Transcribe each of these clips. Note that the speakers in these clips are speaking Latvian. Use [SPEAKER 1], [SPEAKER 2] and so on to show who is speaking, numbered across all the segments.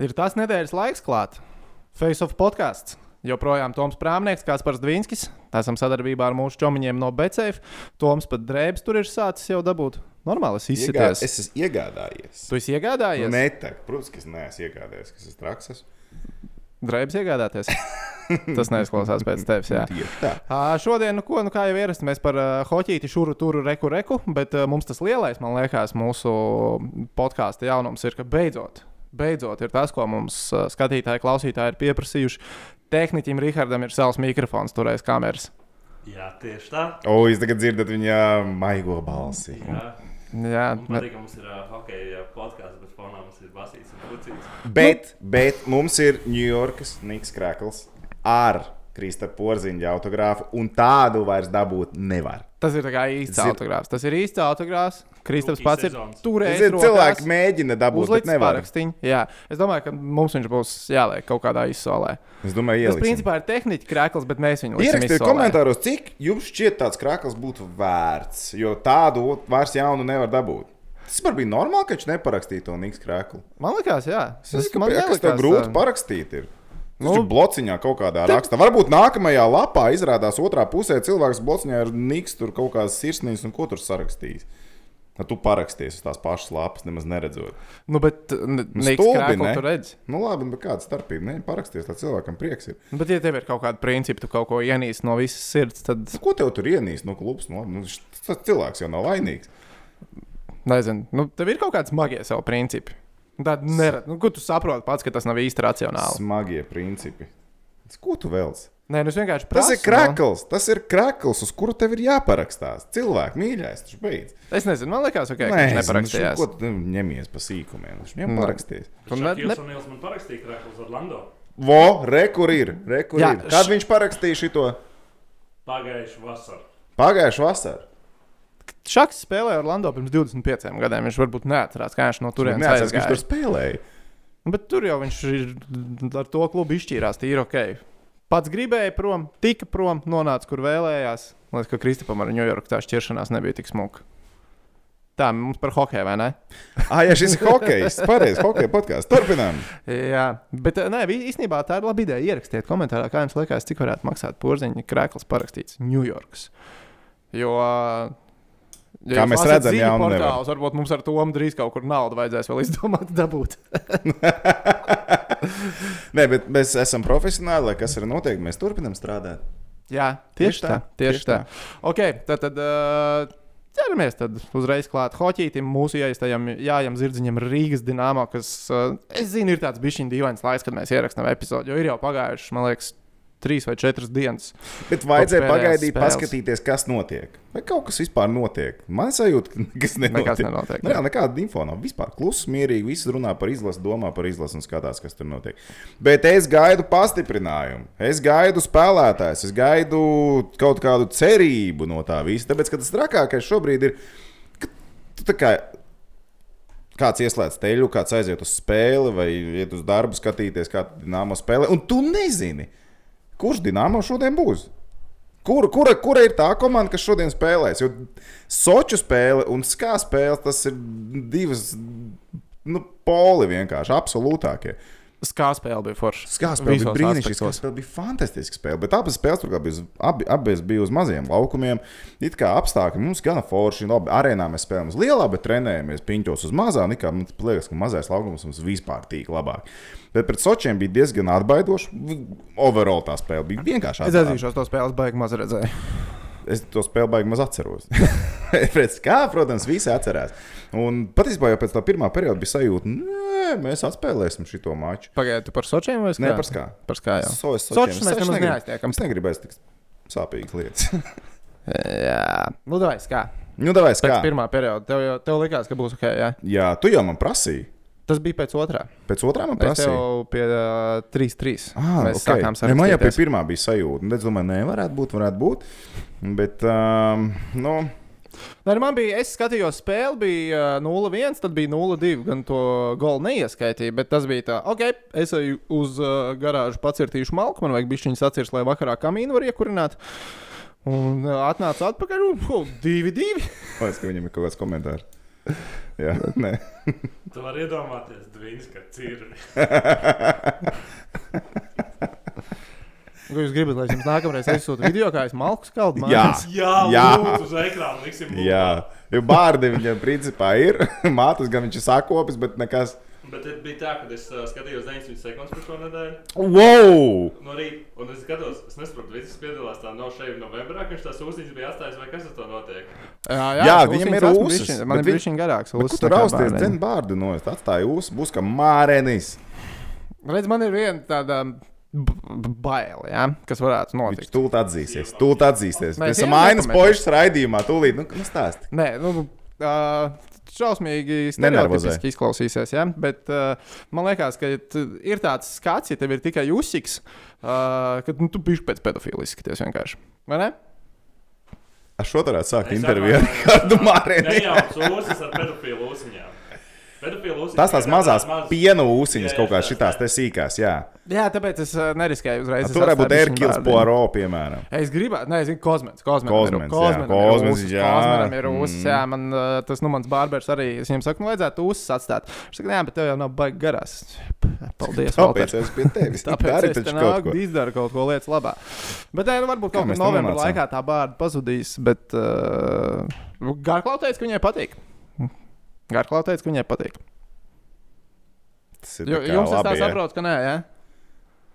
[SPEAKER 1] Ir tas nedēļas laiks klāt. Face of podkāsts. Joprojām Toms Prāmnieks, Kaspars Dvīnskis. Esam sadarbībā ar mūsu čomiņiem no Becēļa. Toms pat drēbes tur ir sācis jau dabūt. Normāli, es
[SPEAKER 2] Iegā...
[SPEAKER 1] izsities.
[SPEAKER 2] Es esmu iegādājies.
[SPEAKER 1] Tu esi iegādājies?
[SPEAKER 2] Nē, tā, protams, ka es neesmu iegādājies, kas esmu traks. esmu.
[SPEAKER 1] Drēbes iegādāties. Tas neizklausās pēc tevis. Jā.
[SPEAKER 2] Nu, Tieši tā.
[SPEAKER 1] Ā, Šodien, nu, ko, nu, kā jau ierasts, mēs par uh, hoķīti šuru turu reku reku, bet uh, mums tas lielais, man liekas, mūsu podkāstu jaunums ir, ka beidzot, beidzot ir tas, ko mums uh, skatītāji, klausītāji ir pieprasījuši. Tehniķim Rihardam ir savs mikrofons, turēs kameras.
[SPEAKER 3] Jā, tieši tā.
[SPEAKER 2] O, jūs tagad dzirdat viņa maigo balsi.
[SPEAKER 3] Jā.
[SPEAKER 1] Jā,
[SPEAKER 3] Man
[SPEAKER 1] bet,
[SPEAKER 3] patīk, ka mums ir uh, hockey podkāsts, bet fonā mums ir basīts un pucīts.
[SPEAKER 2] Bet, bet mums ir Ņujorkas Niks Krakls ar Krista Porziņa autogrāfu, un tādu vairs dabūt nevar.
[SPEAKER 1] tas ir tā kā īsts
[SPEAKER 2] Zin-
[SPEAKER 1] autogrāfs. Tas ir īsts autogrāfs. Kristaps
[SPEAKER 3] Rookie
[SPEAKER 1] pats ir
[SPEAKER 3] sezonas.
[SPEAKER 1] turējis.
[SPEAKER 2] Ziniet, cilvēki mēģina dabūt, bet
[SPEAKER 1] Uzlicis
[SPEAKER 2] nevar.
[SPEAKER 1] pārakstiņu. Jā, es domāju, ka mums viņš būs jāliek kaut kādā izsolē.
[SPEAKER 2] Es domāju,
[SPEAKER 1] Tas
[SPEAKER 2] ieliksim.
[SPEAKER 1] principā ir tehniķis krāklis, bet mēs viņu liksim
[SPEAKER 2] Ierakstiet
[SPEAKER 1] izsolē.
[SPEAKER 2] komentāros, cik jums šķiet tāds krāklis būtu vērts, jo tādu vairs jaunu nevar dabūt. Tas var būt normāli, ka viņš neparakstīja to Niks Kraklu.
[SPEAKER 1] Man liekas, jā.
[SPEAKER 2] Tas ir
[SPEAKER 1] man um,
[SPEAKER 2] grūti. Tas
[SPEAKER 1] nelikās,
[SPEAKER 2] grūti
[SPEAKER 1] ā,
[SPEAKER 2] parakstīt. Ir. Tas
[SPEAKER 1] Nu,
[SPEAKER 2] nu, ir blociņā kaut kādā rakstā. Varbūt nākamajā lapā izrādās otrā pusē cilvēks blociņā ir niks, tur kaut kādas sirsnīs un ko tur sarakstījis. Tad tu parakstījies uz tās pašas lapas, nemaz neredzot.
[SPEAKER 1] Nu, bet nē,
[SPEAKER 2] stulbi,
[SPEAKER 1] krāklis
[SPEAKER 2] ne?
[SPEAKER 1] tur redz.
[SPEAKER 2] Nu, labi, bet kāda starpība? Nē, parakstīties, lai cilvēkam prieks ir.
[SPEAKER 1] Nu, Bet, ja tev ir kaut kāda principa, tu kaut ko ienīsti no visas sirds, tad,
[SPEAKER 2] Nu, Ko tev tur ienīst? Nu, klubs, nu, labi, nu, š- tas cilvēks jau nav vainīgs.
[SPEAKER 1] nezinu, nu, tev ir kaut kādi smagie sev principi. Tad nerad, nu, kur tu saproti pats, ka tas nav īsti racionāli.
[SPEAKER 2] Smagie principi. Tas Ko tu vēlies?
[SPEAKER 1] Nē, nu, es vienkārši
[SPEAKER 2] Tas
[SPEAKER 1] prasu,
[SPEAKER 2] ir krakls, tas ir krakls, uz kuru tev ir jāparakstās. Cilvēks, mīļais, tas beidz.
[SPEAKER 1] No. Es nezinu, man liekas, okay,
[SPEAKER 2] Nē,
[SPEAKER 1] ka viņš
[SPEAKER 2] es- nu,
[SPEAKER 1] neparakstījās. Nu,
[SPEAKER 2] Ko tu ņemies pa sīkumiem? Viņš ņem
[SPEAKER 1] Nē.
[SPEAKER 2] parakstīties.
[SPEAKER 1] Tu
[SPEAKER 3] Tur
[SPEAKER 1] ne-
[SPEAKER 3] ne...
[SPEAKER 1] ne-
[SPEAKER 3] Nils man parakstīja krāklus Orlando.
[SPEAKER 2] Vo, rekur ir. Rekur
[SPEAKER 1] Jā,
[SPEAKER 2] ir. Kad
[SPEAKER 1] š-
[SPEAKER 2] viņš parakstīja šo
[SPEAKER 3] Pagājuši vasaru.
[SPEAKER 2] pagājušā vasarā?
[SPEAKER 1] Šaks spēlēja Orlando pirms 25 gadiem. Viņš varbūt neatcerās, kā viņš no turienes
[SPEAKER 2] Neatceros, ka
[SPEAKER 1] aizgāja.
[SPEAKER 2] viņš tur spēlēja.
[SPEAKER 1] Nu, Bet tur jau viņš ir ar to klubu izšķīrās. Tīri ok. Pats gribēja prom, tika prom, nonāca kur vēlējās. Man liekas, ka Kristapam ar Ņujorku tā šķiršanās nebija tik smuka. Tā mums par hokeju, vai ne?
[SPEAKER 2] Ah, jā, šis ir hokejs. Pareizi, hokeja podkāsts. Turpinām.
[SPEAKER 1] Jā, bet eh, nē, vi- īstenībā tā ir laba ideja. Ierakstiet komentārā, kā jums liekas, cik varētu maksāt porziņa krēklis parakstīts Ņujorkas. Jo.
[SPEAKER 2] Kā mēs redzam, jā, un nevar.
[SPEAKER 1] portāls, varbūt mums ar to drīz kaut kur naudu vajadzēs vēl izdomāt, dabūt.
[SPEAKER 2] Nē, bet mēs esam profesionāli, lai kas ir noteikti. Mēs turpinām strādāt.
[SPEAKER 1] Jā, tieši tā. Tieši tā. Ok, tad, tad uh, ķeramies tad uzreiz klāt Hoķītam, mūsu ieaistajam Jājam Zirdziņam, Rīgas dīnāmā, kas, uh, es zinu, ir tāds bišķiņu dīvains laiks, kad mēs ierakstām epizodi, jo ir jau pagājuši, man liekas, trīs vai četras dienas.
[SPEAKER 2] Bet vajadzēja
[SPEAKER 1] Pēc pēdējās
[SPEAKER 2] pagaidīt,
[SPEAKER 1] spēles.
[SPEAKER 2] paskatīties, kas notiek. Vai kaut kas vispār notiek? Man sajūta, ka nekas nenotiek.
[SPEAKER 1] Nekas nenotiek,
[SPEAKER 2] Nu, jā, nekāda info nav. Vispār klusi, mierīgi. Visi runā par izlasi, domā par izlasi un skatās, kas tur notiek. Bet es gaidu pastiprinājumu. Es gaidu spēlētājus, es gaidu kaut kādu cerību no tā visa. Tāpēc, ka tas trakākais šobrīd ir, ka tu tā kā kāds ieslēdz teļu, kāds aiziet uz spēli vai iet uz darbu, skatīties, kā dīnāmo spēlē. Un tu nezini, kurš dīnāmo šodien būs. Kur, kura, kura ir tā komanda, kas šodien spēlēs? Jo Soču spēle un SKA spēle tas ir divas nu, poli vienkārši absolūtākie.
[SPEAKER 1] Skā spēle bija forša.
[SPEAKER 2] SKA spēle bija
[SPEAKER 1] Visos
[SPEAKER 2] brīnišķīga, SKA
[SPEAKER 1] aspektos.
[SPEAKER 2] spēle bija fantastiska spēle, bet abas spēles turklāt bija uz, abi, abas bija uz maziem laukumiem. It kā apstākļi mums gana forši, labi, arēnā mēs spēlējām uz lielā, bet trenējamies piņķos uz mazā. un it Kā, man liekas, ka mazais laukums mums vispār tīk labāk. Bet pret Sočiem bija diezgan atbaidoši. Overall tā spēle bija vienkārši
[SPEAKER 1] Es atzīšos, to spēles baigi maz redzēju.
[SPEAKER 2] Es to spēli baigi maz atceros. Pēc kā, protams, visi atcerās. Un patiesībā jau pēc tā pirmā perioda bija sajūta, ka mēs atspēlēsim šo maču.
[SPEAKER 1] Pagaidiet, tu par sočiem vai skā?
[SPEAKER 2] Nē, par skā.
[SPEAKER 1] Par skā jau.
[SPEAKER 2] Sojas
[SPEAKER 1] Sočus mēs
[SPEAKER 2] sočiem. Soči
[SPEAKER 1] nemaz
[SPEAKER 2] negrib-
[SPEAKER 1] neaiztiekam.
[SPEAKER 2] Es negribēju tik sāpīgas lietas.
[SPEAKER 1] Jā, nu davai skā.
[SPEAKER 2] nu, davai,
[SPEAKER 1] Pēc
[SPEAKER 2] kā.
[SPEAKER 1] pirmā perioda tev jau tev likās, ka būs ok, jā.
[SPEAKER 2] Jā, tu jau man prasīji.
[SPEAKER 1] Tas bija pēc otrā.
[SPEAKER 2] Pēc otrā man
[SPEAKER 1] Mēs
[SPEAKER 2] prasīji.
[SPEAKER 1] jau pie uh, 3-3.
[SPEAKER 2] Ah,
[SPEAKER 1] mēs
[SPEAKER 2] okay.
[SPEAKER 1] sākām
[SPEAKER 2] Ne, Man jau pie
[SPEAKER 1] sarakstīties.
[SPEAKER 2] pirmā bija sajūta. Un Es domāju, nē, varētu būt, varētu būt. Bet, um, nu,
[SPEAKER 1] Nē, nu, man bija, es skatījos, spēle bija uh, 0-1, tad bija 0-2. Gan to golu neieskaitīju, bet tas bija tā, ok, es eju uz uh, garāžu, pacirtīšu malku, man vajag bišķiņas atcerties, lai vakarā kamīnu var iekurināt. Un uh, atnācu atpakaļ, un 2-2.
[SPEAKER 2] es domāju, ka viņam ir kaut kāds komentārs. Jā, nē.
[SPEAKER 3] Tu vari iedomāties, Dvīns, ka cirvi.
[SPEAKER 1] Ko Nu, jūs gribat, lai es jums nākamreiz aizsūtu video, kā es malku skaldu?
[SPEAKER 2] Jā.
[SPEAKER 1] mājās?
[SPEAKER 3] Jā, jā.
[SPEAKER 2] Jā.
[SPEAKER 3] uz ekrāna liksim. lūdzu.
[SPEAKER 2] Jā, jo bārdi viņam principā ir. Mātes gan viņš ir sakopis, bet nekas.
[SPEAKER 3] Bet tad bija tā, ka es uh, skatījos 900 sekundes par šo nedēļu.
[SPEAKER 2] Wow!
[SPEAKER 3] No rīta, un es skatos, es nesaprotu, viss piedalās tā no šeit novembrā, ka viņš tās uzņas bija atstājis vai kas ar to notiek.
[SPEAKER 1] Jā,
[SPEAKER 2] Jā,
[SPEAKER 1] es
[SPEAKER 2] viņam
[SPEAKER 1] ūsīs
[SPEAKER 2] ir
[SPEAKER 1] esmu
[SPEAKER 2] ūsas,
[SPEAKER 1] bišķiņ-
[SPEAKER 2] bet
[SPEAKER 1] Man ir
[SPEAKER 2] viņ-
[SPEAKER 1] bijis viņa garāks.
[SPEAKER 2] Bet Kur tur rausties? Dzen bārdi no es atstāju jūs, būs kā mārenis.
[SPEAKER 1] Redz, man ir viena tāda b- b- bail, ja, kas varētu notikt.
[SPEAKER 2] Viņš tūlīt atzīsies, tūlīt
[SPEAKER 1] Mēs
[SPEAKER 2] atzīsies. Mēs esam
[SPEAKER 1] ierakam,
[SPEAKER 2] ainas
[SPEAKER 1] mēs-
[SPEAKER 2] pošas raidījumā, tūlīt. Nu, kas stāst?
[SPEAKER 1] Nē, nu, uh, šausmīgi
[SPEAKER 2] Nenervozē.
[SPEAKER 1] stereotipiski izklausīsies, ja? bet uh, man liekas, ka t- ir tāds skats, ja tev ir tikai jūsiks, uh, kad nu, tu bišķi pēc pedofila izskaties vienkārši. Vai ne?
[SPEAKER 2] Ar šo tā varētu sākt
[SPEAKER 3] Es
[SPEAKER 2] interviju ar
[SPEAKER 3] atvainojos.
[SPEAKER 2] kādu māreni.
[SPEAKER 3] Nejauks ūsas ar pedofilu ūsiņām. Pedofilu ūsiņas.
[SPEAKER 2] Tas tās mazās piena
[SPEAKER 3] Jā,
[SPEAKER 2] ūsiņas kaut kā
[SPEAKER 3] jā,
[SPEAKER 2] šitās
[SPEAKER 3] jā.
[SPEAKER 2] te sīkās, jā.
[SPEAKER 1] Jā, tāpēc es uh, neriskēju uzreiz. es
[SPEAKER 2] Tur varētu būt
[SPEAKER 1] atstāju bišķiņ
[SPEAKER 2] Erkils
[SPEAKER 1] bārdiņu.
[SPEAKER 2] Poirot, piemēram.
[SPEAKER 1] Es gribētu, nezinu, kosmēts. Kosmēts,
[SPEAKER 2] Kozmens, jā,
[SPEAKER 1] Kozmēns,
[SPEAKER 2] Kozmens, jā.
[SPEAKER 1] jā. Kozmēnam ir ūsas,
[SPEAKER 2] Mm.
[SPEAKER 1] jā, man uh, tas, nu, mans bārbērs arī, es viņam saku, nu, vajadzētu ūsas atstāt. Viņš saka, jā, bet tev jau nav baigi garās. Paldies, Valter.
[SPEAKER 2] Tāpēc es pie tevis. Dari
[SPEAKER 1] Tāpēc es
[SPEAKER 2] taču
[SPEAKER 1] tam
[SPEAKER 2] kaut ko.
[SPEAKER 1] nāku, izdaru kaut ko lietas labā. Bet, nē, nu, varbūt
[SPEAKER 2] Kā
[SPEAKER 1] kaut
[SPEAKER 2] mēs
[SPEAKER 1] kādā
[SPEAKER 2] tam
[SPEAKER 1] novembrī
[SPEAKER 2] nonācām?
[SPEAKER 1] laikā tā bārda pazudīs. Bet uh, Garklaus teica, ka viņai patīk. Garklaus teica, ka viņai patīk.
[SPEAKER 2] Tas ir
[SPEAKER 1] Jo,
[SPEAKER 2] tā kā
[SPEAKER 1] jums tas tā
[SPEAKER 2] labi, jā.
[SPEAKER 1] saprot, ka nē, ja?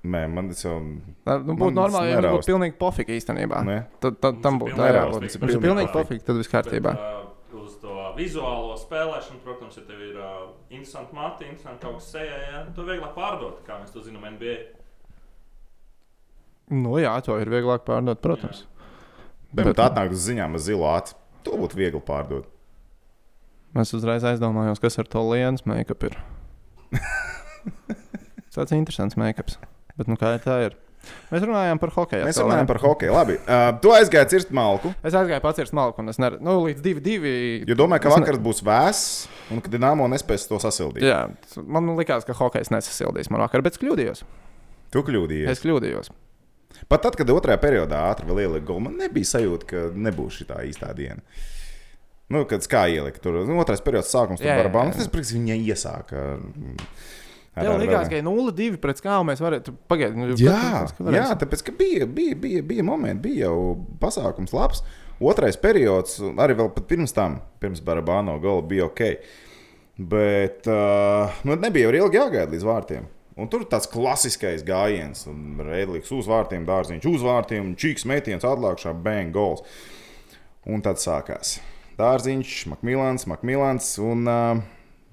[SPEAKER 2] Nē, man tas jau
[SPEAKER 1] nu,
[SPEAKER 2] Man
[SPEAKER 1] būtu normāli, ja viņam
[SPEAKER 2] neraust.
[SPEAKER 1] būtu pilnīgi pofīgi īstenībā.
[SPEAKER 2] ne.
[SPEAKER 1] Tad, tad tam būtu tā
[SPEAKER 2] neraust,
[SPEAKER 1] jābūt.
[SPEAKER 2] tas ir
[SPEAKER 1] Mums ir
[SPEAKER 2] pilnīgi
[SPEAKER 1] pilnīgi
[SPEAKER 3] pofīgi.
[SPEAKER 1] pofīgi, tad viss kārtībā.
[SPEAKER 3] Bet, uh, uz to vizuālo spēlēšanu, protams, ja tev ir uh, interesanti mati, interesanti kaut kas sejā, ja? to vieglāk pārdot, kā mēs to zinām NBA.
[SPEAKER 1] Nu, jā, to ir vieglāk pārdot, protams.
[SPEAKER 2] Bet tā atnāk uz ziņām ar zilo acu. To būtu viegli pārdot.
[SPEAKER 1] Es uzreiz aizdomājos, kas ar to lienas make-up ir. Tas ir interesants make-ups. Bet nu, kā ir tā ir? Mēs runājām par hokeju.
[SPEAKER 2] Mēs runājam par hokeju. Labi, uh, tu aizgāji cirst malku.
[SPEAKER 1] Es aizgāju pats ar smalku, un es nedomāju, nu, līdz divi. divi...
[SPEAKER 2] Jo domāju, ka
[SPEAKER 1] Es ne-
[SPEAKER 2] vakars būs vēss un ka Dienāmo nespēs to sasildīt.
[SPEAKER 1] Jā, man likās, ka hokejs nesasildīs man vakar, bet es kļūdījos.
[SPEAKER 2] Tu
[SPEAKER 1] Yes.
[SPEAKER 2] kļūdījies.
[SPEAKER 1] Es kļūdījos.
[SPEAKER 2] Pat tad, kad otrajā periodā ātri vēl ielika gulma, nebija sajūta, ka nebūs šī tā īstā diena. Nu, kad kā ielika tur, nu, otrais periods sākums tur
[SPEAKER 1] Jā, jā,
[SPEAKER 2] var būt.
[SPEAKER 1] jā.
[SPEAKER 2] Tas priekš viņa iesāka. mm, ar-
[SPEAKER 1] Tev
[SPEAKER 2] ar-
[SPEAKER 1] likās,
[SPEAKER 2] ar-
[SPEAKER 1] ka 0-2 pret kā mēs varētu pagaidīt. Nu,
[SPEAKER 2] Jā,
[SPEAKER 1] pret-
[SPEAKER 2] jā, tāpēc ka bija, bija, bija, bija momenti, bija jau pasākums labs. Otrais periods, un arī vēl pat pirms tam, pirms Barabāno gala, bija ok. Bet uh, nu, nebija jau ilgi jāgaida līdz vārtiem. Un tur tāds klasiskais gājiens, un rēdlīgs uz vārtiem, dārziņš uz vārtiem, un čīks metiens atlākšā, bang, goals. Un tad sākās dārziņš, Makmīlāns, Makmīlāns, un uh,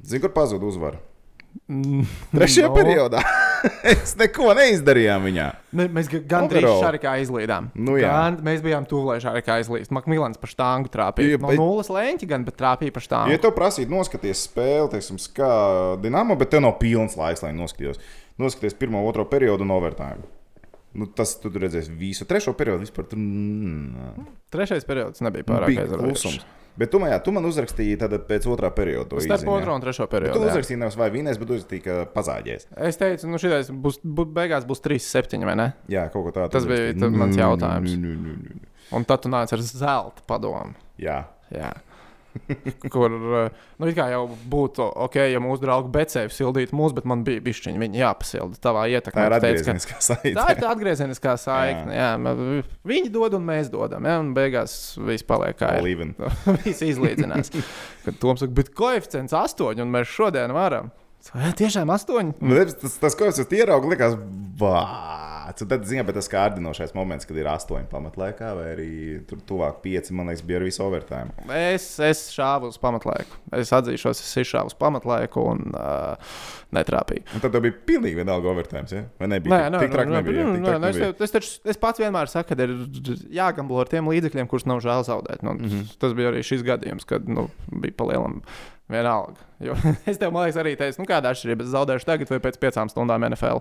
[SPEAKER 2] zinu, kur pazuda uzvara.
[SPEAKER 1] Mm,
[SPEAKER 2] Trešajā
[SPEAKER 1] no.
[SPEAKER 2] no. periodā mēs neko neizdarījām viņā.
[SPEAKER 1] Ne, mēs ga- gandrīz
[SPEAKER 2] Overall.
[SPEAKER 1] šādi kā izlīdām.
[SPEAKER 2] Nu jā.
[SPEAKER 1] Gan, mēs bijām tuvu, lai šādi kā izlīst. Makmīlāns pa štāngu trāpīja.
[SPEAKER 2] Jā,
[SPEAKER 1] No
[SPEAKER 2] bet-
[SPEAKER 1] nulles lēņķi gan, bet trāpīja pa štāngu.
[SPEAKER 2] Ja tev prasītu noskaties spēli, teiksim, kā Dienāmo, bet tev nav pilns laiks, lai noskatītos. Noskaties pirmo, otro periodu un overtime. Nu, tas tu tur redzēs visu trešo periodu. Vispār tur mm,
[SPEAKER 1] Trešais periods nebija pārāk
[SPEAKER 2] bija klusums. Bet tu man, jā, tu man uzrakstīji tad pēc otrā perioda. to
[SPEAKER 1] Starp
[SPEAKER 2] izziņu, jā?
[SPEAKER 1] otro un trešo
[SPEAKER 2] Bet Tu
[SPEAKER 1] periodu. jā.
[SPEAKER 2] uzrakstīji nevis vai vienais, bet uzrakstīji, ka pazāģēs.
[SPEAKER 1] Es teicu, nu šitais būs, būs beigās būs 3-7 vai ne?
[SPEAKER 2] Jā, kaut ko tādu.
[SPEAKER 1] Tas bija
[SPEAKER 2] uzrakstīji.
[SPEAKER 1] tad mans
[SPEAKER 2] Nu, nu,
[SPEAKER 1] jautājums.
[SPEAKER 2] nu, nu, nu, nu, nu.
[SPEAKER 1] Un tad tu nāc ar zelta padomu.
[SPEAKER 2] Jā,
[SPEAKER 1] Jā. Kur eh, nu, it kā jau būtu ok, ja mūsu draugi Becēvi sildītu mūsu, bet man bija bišķiņi, viņi jāpasilda tavā
[SPEAKER 2] tā
[SPEAKER 1] ietekmē.
[SPEAKER 2] ir
[SPEAKER 1] Tu teici, ka-
[SPEAKER 2] atgriezeniskā saite.
[SPEAKER 1] Tā ir tā atgriezeniskā saikne. Jā. Jā, viņi dod un mēs dodam. Jā, un beigās viss paliek kā ir.
[SPEAKER 2] līnija.
[SPEAKER 1] Viss izlīdzinās. Kad Toms saka, bet koeficients astoņi, un mēs šodien varam. Jā, tiešām astoņi.
[SPEAKER 2] Nu, tas, tas, tas, ko es tur ieraugu, likās, bāts. Un Tad, zinām, tas kārdinošais moments, kad ir astoņi pamatlaikā, vai arī tur tuvāk pieci, man liekas, bija ar visu overtime.
[SPEAKER 1] Es, es šāvu uz pamatlaiku. Es atzīšos, es izšāvu uz pamatlaiku un uh, netrāpīju.
[SPEAKER 2] Un tad tev bija pilnīgi vienalga overtime, ja? vai nebija?
[SPEAKER 1] Nē, nē, nu,
[SPEAKER 2] tik traki
[SPEAKER 1] nē,
[SPEAKER 2] nebija.
[SPEAKER 1] nē,
[SPEAKER 2] tik
[SPEAKER 1] nē,
[SPEAKER 2] traki
[SPEAKER 1] nē, es,
[SPEAKER 2] nebija.
[SPEAKER 1] tev- es, taču, es pats vienmēr saku, ka ir jāgamblo ar tiem līdzekļiem, kurus nav žēl zaudēt. Nu, mm
[SPEAKER 2] Mhm.
[SPEAKER 1] -hmm. Tas bija arī šis gadījums, kad nu, bija palielam vienalga. Jo, es tev, man liekas, arī teicu, nu, kāda atšķirība. Es zaudēšu tagad vai pēc piecām stundām NFL.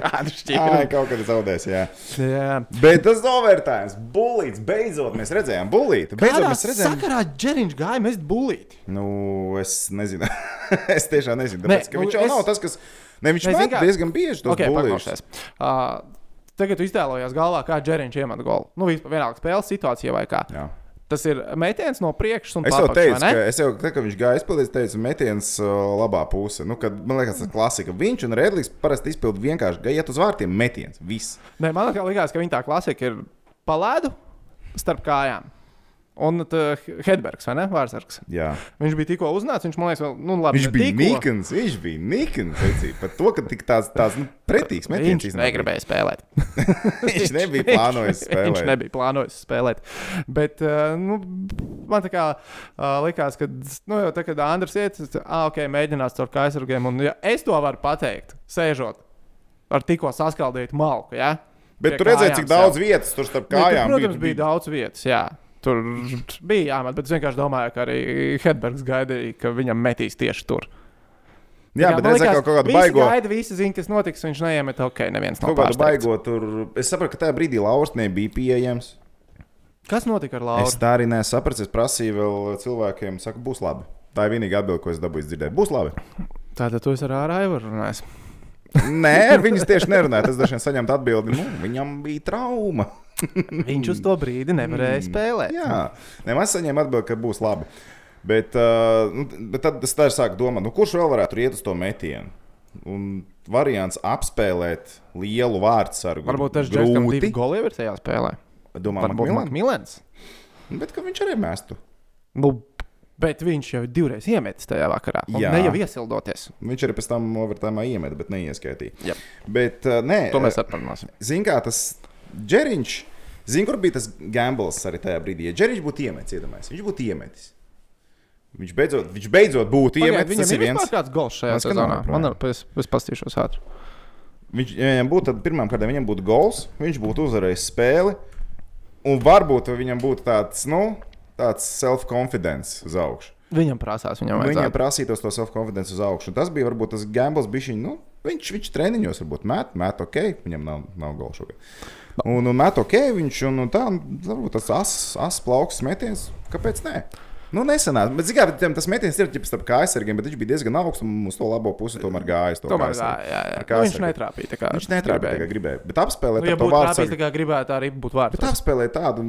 [SPEAKER 1] kāda
[SPEAKER 2] Ai,
[SPEAKER 1] atšķirība?
[SPEAKER 2] kaut kad zaudēs, jā.
[SPEAKER 1] Jā.
[SPEAKER 2] Bet tas overtime, bullīts, beidzot mēs redzējām, bullīti. Beidzot
[SPEAKER 1] Kādā
[SPEAKER 2] mēs redzējām.
[SPEAKER 1] sakarā Džeriņš gāja mest bulīt.
[SPEAKER 2] Nu, es nezinu. es tiešām nezinu.
[SPEAKER 1] Nē,
[SPEAKER 2] Tāpēc, ne,
[SPEAKER 1] nu,
[SPEAKER 2] viņš jau
[SPEAKER 1] es-
[SPEAKER 2] es... nav tas, kas. Ne, viņš
[SPEAKER 1] Nē, zini
[SPEAKER 2] met
[SPEAKER 1] kā-
[SPEAKER 2] diezgan bieži tos
[SPEAKER 1] Ok, Ah,
[SPEAKER 2] okay, bullīšus.
[SPEAKER 1] paklausies. Uh, tagad tu iztēlojies galvā, kā Džeriņš iemet golu. Nu, vispār vienalga spēles situācija vai kā.
[SPEAKER 2] Jā.
[SPEAKER 1] Tas ir metiens no priekšas un
[SPEAKER 2] Es jau
[SPEAKER 1] apakš, vai
[SPEAKER 2] teicu,
[SPEAKER 1] ne?
[SPEAKER 2] ka, es jau, tā, ka viņš gāja izpildīt, teicu, metiens uh, labā pusē. Nu, kad, man liekas, tas ir klasika. Viņš un Redlis parasti izpildīja vienkārši gājiet uz vārtiem, metiens. Viss.
[SPEAKER 1] Nē, man liekas, likās, ka viņa tā klasika ir palēdu starp kājām. Un tā Hedbergs, vai ne? Vārsargs.
[SPEAKER 2] Jā.
[SPEAKER 1] Viņš bija tikko uznācis, viņš man liekas, vēl, nu, labi.
[SPEAKER 2] Viņš
[SPEAKER 1] ne
[SPEAKER 2] bija
[SPEAKER 1] tikko.
[SPEAKER 2] nikns, viņš bija nikns. redzī, Par to, ka tik tāds, tāds nu, pretīgs metiens.
[SPEAKER 1] Viņš
[SPEAKER 2] iznāk.
[SPEAKER 1] negribēja spēlēt.
[SPEAKER 2] Viņš nebija plānojis
[SPEAKER 1] Viņš
[SPEAKER 2] spēlēt.
[SPEAKER 1] nebija plānojis spēlēt. Bet eh, nu, man tā kā eh, likās, ka, nu, jau tā, kad Andris iet, es, ah, ok, mēģinās ar kaisargiem. Un, ja es to varu pateikt, sēžot ar tikko saskaldītu malku. Ja?
[SPEAKER 2] Bet
[SPEAKER 1] Pie
[SPEAKER 2] tu redzēji,
[SPEAKER 1] kājām
[SPEAKER 2] cik
[SPEAKER 1] sev.
[SPEAKER 2] daudz vietas tur starp
[SPEAKER 1] Nu,
[SPEAKER 2] kājām
[SPEAKER 1] tur, protams, bija, bija daudz vietas. Jā. Tur bija jāmet, bet es vienkārši domāju, ka arī Hedbergs gaidīja, ka viņam metīs tieši tur.
[SPEAKER 2] Jā, bet redzēji kaut, kaut kādu baigo.
[SPEAKER 1] Gaida, visi zina, kas notiks, viņš neiemet, ok, neviens nav
[SPEAKER 2] Kaut kādu
[SPEAKER 1] pārsteigts.
[SPEAKER 2] baigo tur. Es saprotu, ka tajā brīdī Lauris nebija pieejams.
[SPEAKER 1] Kas notika ar
[SPEAKER 2] Es
[SPEAKER 1] Lauru?
[SPEAKER 2] tā arī nesapratu. Es prasīju vēl cilvēkiem, saku, būs labi. Tā ir vienīgā atbilde, ko es dabūju dzirdēt. Būs labi.
[SPEAKER 1] Tātad tu esi ar Ārāivu runājis.
[SPEAKER 2] Nē, ar viņas tieši nerunāja. Tas dažkārt saņemt atbildi, nu, viņam bija trauma.
[SPEAKER 1] Viņš uz to brīdi nevarēja spēlēt.
[SPEAKER 2] Mm. Jā, nemaz saņēma atbildi, ka būs labi. Bet, uh, nu, bet tad es tā arī sāku domāt, nu, kurš vēl varētu iet uz to metienu? Un variants apspēlēt lielu vārdsargu.
[SPEAKER 1] Varbūt tas ir Džekam
[SPEAKER 2] grūti.
[SPEAKER 1] divi goli ir tajā spēlē.
[SPEAKER 2] Domāju,
[SPEAKER 1] Varbūt
[SPEAKER 2] Makmilan.
[SPEAKER 1] Makmilans.
[SPEAKER 2] Bet ka viņš arī mēstu.
[SPEAKER 1] Nu, bet viņš jau ir divreiz iemetis tajā vakarā. Un
[SPEAKER 2] Jā.
[SPEAKER 1] Ne jau iesildoties.
[SPEAKER 2] Viņš arī pēc tam overtēmā iemeta, bet neieskaitīja.
[SPEAKER 1] Jā.
[SPEAKER 2] Bet, uh, nē,
[SPEAKER 1] To mēs atparunāsim.
[SPEAKER 2] Zini, kā tas Džeriņš, zini, kur bija tas gambls arī tajā brīdī. Ja Džeriņš būtu iemetis, iedomājies, viņš būtu iemetis. Viņš beidzot, viņš beidzot būtu
[SPEAKER 1] Pagaid,
[SPEAKER 2] iemetis.
[SPEAKER 1] Viņam
[SPEAKER 2] Tas ir viens.
[SPEAKER 1] vispār kāds gols šajā
[SPEAKER 2] Man skan
[SPEAKER 1] sezonā.
[SPEAKER 2] nav,
[SPEAKER 1] Man ir, es, es pastīšos ātri.
[SPEAKER 2] Viņš, ja viņam būtu, tad pirmām kārtām viņam būtu gols, viņš būtu uzvarējis spēli. Un varbūt viņam būtu tāds, nu, tāds self-confidence uz augšu.
[SPEAKER 1] Viņam prasās, viņam
[SPEAKER 2] Viņam
[SPEAKER 1] vajadzētu.
[SPEAKER 2] prasītos to self-confidence uz augšu. Un tas bija varbūt tas gambls, bija nu, viņš, viņš treniņos, varbūt met, met ok, viņam nav, nav gala šogad. Un, un met ok, viņš un, un tā, un varbūt tas asas as plaukts metiens, kāpēc ne? Nu, nesenāca. Bet, zināmā mērā, tas metiens ir ģips starp kājasargiem, bet viņš bija diezgan augsts un uz to labo pusi tomēr gājis.
[SPEAKER 1] Tomēr tā, jā, jā. Nu,
[SPEAKER 2] Ar
[SPEAKER 1] viņš
[SPEAKER 2] kaisargu.
[SPEAKER 1] netrāpīja. tā kā
[SPEAKER 2] Viņš netrāpīja, kā gribēja. Bet
[SPEAKER 1] Nu,
[SPEAKER 2] apspēlēt
[SPEAKER 1] ja
[SPEAKER 2] ar to
[SPEAKER 1] būtu trāpījis,
[SPEAKER 2] vārdsargu.
[SPEAKER 1] tā kā gribētu arī būt
[SPEAKER 2] Bet
[SPEAKER 1] vārds.
[SPEAKER 2] apspēlēt tādu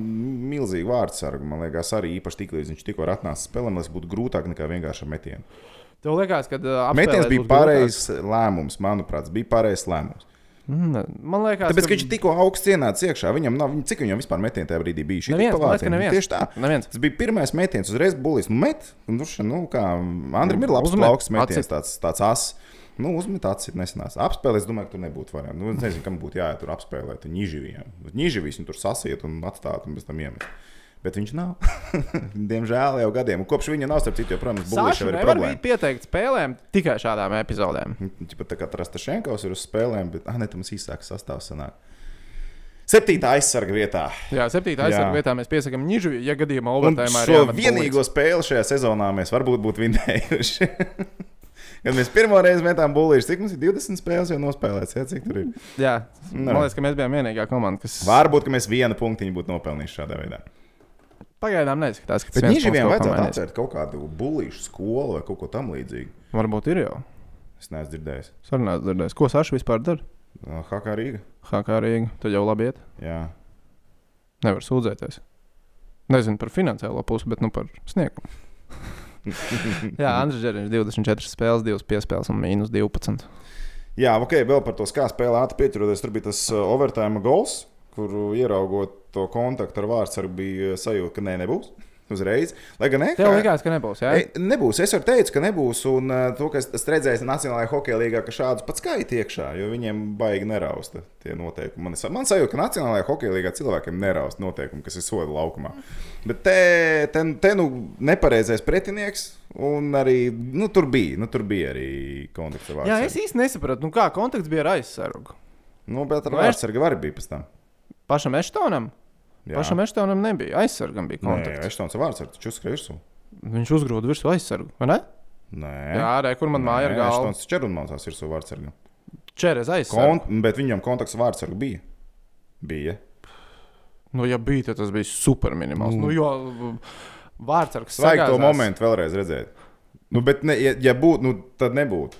[SPEAKER 2] milzīgu vārdsargu, man liekas, arī īpaši tik līdz viņš tikko ir atnācis spēlēm, lai tas būtu grūtāk nekā vienkārši ar metienu.
[SPEAKER 1] Tev liekas, ka uh, apspēlēt
[SPEAKER 2] Metiens bija
[SPEAKER 1] būs grūtāk?
[SPEAKER 2] pareizs lēmums, manuprāt, tas bija pareizs lēmums.
[SPEAKER 1] Mm, Man liekas,
[SPEAKER 2] Tāpēc, ka viņš tikko augsts ienāca iekšā, viņam nav, viņ- cik viņam vispār metienā tajā brīdī bija šī
[SPEAKER 1] Neviens, man liekas, ka neviens.
[SPEAKER 2] Tieši tā.
[SPEAKER 1] Neviens.
[SPEAKER 2] Tas bija pirmais metiens, uzreiz būlis. Nu, met, un nu, še- nu, kā Andriem ir labs
[SPEAKER 1] Uzmet,
[SPEAKER 2] plauks metiens,
[SPEAKER 1] atsit.
[SPEAKER 2] tāds, tāds as. Nu, uzmet acis, nesenās. Apspēlē, es domāju, ka tur nebūtu variantu. Nu, es nezinu, kam būtu jāiet tur apspēlēt. Niživijam. Niživijas viņu tur sasiet un atstāt un bez tam iemest. Bet viņš nav. Diemžēl jau gadiem. Un kopš viņa nav, starp citu, joprojām tas būlis
[SPEAKER 1] Sāšu
[SPEAKER 2] jau ir
[SPEAKER 1] nevar
[SPEAKER 2] problēma.
[SPEAKER 1] būt pieteikt spēlēm tikai šādām epizodēm.
[SPEAKER 2] Tāpat tā kā Trastašenkovs ir uz spēlēm, bet ah, ne, tam īsāks sastāvs sanāk. Septītā aizsarga vietā.
[SPEAKER 1] Jā, septītā
[SPEAKER 2] Jā.
[SPEAKER 1] aizsardzības vietā mēs piesakām Nižu, ja gadījumā
[SPEAKER 2] Un
[SPEAKER 1] overtime
[SPEAKER 2] šo vienīgo spēli šajā sezonā mēs varbūt būtu vinnējuši. Kad mēs pirmo reizi metām buļbuļus, cik mums ir 20 spēles jau nospēlēts, jā, cik tur ir.
[SPEAKER 1] Jā,
[SPEAKER 2] Nu,
[SPEAKER 1] man liekas, ka mēs bijām vienīgā komanda, kas
[SPEAKER 2] Varbūt, ka mēs vienu punktiņu būtu nopelnījuši šādā veidā.
[SPEAKER 1] pagaidām neizskatās, ka
[SPEAKER 2] Bet
[SPEAKER 1] viens
[SPEAKER 2] Nīžiem
[SPEAKER 1] mums kaut ko
[SPEAKER 2] vajadzētu
[SPEAKER 1] mainīs.
[SPEAKER 2] atvērt kaut kādu buļbuļu skolu vai kaut ko tamlīdzīgu.
[SPEAKER 1] Varbūt ir jau.
[SPEAKER 2] Es neesmu dzirdējis.
[SPEAKER 1] Sarunās dzirdēs, ko Saša vispār dara.
[SPEAKER 2] No, Hakā Rīga.
[SPEAKER 1] Hakā Rīga, tad jau labi iet.
[SPEAKER 2] Jā.
[SPEAKER 1] Nevar sūdzēties. Nezinu par finansiālo pusi, bet nu par sniegumu. Jā, Andriņš Čaksteņš 24 spēles, 2 piespēles un mīnus 12.
[SPEAKER 2] Jā, ok, vēl par to kā spēlē ātri pieturoties. Tur bija tas uh, overtime goals, kur uh, ieraugot to kontaktu ar vārdsargu, bija uh, sajūta, ka nē, nebūs. Uzreiz. Lai gan ne,
[SPEAKER 1] Tev
[SPEAKER 2] kā-
[SPEAKER 1] likās, ka nebūs. Jā,
[SPEAKER 2] Ei, Nebūs. Es jau teicu, ka nebūs. Un uh, to, kas es redzēju Nacionālajā hokeja līnijā, ka šādu pat skaitu iekšā, jo viņiem baigi nerausta tie noteikumi. Man, sa- man sajūta, ka Nacionālajā hokeja līnijā cilvēkiem nerausta noteikumi, kas ir soda laukumā. Bet te, te, te nu nepareizais pretinieks, un arī nu, tur bija, nu, tur bija arī kontakts ar
[SPEAKER 1] jā
[SPEAKER 2] vārdsargu.
[SPEAKER 1] es īsti nesapratu, nu kā kontakts bija ar aizsargu.
[SPEAKER 2] Nu, bet ar
[SPEAKER 1] Nu,
[SPEAKER 2] Vārtsburgu arī bija pēc tam.
[SPEAKER 1] Pašam Eštonam? Jā. Pašam Eštonam nebija. Aizsargam bija kontakts.
[SPEAKER 2] Eštons ar Vārtsburgu taču uzskrēja virsū.
[SPEAKER 1] Nē, viņš uzgrūda virsū aizsargu. vai Ne?
[SPEAKER 2] Nē,
[SPEAKER 1] Jā, arī kur man māja ir galva.
[SPEAKER 2] Eštons čerunmācās virsū Vārtsburgu.
[SPEAKER 1] Čeres aizsargu.
[SPEAKER 2] Kont, bet viņam kontakts ar Vārtsburgu bija. Bija.
[SPEAKER 1] Nu, ja bija, tad tas bija super minimāls.
[SPEAKER 2] Nu.
[SPEAKER 1] Nu, jo vārdsargs
[SPEAKER 2] Svaigi to
[SPEAKER 1] sagāzās.
[SPEAKER 2] momentu vēlreiz redzēt. Nu, bet, ne, ja, ja būtu, nu, tad nebūtu.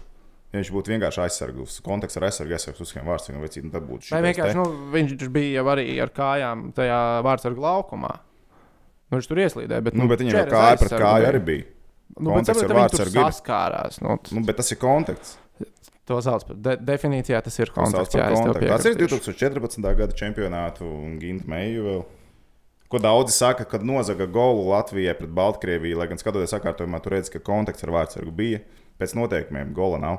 [SPEAKER 2] Ja viņš būtu vienkārši aizsargs, kontakts ar aizsargu, aizsargs uzskrēja Vārtsburgu, vecīt, nu, tad
[SPEAKER 1] Vai
[SPEAKER 2] būtu šitais
[SPEAKER 1] vienkārši
[SPEAKER 2] te.
[SPEAKER 1] nu, viņš bija jau arī ar kājām tajā vārdsargu laukumā. Nu, viņš tur ieslīdēja. Bet,
[SPEAKER 2] Nu, bet viņam jau
[SPEAKER 1] četras
[SPEAKER 2] kāja pret
[SPEAKER 1] aizsargi
[SPEAKER 2] kāju
[SPEAKER 1] bija.
[SPEAKER 2] arī bija.
[SPEAKER 1] Nu, bet
[SPEAKER 2] Konteksts
[SPEAKER 1] saprotiet,
[SPEAKER 2] ar
[SPEAKER 1] viņi tur
[SPEAKER 2] vārdsargu ir.
[SPEAKER 1] saskārās. Nu, t-
[SPEAKER 2] Nu, bet tas ir konteksts.
[SPEAKER 1] to sauc par de definīcijā, tas ir
[SPEAKER 2] Tas sauc
[SPEAKER 1] konteksts.
[SPEAKER 2] par
[SPEAKER 1] Jā, es tev
[SPEAKER 2] kontekstu. Tas ir
[SPEAKER 1] piekrītu.
[SPEAKER 2] 2014. gada čempionātu un Gintu Meiju vēl. Ko daudzi saka, kad nozaga golu Latvijai pret Baltkrieviju, lai gan skatoties sakārtojumā, tur redz, ka konteksts ar vārdsargu bija. Pēc noteikumiem gola nav.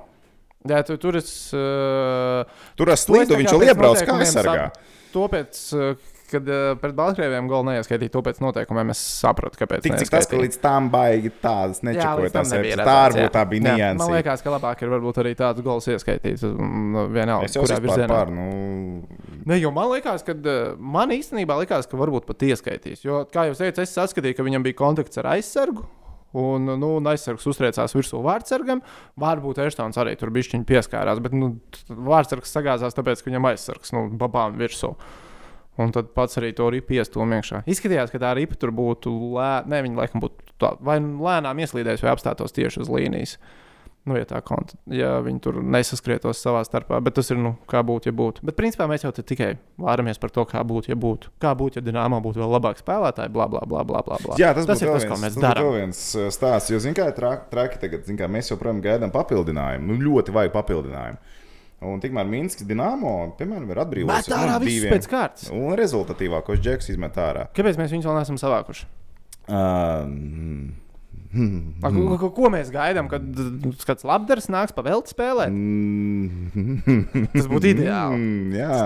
[SPEAKER 1] Jā, tu, tur es. Uh,
[SPEAKER 2] Tur
[SPEAKER 1] To
[SPEAKER 2] ar
[SPEAKER 1] es
[SPEAKER 2] slīdu
[SPEAKER 1] tā
[SPEAKER 2] viņš
[SPEAKER 1] kā
[SPEAKER 2] jau
[SPEAKER 1] pēc
[SPEAKER 2] iebrauc kā
[SPEAKER 1] noteikumiem
[SPEAKER 2] aizsargā.
[SPEAKER 1] sap- Tāpēc, uh, kad uh, pret Baltkrieviem gala neieskaitīja, to pēc noteikumiem es sapratu, kāpēc.
[SPEAKER 2] Tik cik tas, ka
[SPEAKER 1] neieskaitīja.
[SPEAKER 2] līdz tam baigi tādas
[SPEAKER 1] Nu, Jā, līdz
[SPEAKER 2] nečakoja.
[SPEAKER 1] tam
[SPEAKER 2] tās
[SPEAKER 1] nebija
[SPEAKER 2] epizod- Tā
[SPEAKER 1] redzēts,
[SPEAKER 2] varbūt
[SPEAKER 1] jā.
[SPEAKER 2] tā bija
[SPEAKER 1] Jā,
[SPEAKER 2] nianses.
[SPEAKER 1] Man liekas, ka labāk ir varbūt arī tāds gols ieskaitīt. mm, Vienalga,
[SPEAKER 2] Es jau
[SPEAKER 1] kurā
[SPEAKER 2] saprotu,
[SPEAKER 1] virzienā.
[SPEAKER 2] par nu,
[SPEAKER 1] Ne, jo man liekas, ka man īstenībā likās, ka varbūt pat ieskaitīs. Jo, kā jau teicu, es saskatīju, ka viņam bija kontakts ar aizsargu. Un, nu, un aizsargs uztriecās virsū vārdsargam. Varbūt Eštons arī tur bija šķiņķi pieskārās, bet nu, t- vārdsargs sagāzās, tāpēc, ka viņam aizsargs nu, babām virsū. Un tad pats arī to ripu iestūmīja iekšā. Izskatījās, ka tā ripa tur būtu lēna. Nē, viņa laikam būtu tā, vai nu lēnām ieslīdējusi, vai apstātos tieši uz līnijas. Nu, ja tā konta, ja viņi tur nesaskrietos savā starpā, bet tas ir, nu, kā būtu, ja būtu. Bet, principā, mēs jau te tikai vāramies par to, kā būtu, ja būtu. Kā būtu, ja Dienāmā būtu vēl labāk spēlētāji, bla, bla, bla, bla. bla, bla.
[SPEAKER 2] Jā, tas,
[SPEAKER 1] tas
[SPEAKER 2] būtu
[SPEAKER 1] ir
[SPEAKER 2] vēl
[SPEAKER 1] tas, ko mēs
[SPEAKER 2] viens- tas būtu
[SPEAKER 1] darām.
[SPEAKER 2] vēl viens uh, stāsts, jo, zinām, kā ir tra- traki tagad, zinām, kā mēs joprojām gaidām papildinājumu. Nu, ļoti vajag papildinājumu. Un tikmēr Minskas dīnāmo, piemēram, ir atbrīvots
[SPEAKER 1] Bet ārā viss pēc kārtas.
[SPEAKER 2] Un rezultatīvākos džeks izmet ārā.
[SPEAKER 1] Kāpēc mēs viņus vēl neesam savākuši?
[SPEAKER 2] Um,
[SPEAKER 1] Ko,
[SPEAKER 2] Mm.
[SPEAKER 1] ko, ko- ko mēs gaidām, kad kāds labdars nāks pa velti spēlēt? Tas būtu
[SPEAKER 2] mm,
[SPEAKER 1] ideāli.
[SPEAKER 2] jā,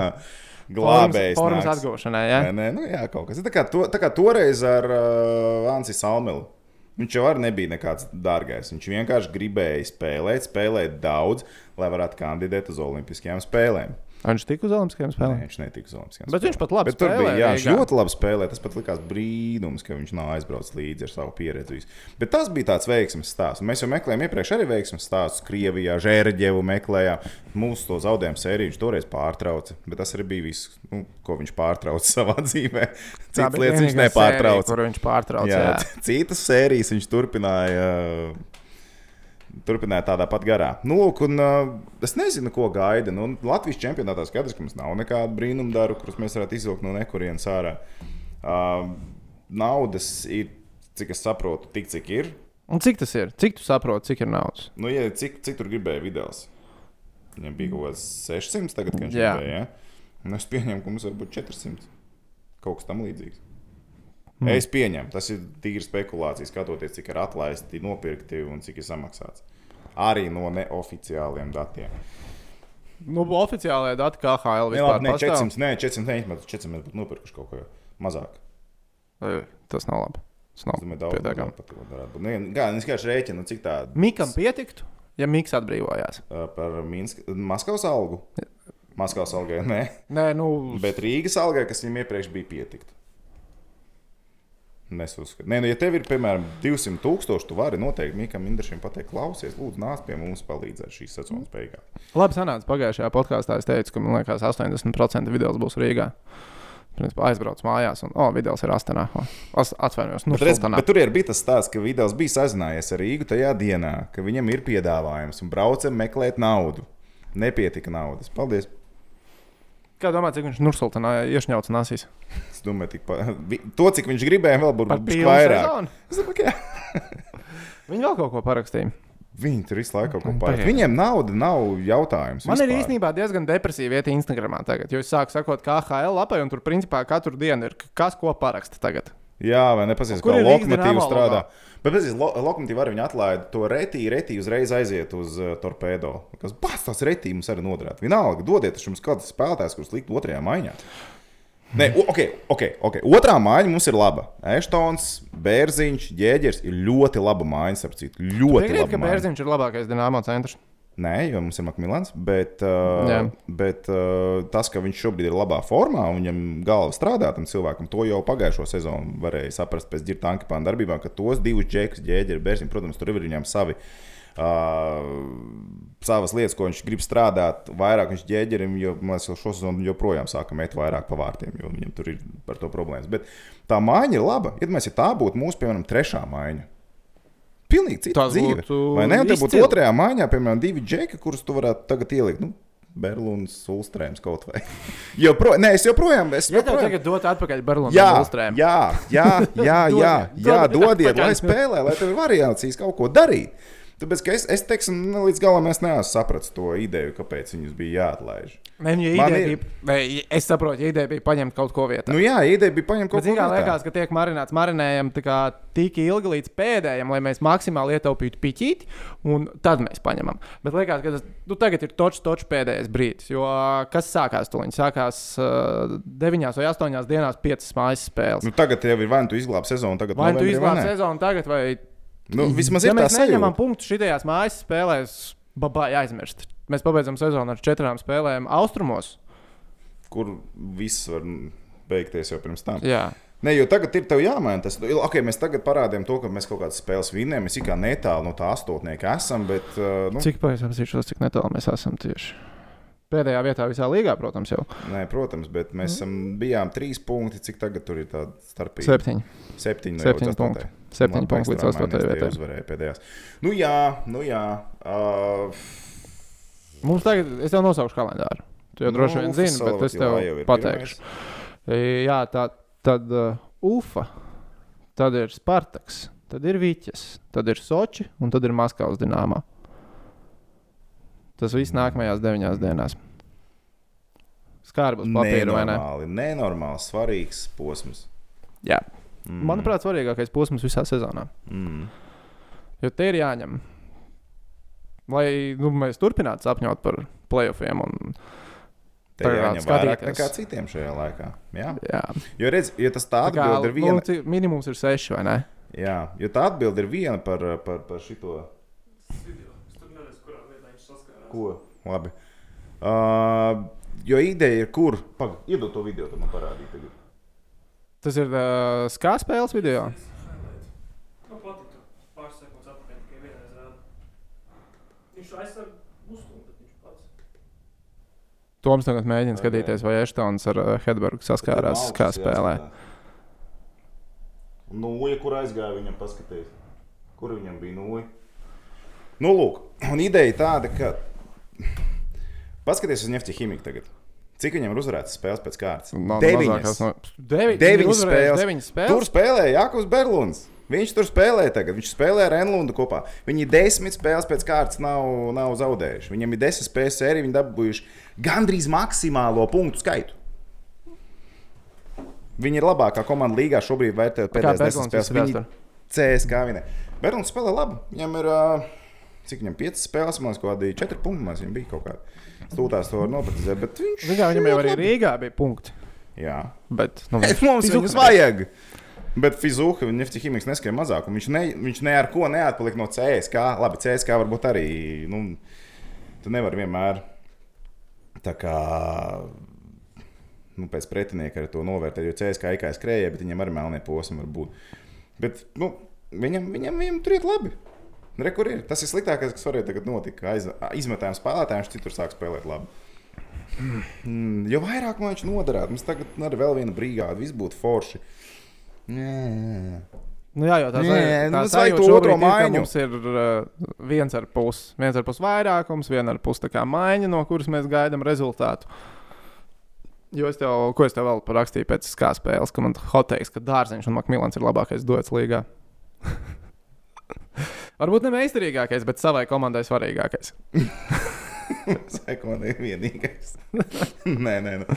[SPEAKER 2] glābējs.
[SPEAKER 1] Formas
[SPEAKER 2] nāks.
[SPEAKER 1] atgūšanai, jā.
[SPEAKER 2] Nē, nē, nu, jā, kaut kas. Tā kā, to, tā kā toreiz ar uh, Ansi Salmelu. Viņš jau arī nebija nekāds dārgais. Viņš vienkārši gribēja spēlēt, spēlēt daudz, lai varētu kandidēt uz Olimpiskajām spēlēm.
[SPEAKER 1] Viņš tika uz Olimpiskajām
[SPEAKER 2] Nē,
[SPEAKER 1] spēlēm.
[SPEAKER 2] viņš netika uz Olimpiskajām
[SPEAKER 1] Bet viņš pat labi
[SPEAKER 2] Bet tur bija
[SPEAKER 1] spēlēja
[SPEAKER 2] jā, viņš
[SPEAKER 1] Rīgā.
[SPEAKER 2] ļoti labi spēlēja. Tas pat likās brīnums, ka viņš nav aizbraucis līdzi ar savu pieredzi. visu. Bet tas bija tāds veiksmes stāsts. Mēs jau meklējām iepriekš arī veiksmes stāstus. Krievijā, Žērģevu meklējām. Mūsu to zaudējumu sēriju viņš toreiz pārtrauca. Bet tas arī bija viss, nu, ko viņš pārtrauca savā dzīvē.
[SPEAKER 1] Tā
[SPEAKER 2] Citas
[SPEAKER 1] bija
[SPEAKER 2] lietas viņš
[SPEAKER 1] vienīgā sērija,
[SPEAKER 2] nepārtrauca.
[SPEAKER 1] Kur viņš pārtrauca?
[SPEAKER 2] Jā,
[SPEAKER 1] Jā.
[SPEAKER 2] citas sērijas viņš turpināja. uh, Turpināja tādā pat garā. Nu, lūk, un, uh, es nezinu, ko gaida. Nu, Latvijas čempionātā skaidrs, ka mums nav nekādu brīnumu darbu, kurus mēs varētu izvilkt no nekurienes ārā. Uh, naudas ir, cik es saprotu, tik cik ir.
[SPEAKER 1] Un cik tas ir? Cik tu saproti, cik ir naudas?
[SPEAKER 2] Nu, ja, cik, cik tur gribēja video? Viņam bija kaut kas 600, tagad viņš
[SPEAKER 1] Jā.
[SPEAKER 2] gribēja. Ja? Nu, es pieņemu, ka mums var būt 400. Kaut kas tam līdzīgs. Mm. Es pieņemu, tas ir tīri spekulācija, skatoties, cik ir atlaisti, nopirkti un cik ir samaksāts. Arī no neoficiāliem datiem.
[SPEAKER 1] Nu, oficiālajā datā KHL
[SPEAKER 2] Nē, labi,
[SPEAKER 1] vispār
[SPEAKER 2] nē,
[SPEAKER 1] pastāv?
[SPEAKER 2] 400, nē, 400, nē, 400 mēs būtu nopirkuši kaut ko mazāk.
[SPEAKER 1] Ei, Tas nav labi. Tas nav
[SPEAKER 2] Es domāju, daudz
[SPEAKER 1] Oh, pietiekami.
[SPEAKER 2] mazāk pat varētu būt. Nē, Kā, es vienkārši rēķinu, cik tā
[SPEAKER 1] Mikam pietiktu, ja Mikls atbrīvojās.
[SPEAKER 2] uh, par Minskas, Maskavas algu. Maskavas algai, nē.
[SPEAKER 1] Nē, nu,
[SPEAKER 2] Bet Rīgas algai, kas viņam iepriekš bija pietikt. Nesuskatu. Nē, nu, ja tev ir, piemēram, 200 tūkstoši, tu vari noteikti Mikam Indrišam pateikt, klausies, lūdzu, nāc pie mums palīdzēt šīs sezonas beigās.
[SPEAKER 1] labi sanāca pagājušajā podkāstā. Es teicu, ka man liekas, 80% video būs Rīgā. Principā aizbrauc mājās, un, oh, video ir Astanā. Oh, as- Atvainojos, nu,
[SPEAKER 2] Bet, redz,
[SPEAKER 1] Sultanā.
[SPEAKER 2] bet tur ir bijis tas stāsts, ka Vidals bija sazinājies ar Rīgu tajā dienā, ka viņam ir piedāvājums un braucam meklēt naudu. Nepietika naudas. Paldies!
[SPEAKER 1] Kā domā, cik viņš Nursultanā iešņauts nasīs?
[SPEAKER 2] Es domāju, tik pa... vi- to, cik viņš gribēja, vēl būtu
[SPEAKER 1] Par
[SPEAKER 2] bijis
[SPEAKER 1] pilnu
[SPEAKER 2] vairāk.
[SPEAKER 1] sezonu.
[SPEAKER 2] Es domāju, ka jā.
[SPEAKER 1] Viņi vēl kaut ko parakstīja.
[SPEAKER 2] Viņi tur visu laiku kaut ko
[SPEAKER 1] Un
[SPEAKER 2] pārspēja.
[SPEAKER 1] pēc.
[SPEAKER 2] Viņiem nauda nav jautājums.
[SPEAKER 1] Nu, Man ir
[SPEAKER 2] vispār.
[SPEAKER 1] īstenībā diezgan depresīva vieta Instagramā tagad, jo es sāku sakot, kā HL lapai, un tur principā katru dienu ir kas ko paraksta tagad.
[SPEAKER 2] Jā, vai ne? Paskatās,
[SPEAKER 1] Nu, Kur
[SPEAKER 2] kā
[SPEAKER 1] ir Rīgas
[SPEAKER 2] lokomotīva
[SPEAKER 1] Dinamo
[SPEAKER 2] strādā. Bet pēc tam lokomotīva arī viņa atlaida to retī, retī uzreiz aiziet uz uh, torpēdo. Kas bāz tās retī mums arī nodarīt. Vienalga, dodiet mums kādu spēlētāju, kurus likt otrajā maiņā. Nē, o- ok, ok. okay. Otrā māja mums ir laba. Eštons, Bērziņš, Jēģers ir ļoti laba māja, starp citu. Ļoti
[SPEAKER 1] Piekrīt,
[SPEAKER 2] laba
[SPEAKER 1] ka
[SPEAKER 2] māja.
[SPEAKER 1] Bērziņš ir labākais dināmo centrs.
[SPEAKER 2] Nē, jo mums ir Makmilans, bet, uh,
[SPEAKER 1] Jā.
[SPEAKER 2] bet uh, tas, ka viņš šobrīd ir labā formā un viņam galva strādā tam cilvēkam, to jau pagājušo sezonu varēja saprast pēc ģirta ankepāna darbībām, ka tos divus džekus, ģēģeri, bērni, protams, tur ir viņam savi. Uh, savas lietas, ko viņš grib strādāt, vairāk viņš ģēģerim, jo mēs jau šo sezonu joprojām sākam iet vairāk pa vārtiem, jo viņam tur ir par to problēmas. Bet tā māja ir laba. Iedomājieties, ja tā būtu mūsu, piemēram, trešā māja. Pilnīgi cita
[SPEAKER 1] Tas
[SPEAKER 2] dzīve.
[SPEAKER 1] būtu
[SPEAKER 2] Vai ne? Un Te būtu
[SPEAKER 1] izcili.
[SPEAKER 2] otrajā mājā, piemēram, divi džeki, kurus tu varētu tagad ielikt. Nu, Berlīnas Ulstrēms kaut vai. Jopro... Nē, es joprojām esmu.
[SPEAKER 1] Ja tev
[SPEAKER 2] Joprojām...
[SPEAKER 1] tagad dot atpakaļ Berlīnas
[SPEAKER 2] Jā,
[SPEAKER 1] valstrēm,
[SPEAKER 2] jā, jā, jā, jā, jā
[SPEAKER 1] Dod- dod-
[SPEAKER 2] dodiet, lai
[SPEAKER 1] atpakaļ.
[SPEAKER 2] spēlē, lai tev ir variācijas kaut ko darīt. Tāpēc, ka es, es teiktu, līdz galam es neesmu sapratis to ideju, kāpēc viņus bija jāatlaiž.
[SPEAKER 1] Nē, nu, ja
[SPEAKER 2] Man
[SPEAKER 1] ideja
[SPEAKER 2] ir.
[SPEAKER 1] bija, nē, es saprotu, ja ideja bija paņemt kaut ko vietā.
[SPEAKER 2] Nu jā, ideja bija paņemt
[SPEAKER 1] Bet,
[SPEAKER 2] kaut ko
[SPEAKER 1] zin kā
[SPEAKER 2] no tā.
[SPEAKER 1] liekas, ka tiek marināts, marinējam tā kā tik ilgi līdz pēdējiem, lai mēs maksimāli ietaupītu piķīti, un tad mēs paņemam. Bet liekas, ka tas nu, tagad ir točs, točs pēdējais brīdis. Jo ā, kas sākās to viņa? Sākās 9 vai 8 dienās 5 mājas spēles.
[SPEAKER 2] Nu, tagad jau ir vai nu tu izglābi sezonu, tagad
[SPEAKER 1] Vai nu tu
[SPEAKER 2] novembrī, vai
[SPEAKER 1] izglābi
[SPEAKER 2] nē?
[SPEAKER 1] sezonu tagad, vai
[SPEAKER 2] Nu, vismaz
[SPEAKER 1] ja
[SPEAKER 2] ir tā
[SPEAKER 1] mēs
[SPEAKER 2] sajūta.
[SPEAKER 1] neņemam punktu šajās mājas spēlēs, babā jāizmirst. Mēs pabeidzam sezonu ar četrām spēlēm austrumos.
[SPEAKER 2] kur viss var beigties jau pirms tam.
[SPEAKER 1] Jā.
[SPEAKER 2] Nē, jo tagad ir tev jāmaina tas. Okay, mēs tagad parādījām to, ka mēs kaut kādas spēles vinnējam. Mēs kā netālu no tā astotnieka esam, bet uh, nu,
[SPEAKER 1] Cik pavisam zīšos, cik netālu mēs esam tieši? Pēdējā vietā visā līgā, protams, jau
[SPEAKER 2] nē, protams, bet mēs
[SPEAKER 1] Mhm.
[SPEAKER 2] mm. bijām trīs punkti. Cik tagad tur ir tāda starpība?
[SPEAKER 1] septiņi.
[SPEAKER 2] Septiņi, no jau
[SPEAKER 1] Septiņi
[SPEAKER 2] līdz
[SPEAKER 1] punkti.
[SPEAKER 2] astotajai.
[SPEAKER 1] Septiņi
[SPEAKER 2] Labi,
[SPEAKER 1] punkti līdz
[SPEAKER 2] ekstrāmainais
[SPEAKER 1] astotajai
[SPEAKER 2] tie
[SPEAKER 1] vietai.
[SPEAKER 2] Uzvarēja pēdējās. Nu jā, nu jā. Uh,
[SPEAKER 1] Mums tagad, es tev nosaukšu kalendāru. Tu jau droši
[SPEAKER 2] nu,
[SPEAKER 1] vien zini, bet es tev pateikšu. E, Jā, tā tad uh, UFA, tad ir Spartaks, tad ir Vīķis, tad ir Soči un tad ir Maskavas dināmā. Tas viss nākamajās deviņās dienās. Skarbs papīra vai ne?
[SPEAKER 2] Nenormāli, nenormāli svarīgs posms.
[SPEAKER 1] Jā. Manuprāt, svarīgākais posms visā sezonā.
[SPEAKER 2] Mm.
[SPEAKER 1] Jo tie ir jāņem. Lai nu, mēs turpinātu sapņot par playoffiem. Un,
[SPEAKER 2] Tā ir
[SPEAKER 1] Tagad
[SPEAKER 2] jāņem vairāk
[SPEAKER 1] skatīties.
[SPEAKER 2] nekā citiem šajā laikā. Jā.
[SPEAKER 1] jā,
[SPEAKER 2] Jo, redz, ja tas tā
[SPEAKER 1] tā kā
[SPEAKER 2] atbild ir
[SPEAKER 1] nu,
[SPEAKER 2] viena,
[SPEAKER 1] ci- minimums ir seši vai ne?
[SPEAKER 2] jā, jo tā atbild ir viena par, par, par šito.
[SPEAKER 3] Es tur nezinu, kurā vietā viņš saskārās.
[SPEAKER 2] Ko? Labi. Uh, jo ideja ir, kur. Pag, iedod to video, tu man parādīji. tagad.
[SPEAKER 1] Tas ir uh, skābs spēles video.
[SPEAKER 3] Nu, patika. Pāris sekundes atpakaļ tikai vienreiz rāda. Viņš aizsarg muskuļu, bet viņš pats.
[SPEAKER 1] Toms tagad mēģina skatīties, vai Eštons ar uh, Hedbergu saskārās
[SPEAKER 2] Tad ir
[SPEAKER 1] skābs
[SPEAKER 2] malks
[SPEAKER 1] spēlē.
[SPEAKER 2] jāskatās. Nu, ja kur aizgāja, viņam paskatījās. Kur viņam bija nūja? Nu, lūk, un ideja tāda, ka. Paskaties uz nefti ķīmiku tagad. Cik viņam ir uzvarētas spēles pēc kārtas?
[SPEAKER 1] No- mazākās
[SPEAKER 2] Deviņas.
[SPEAKER 1] No, devi, viņi
[SPEAKER 2] Deviņas
[SPEAKER 1] uzvarēja
[SPEAKER 2] spēles.
[SPEAKER 1] Deviņas
[SPEAKER 2] Tur
[SPEAKER 1] spēles.
[SPEAKER 2] spēlēja Jakobs Berlūns. Viņš tur spēlē tagad. Viņš spēlē ar Enlundu kopā. Viņi desmit spēles pēc kārtas nav, nav zaudējuši. Viņam ir desmit spēles sērija, viņi dabūjuši gandrīz maksimālo punktu skaitu. Viņi ir labākā komanda līgā šobrīd, vai te
[SPEAKER 1] Kā
[SPEAKER 2] pēdējās
[SPEAKER 1] Berglunds
[SPEAKER 2] desmit
[SPEAKER 1] spēlēs
[SPEAKER 2] spēles. Viņi
[SPEAKER 1] tur?
[SPEAKER 2] CSK viņa. Berlūns spēlē labi. Viņam ir, ā, cik viņam piecas spēles, man liekas, kaut kādi četri punkti. man liekas, Viņam bija kaut kāda stūtās, to var noprecizēt. bet Viņš
[SPEAKER 1] Zin kā, Viņam jau
[SPEAKER 2] ļoti
[SPEAKER 1] arī
[SPEAKER 2] labi-
[SPEAKER 1] Rīgā bija punkti.
[SPEAKER 2] Jā.
[SPEAKER 1] Bet, nu,
[SPEAKER 2] Ei, Mums
[SPEAKER 1] Fizuka-
[SPEAKER 2] viņus vajag. Bet Fizuka un Neftehimiks neskrienā mazāk. un Viņš, ne, viņš ne ar ko neatpaliek no CSK. Labi, CSK varbūt arī. Nu, tu nevari vienmēr tā kā. Nu, pēc pretinieka arī to novērtēt, jo CSK ir kā skrējēji, bet viņam arī melnie posmi var būt. Bet nu, viņam, viņam, viņam tur iet labi. Re, kur ir? Tas ir sliktākais, kas varēja tagad notikt. ka Aiz, izmetējām spēlētājiem, viņš citur sāk spēlēt labi. Mm, jo vairāk man viņš noderētu, mums tagad ir vēl viena brigāde, viss būtu forši. Nē, nē, nē.
[SPEAKER 1] Nu, jā, jau tādā
[SPEAKER 2] Nē, nu, mums vajag to otro maiņu.
[SPEAKER 1] Mums ir uh, viens ar pusi, viens ar pusi vairākums, viena ar pusi tā kā maiņa, no kuras mēs gaidām rezultātu. Jo es tev, ko es tev vēl parakstīju pēc SKA spēles, ka man hoteiks, ka Dārziņš un Makmilans ir labākais dots līgā. Varbūt ne meistarīgākais, bet savai komandai svarīgākais.
[SPEAKER 2] Sekundē, vienīgais. nē, nē, nē.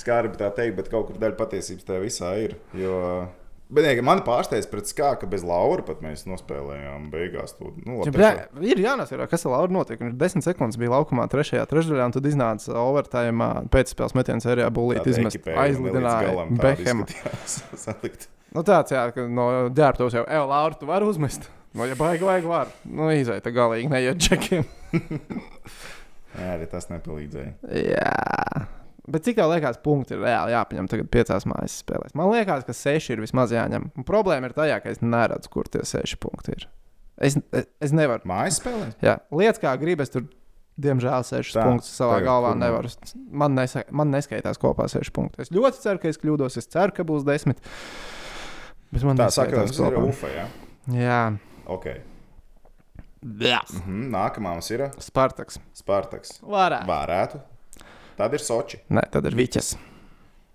[SPEAKER 2] skarbi tā teikt, bet kaut kur daļa patiesības tajā visā ir. Jo... Bet, nē, man pārsteidz, pret skā, ka bez Laura pat mēs nospēlējām beigās to nu, labi,
[SPEAKER 1] Jā,
[SPEAKER 2] trešo-
[SPEAKER 1] ir jānosaka, kas ar Lauru notiek. Viņš 10 sekundes bija laukumā, 3. trešdaļā, un tad iznāca overtime pēcspēles metienā sērijā
[SPEAKER 2] tāda
[SPEAKER 1] Bulīta izmest
[SPEAKER 2] ekipējuma līdz
[SPEAKER 1] aizlidināja
[SPEAKER 2] galam tāda
[SPEAKER 1] Behemu.
[SPEAKER 2] izskatījās. Salikt.
[SPEAKER 1] Nu, tāds jā, ka no dārtos jau, ej, Laura, tu vari uzmest. No, ja baigi, vajag, var. Nu, izaita galīgi, neiet čekiem.
[SPEAKER 2] Jā, arī tas nepalīdzēja.
[SPEAKER 1] jā. Bet cik tev liekas, punkti ir reāli jāpaņem tagad piecās mājas spēlēs? Man liekas, ka seši ir vismaz jāņem. Un problēma ir tajā, ka es neredzu, kur tie seši punkti ir. Es, es, es nevaru.
[SPEAKER 2] Mājas spēlē?
[SPEAKER 1] Jā, lietas kā gribas tur. Diemžēl sešus
[SPEAKER 2] Tā,
[SPEAKER 1] punktus savā
[SPEAKER 2] tagad
[SPEAKER 1] galvā
[SPEAKER 2] kur man?
[SPEAKER 1] nevaru. Man, nesa, man neskaitās kopā seši punkti. Es ļoti ceru, ka es kļūdos. Es ceru, ka būs desmit. Bet man
[SPEAKER 2] Tā
[SPEAKER 1] neskaitās
[SPEAKER 2] saka, tas ir
[SPEAKER 1] kopā.
[SPEAKER 2] UFA. Ja?
[SPEAKER 1] Jā,
[SPEAKER 2] Okay.
[SPEAKER 1] Bļah.
[SPEAKER 2] Mhm, Nākamā mums ir
[SPEAKER 1] Spartaks.
[SPEAKER 2] Spartaks.
[SPEAKER 1] Varētu.
[SPEAKER 2] Varētu. Tad ir Soči.
[SPEAKER 1] Nē, tad ir Viķis.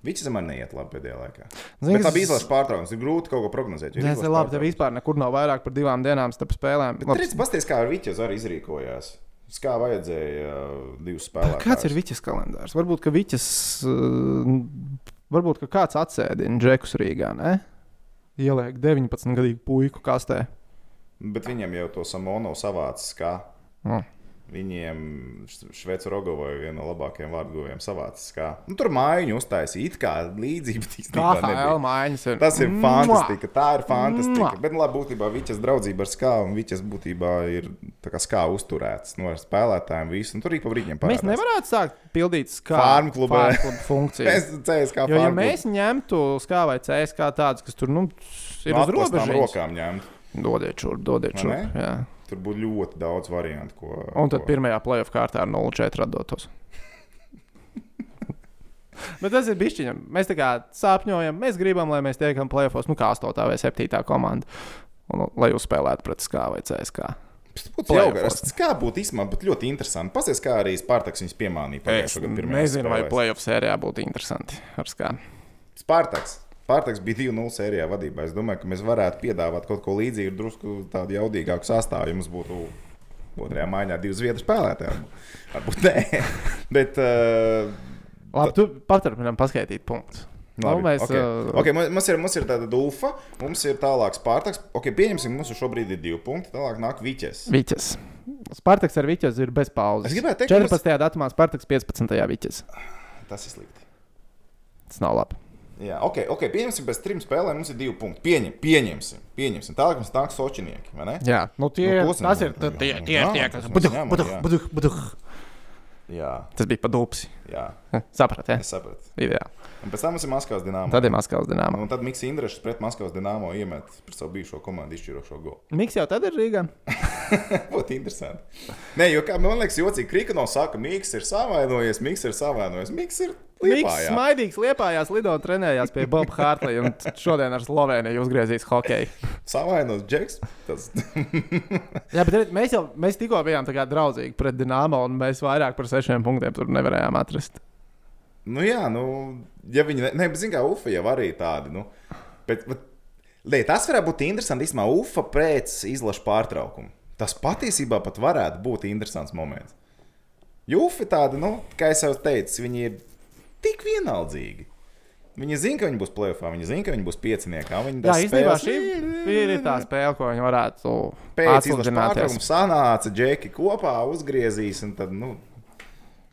[SPEAKER 2] Viņš man neiet labi pēdējā laikā.
[SPEAKER 1] Zini,
[SPEAKER 2] Bet tā
[SPEAKER 1] kas-
[SPEAKER 2] bija izlaša pārtraukums. Ir grūti kaut ko prognozēt. jo ir
[SPEAKER 1] Tas
[SPEAKER 2] izlases
[SPEAKER 1] ir labi. Tev
[SPEAKER 2] pārtraukums.
[SPEAKER 1] vispār nekur nav vairāk par divām dienām starp spēlēm.
[SPEAKER 2] Bet
[SPEAKER 1] Labs.
[SPEAKER 2] tur redz, pasties, kā ar Vīķis arī izrīkojās. Uz Kā vajadzēja uh, divus spēlētājus.
[SPEAKER 1] Kāds ir Viķis kalendārs? Varbūt, ka Viķis. uh, Varbūt, ka kāds atsēdina džekus Rīgā. Ne? Ieliek 19 gadu puiku kastē.
[SPEAKER 2] Bet viņiem jau to samono savācis. Kā?
[SPEAKER 1] Mm.
[SPEAKER 2] Viņiem Šveice Rogovai viena no labākajiem vārdguvējiem savācis. Kā? Nu, tur mājiņu uztaisīja it kā līdzība.
[SPEAKER 1] Kā
[SPEAKER 2] īstenībā nebija.
[SPEAKER 1] HL maiņas ir?
[SPEAKER 2] Tas ir
[SPEAKER 1] Mua!
[SPEAKER 2] fantastika. Tā ir fantastika.
[SPEAKER 1] Mua!
[SPEAKER 2] Bet, nu, labi, būtībā Vīķis draudzība ar skābu, un Vīķis būtībā ir tā kā skā uzturēts no spēlētājiem visu, un tur arī pa brīdiem
[SPEAKER 1] Mēs
[SPEAKER 2] parādās.
[SPEAKER 1] nevaram sākt pildīt
[SPEAKER 2] Farm
[SPEAKER 1] skābu
[SPEAKER 2] klubā.
[SPEAKER 1] funkciju.
[SPEAKER 2] Mēs CS kā
[SPEAKER 1] Jo, ja
[SPEAKER 2] farm
[SPEAKER 1] mēs ņemtu skābu vai CS kā tādu, kas tur nu,
[SPEAKER 2] klubu
[SPEAKER 1] ir uz
[SPEAKER 2] atklātām
[SPEAKER 1] robežas,
[SPEAKER 2] rokām ņemt.
[SPEAKER 1] dodiet šurp, dodiet
[SPEAKER 2] Vai
[SPEAKER 1] šurp. jā.
[SPEAKER 2] Tur būtu ļoti daudz variantu, ko.
[SPEAKER 1] Un tad
[SPEAKER 2] ko-
[SPEAKER 1] pirmajā playoff kārtā ar 0-4 atdotos. Bet tas ir bijis. Mēs tā kā sāpņojam, mēs gribam, lai mēs tiekam playoffs, nu kā 8 vai 7 komanda. Un, nu, lai jūs spēlētu pret SK vai CSK.
[SPEAKER 2] Tas būtu jau garš. Tas kā būtu īstenībā, bet ļoti interesanti. Pasties, kā arī Spartaks viņus
[SPEAKER 1] Es
[SPEAKER 2] piemānīja. pagājušā gada pirmajās
[SPEAKER 1] nezinu, vai
[SPEAKER 2] spēlēs.
[SPEAKER 1] playoff sērijā būtu interesanti ar SK.
[SPEAKER 2] Spartaks. Spartaks bija 2-0 sērijā vadībā. Es domāju, ka mēs varētu piedāvāt kaut ko līdzīgu, drusku tādu jaudīgāku sastāvu. Ja mums būtu otrajā maiņā divi zviedru spēlētāji. Varbūt nē. Bet, uh,
[SPEAKER 1] Labi, tu paturpinām paskaidrot punktus.
[SPEAKER 2] Labi,
[SPEAKER 1] Nu, mēs,
[SPEAKER 2] okay.
[SPEAKER 1] uh,
[SPEAKER 2] Okay, mu- mums, ir, mums ir tāda dūfa, mums ir tālāk Spartaks. Okay, pieņemsim, mums ir šobrīd ir divi punkti. Tālāk nāk Viķis.
[SPEAKER 1] Viķis. Spartaks ar Viķis ir bez pauzes.
[SPEAKER 2] Es gribēju teikt, ka
[SPEAKER 1] 14. Mums... datumā Spartaks 15. Viķis.
[SPEAKER 2] Tas ir slikti.
[SPEAKER 1] Tas nav labi.
[SPEAKER 2] Jā, ok, okay pieņemsim, bez trim spēlēm mums ir divi punkti. Pieņem, pieņemsim, pieņemsim. Tālāk mums nāk sočinieki, vai ne?
[SPEAKER 1] Jā, nu tie,
[SPEAKER 2] Nu,
[SPEAKER 1] nu,
[SPEAKER 2] klusam,
[SPEAKER 1] tas ir
[SPEAKER 2] jā,
[SPEAKER 1] tie,
[SPEAKER 2] jā,
[SPEAKER 1] tie,
[SPEAKER 2] jā,
[SPEAKER 1] tie,
[SPEAKER 2] tas
[SPEAKER 1] kas
[SPEAKER 2] mēs
[SPEAKER 1] buduh,
[SPEAKER 2] ņemam,
[SPEAKER 1] buduh,
[SPEAKER 2] jā.
[SPEAKER 1] buduh, buduh.
[SPEAKER 2] Jā,
[SPEAKER 1] Tas bija padūpsi.
[SPEAKER 2] jā,
[SPEAKER 1] Sapratu,
[SPEAKER 2] es sapratu.
[SPEAKER 1] jā.
[SPEAKER 2] Un pēc tam mums ir Maskavas dināmā.
[SPEAKER 1] Tad ir Maskavas dīnāma.
[SPEAKER 2] Un tad Mikls Indrišs pret Maskavas dīnāmo iemet par savu bijušo komandu izšķirošo golu.
[SPEAKER 1] Miks jau tad ir Rīgā?
[SPEAKER 2] Būtu interesanti. Nē, jo kā man liekas, jocīgi Krikono saka, Mikls ir savainojies, Mikls ir savainojies, Mikls ir
[SPEAKER 1] Miks
[SPEAKER 2] līpājā.
[SPEAKER 1] smaidīgs liepājās, lido un trenējās pie Boba Hārtlī un t- šodien ar Sloveniju uzgriezīs hokeju.
[SPEAKER 2] Savainos Džeks. Tas...
[SPEAKER 1] Jā, bet redz, mēs jau mēs tikko bijām tā kā draudzīgi pret Dienāmo un mēs vairāk par sešiem punktiem tur nevarējām atrast.
[SPEAKER 2] nu jā, nu, ja viņi, ne- ne, bet zin kā Ufa jau arī tādi, nu. Bet, bet, lē, tas varētu būt interesanti, īstenībā Ufa pēc izlaša pārtraukuma. Tas patiesībā pat varētu būt interesants moments. Jo Ufa ir tāda, nu, kā jau teicu, viņi ir tik vienaldzīgi. Viņi zina, ka viņi būs plēsoņā, viņi zina, ka viņi būs pieciniekā. Viņi
[SPEAKER 1] Jā,
[SPEAKER 2] tas
[SPEAKER 1] īstenībā šī
[SPEAKER 2] spēles-
[SPEAKER 1] ir tā spēle, ko viņi varētu
[SPEAKER 2] Pēc izlaša pārtraukuma
[SPEAKER 1] atsludināties.
[SPEAKER 2] sanāca džeki kopā, uzgriezīs. un Tad, nu,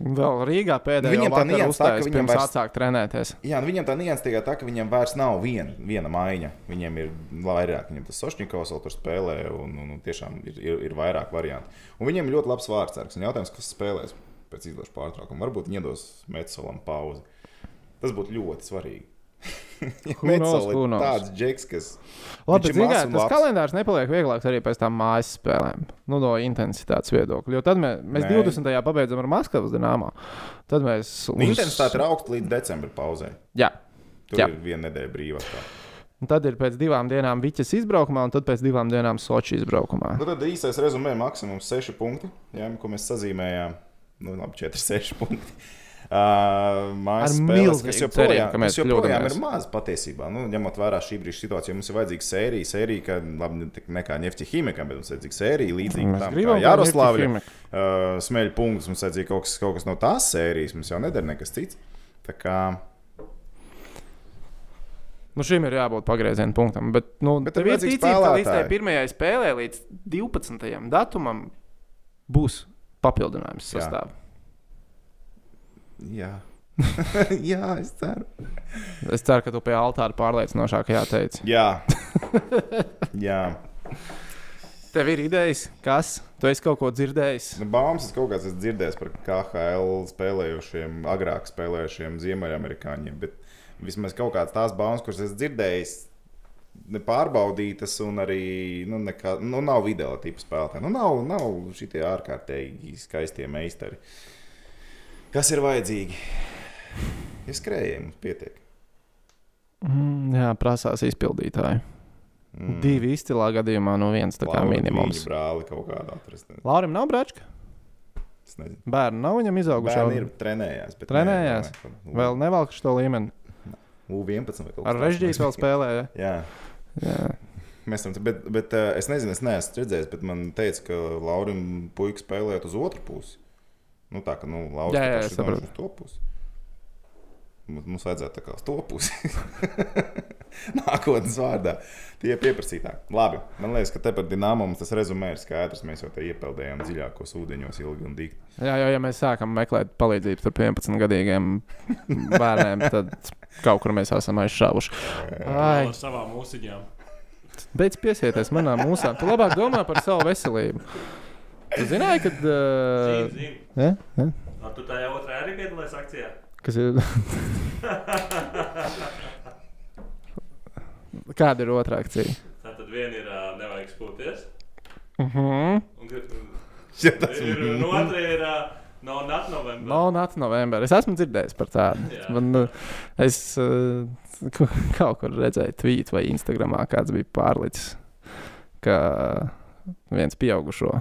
[SPEAKER 1] Vēl Rīgā pēdējā
[SPEAKER 2] Viņiem tā
[SPEAKER 1] vakarā
[SPEAKER 2] nianses tā, ka
[SPEAKER 1] uzstājas
[SPEAKER 2] viņiem
[SPEAKER 1] pirms
[SPEAKER 2] vairs-
[SPEAKER 1] atsākt trenēties.
[SPEAKER 2] jā, nu, viņam tā nianses tikai tā, ka viņam vairs nav vien, viena maiņa. Viņiem ir vairāk, viņam tas Sošņikovs vēl tur spēlē, un, un, un tiešām ir, ir, ir vairāk variantu. Un viņiem ļoti labs vārdsargs. Un jautājums, kas spēlēs pēc izlaša pārtraukuma? Varbūt viņi iedos Metsolam pauzi. Tas būtu ļoti svarīgi.
[SPEAKER 1] Who knows,
[SPEAKER 2] Metsola
[SPEAKER 1] who
[SPEAKER 2] ir
[SPEAKER 1] knows?
[SPEAKER 2] tāds džeks, kas.
[SPEAKER 1] Labi, bet,
[SPEAKER 2] Viņš ir
[SPEAKER 1] zini, kā,
[SPEAKER 2] mazs un
[SPEAKER 1] tas
[SPEAKER 2] labs.
[SPEAKER 1] kalendārs nepaliek vieglāks arī pēc tam mājas spēlēm, nu, no intensitātes viedokļa. Jo tad mē, mēs
[SPEAKER 2] Nē.
[SPEAKER 1] 20. pabeidzam ar Maskavas dīnāmā. Tad mēs.
[SPEAKER 2] Nu, Intensitāte ir augsta līdz decembra pauzē.
[SPEAKER 1] Jā,
[SPEAKER 2] Tur
[SPEAKER 1] Jā.
[SPEAKER 2] jā. ir viena nedēļa brīvā. Tā.
[SPEAKER 1] un tad ir pēc divām dienām Viķis izbraukumā, un tad pēc divām dienām Soči izbraukumā.
[SPEAKER 2] Nu, tad īsais rezumē maksimums 6 punkti, jā, ko mēs sazīmējām. Nu, labi, 4, 6 punkti. Uh,
[SPEAKER 1] Ar
[SPEAKER 2] mājas spēles,
[SPEAKER 1] milzīgu
[SPEAKER 2] kas
[SPEAKER 1] cerību,
[SPEAKER 2] joprojām,
[SPEAKER 1] ka
[SPEAKER 2] kas
[SPEAKER 1] mēs
[SPEAKER 2] joprojām
[SPEAKER 1] kļūdāmies.
[SPEAKER 2] ir maz patiesībā. Nu, ņemot vērā šī brīža situāciju, mums ir vajadzīga sērija, sērija, ka, labi, ne tik- ne kā nefti ķīmijam, bet mums ir vajadzīga sērija līdzīga
[SPEAKER 1] Mēs
[SPEAKER 2] tam, kā
[SPEAKER 1] gribam kā
[SPEAKER 2] Jaroslavļa
[SPEAKER 1] Nefti
[SPEAKER 2] uh, smēļu punkts. Mums vajadzīga kaut kas, kaut kas no tās sērijas, mums jau nedara nekas cits. Tā kā,
[SPEAKER 1] Nu, šim ir jābūt pagrieziena punktam. Bet, nu, bet
[SPEAKER 2] Bet ir
[SPEAKER 1] tev ir
[SPEAKER 2] vajadzīgi
[SPEAKER 1] ticība, ka līdz tai
[SPEAKER 2] spēlētāji.
[SPEAKER 1] pirmajai spēlē, līdz 12. datumam, būs papildinājums
[SPEAKER 2] Jā.
[SPEAKER 1] sastāvā.
[SPEAKER 2] jā. jā, es ceru.
[SPEAKER 1] Es ceru, ka tu pie altāra pārliecinošākajā teici.
[SPEAKER 2] Jā. jā.
[SPEAKER 1] Tev ir idejas, kas? Tu esi kaut ko dzirdējis?
[SPEAKER 2] Nu, Bāms ir kaut kāds, kas dzirdējis par KHL spēlējušiem, agrāk spēlējušiem ziemeļamerikāņiem. Bet vismaz kaut kādas tās baumas, kuras esmu dzirdējis, nepārbaudītas un arī nu, nekā, nu, nav video tipa spēlētāji. Nu, nav nav šie ārkārtīgi skaistie meistari. Kas ir vajadzīgi? Ja skrējējiem mums pietiek.
[SPEAKER 1] Mm, jā, prasās izpildītāji. Mm. Divi izcilā gadījumā, no viens tā kā
[SPEAKER 2] Laura
[SPEAKER 1] minimums.
[SPEAKER 2] Dviņa brāli kaut kādā atrast. ne-
[SPEAKER 1] Laurim nav brāčka.
[SPEAKER 2] Es nezinu.
[SPEAKER 1] Bērni nav viņam izauguši.
[SPEAKER 2] Bērni ir trenējās. bet
[SPEAKER 1] Trenējās?
[SPEAKER 2] nē, nē, nē,
[SPEAKER 1] Vēl nevalkšu to līmeni.
[SPEAKER 2] U11 vai kaut
[SPEAKER 1] Ar režģītu vēl spēlēja.
[SPEAKER 2] Jā.
[SPEAKER 1] Jā.
[SPEAKER 2] Mēs tam, bet, bet eh, es nezinu, es neesmu redzējis, bet man teica, ka Laurim puika spēlēt uz otru pusi. Nu, tā kā, nu, Lauris
[SPEAKER 1] Jā, jā,
[SPEAKER 2] tā kā
[SPEAKER 1] es
[SPEAKER 2] šitā
[SPEAKER 1] saprotu.
[SPEAKER 2] uz to pusi. Mums mums vajadzētu tā kā uz to pusi. Nākotnes vārdā. Tie ir pieprasītāki. Labi, man liekas, ka te par dināmu mums tas rezumē ir skaidrs. Mēs jau te iepeldējām dziļākos ūdeņos ilgi un dikti.
[SPEAKER 1] Jā, jo ja mēs sākam meklēt palīdzību starp 11 gadīgiem bērniem, tad kaut kur mēs esam aizšāvuši. Ai,
[SPEAKER 3] ar savām mūziņām.
[SPEAKER 1] beidz piesieties manām mūsām. Tu labāk domā par savu veselību. Tu zināji, kad.
[SPEAKER 3] Zinu,
[SPEAKER 1] Uh,
[SPEAKER 3] zinu.
[SPEAKER 1] ja? Ja?
[SPEAKER 3] Ar tu tajā otrā arī piedalījies akcijā?
[SPEAKER 1] Kas ir? Kāda ir otrā akcija?
[SPEAKER 3] Tā tad viena ir ā, nevajag spūties.
[SPEAKER 1] Uh -huh.
[SPEAKER 3] Un gr-
[SPEAKER 2] Ja tas
[SPEAKER 3] ir un otra ir ā, no Nat November.
[SPEAKER 1] No Nācis Novembrī. Es esmu dzirdējis par tādu.
[SPEAKER 3] Jā.
[SPEAKER 1] Man, uh, es uh, ku- kaut kur redzēju, tvīt vai Instagramā kāds bija pārlicis, ka viens pieaugušo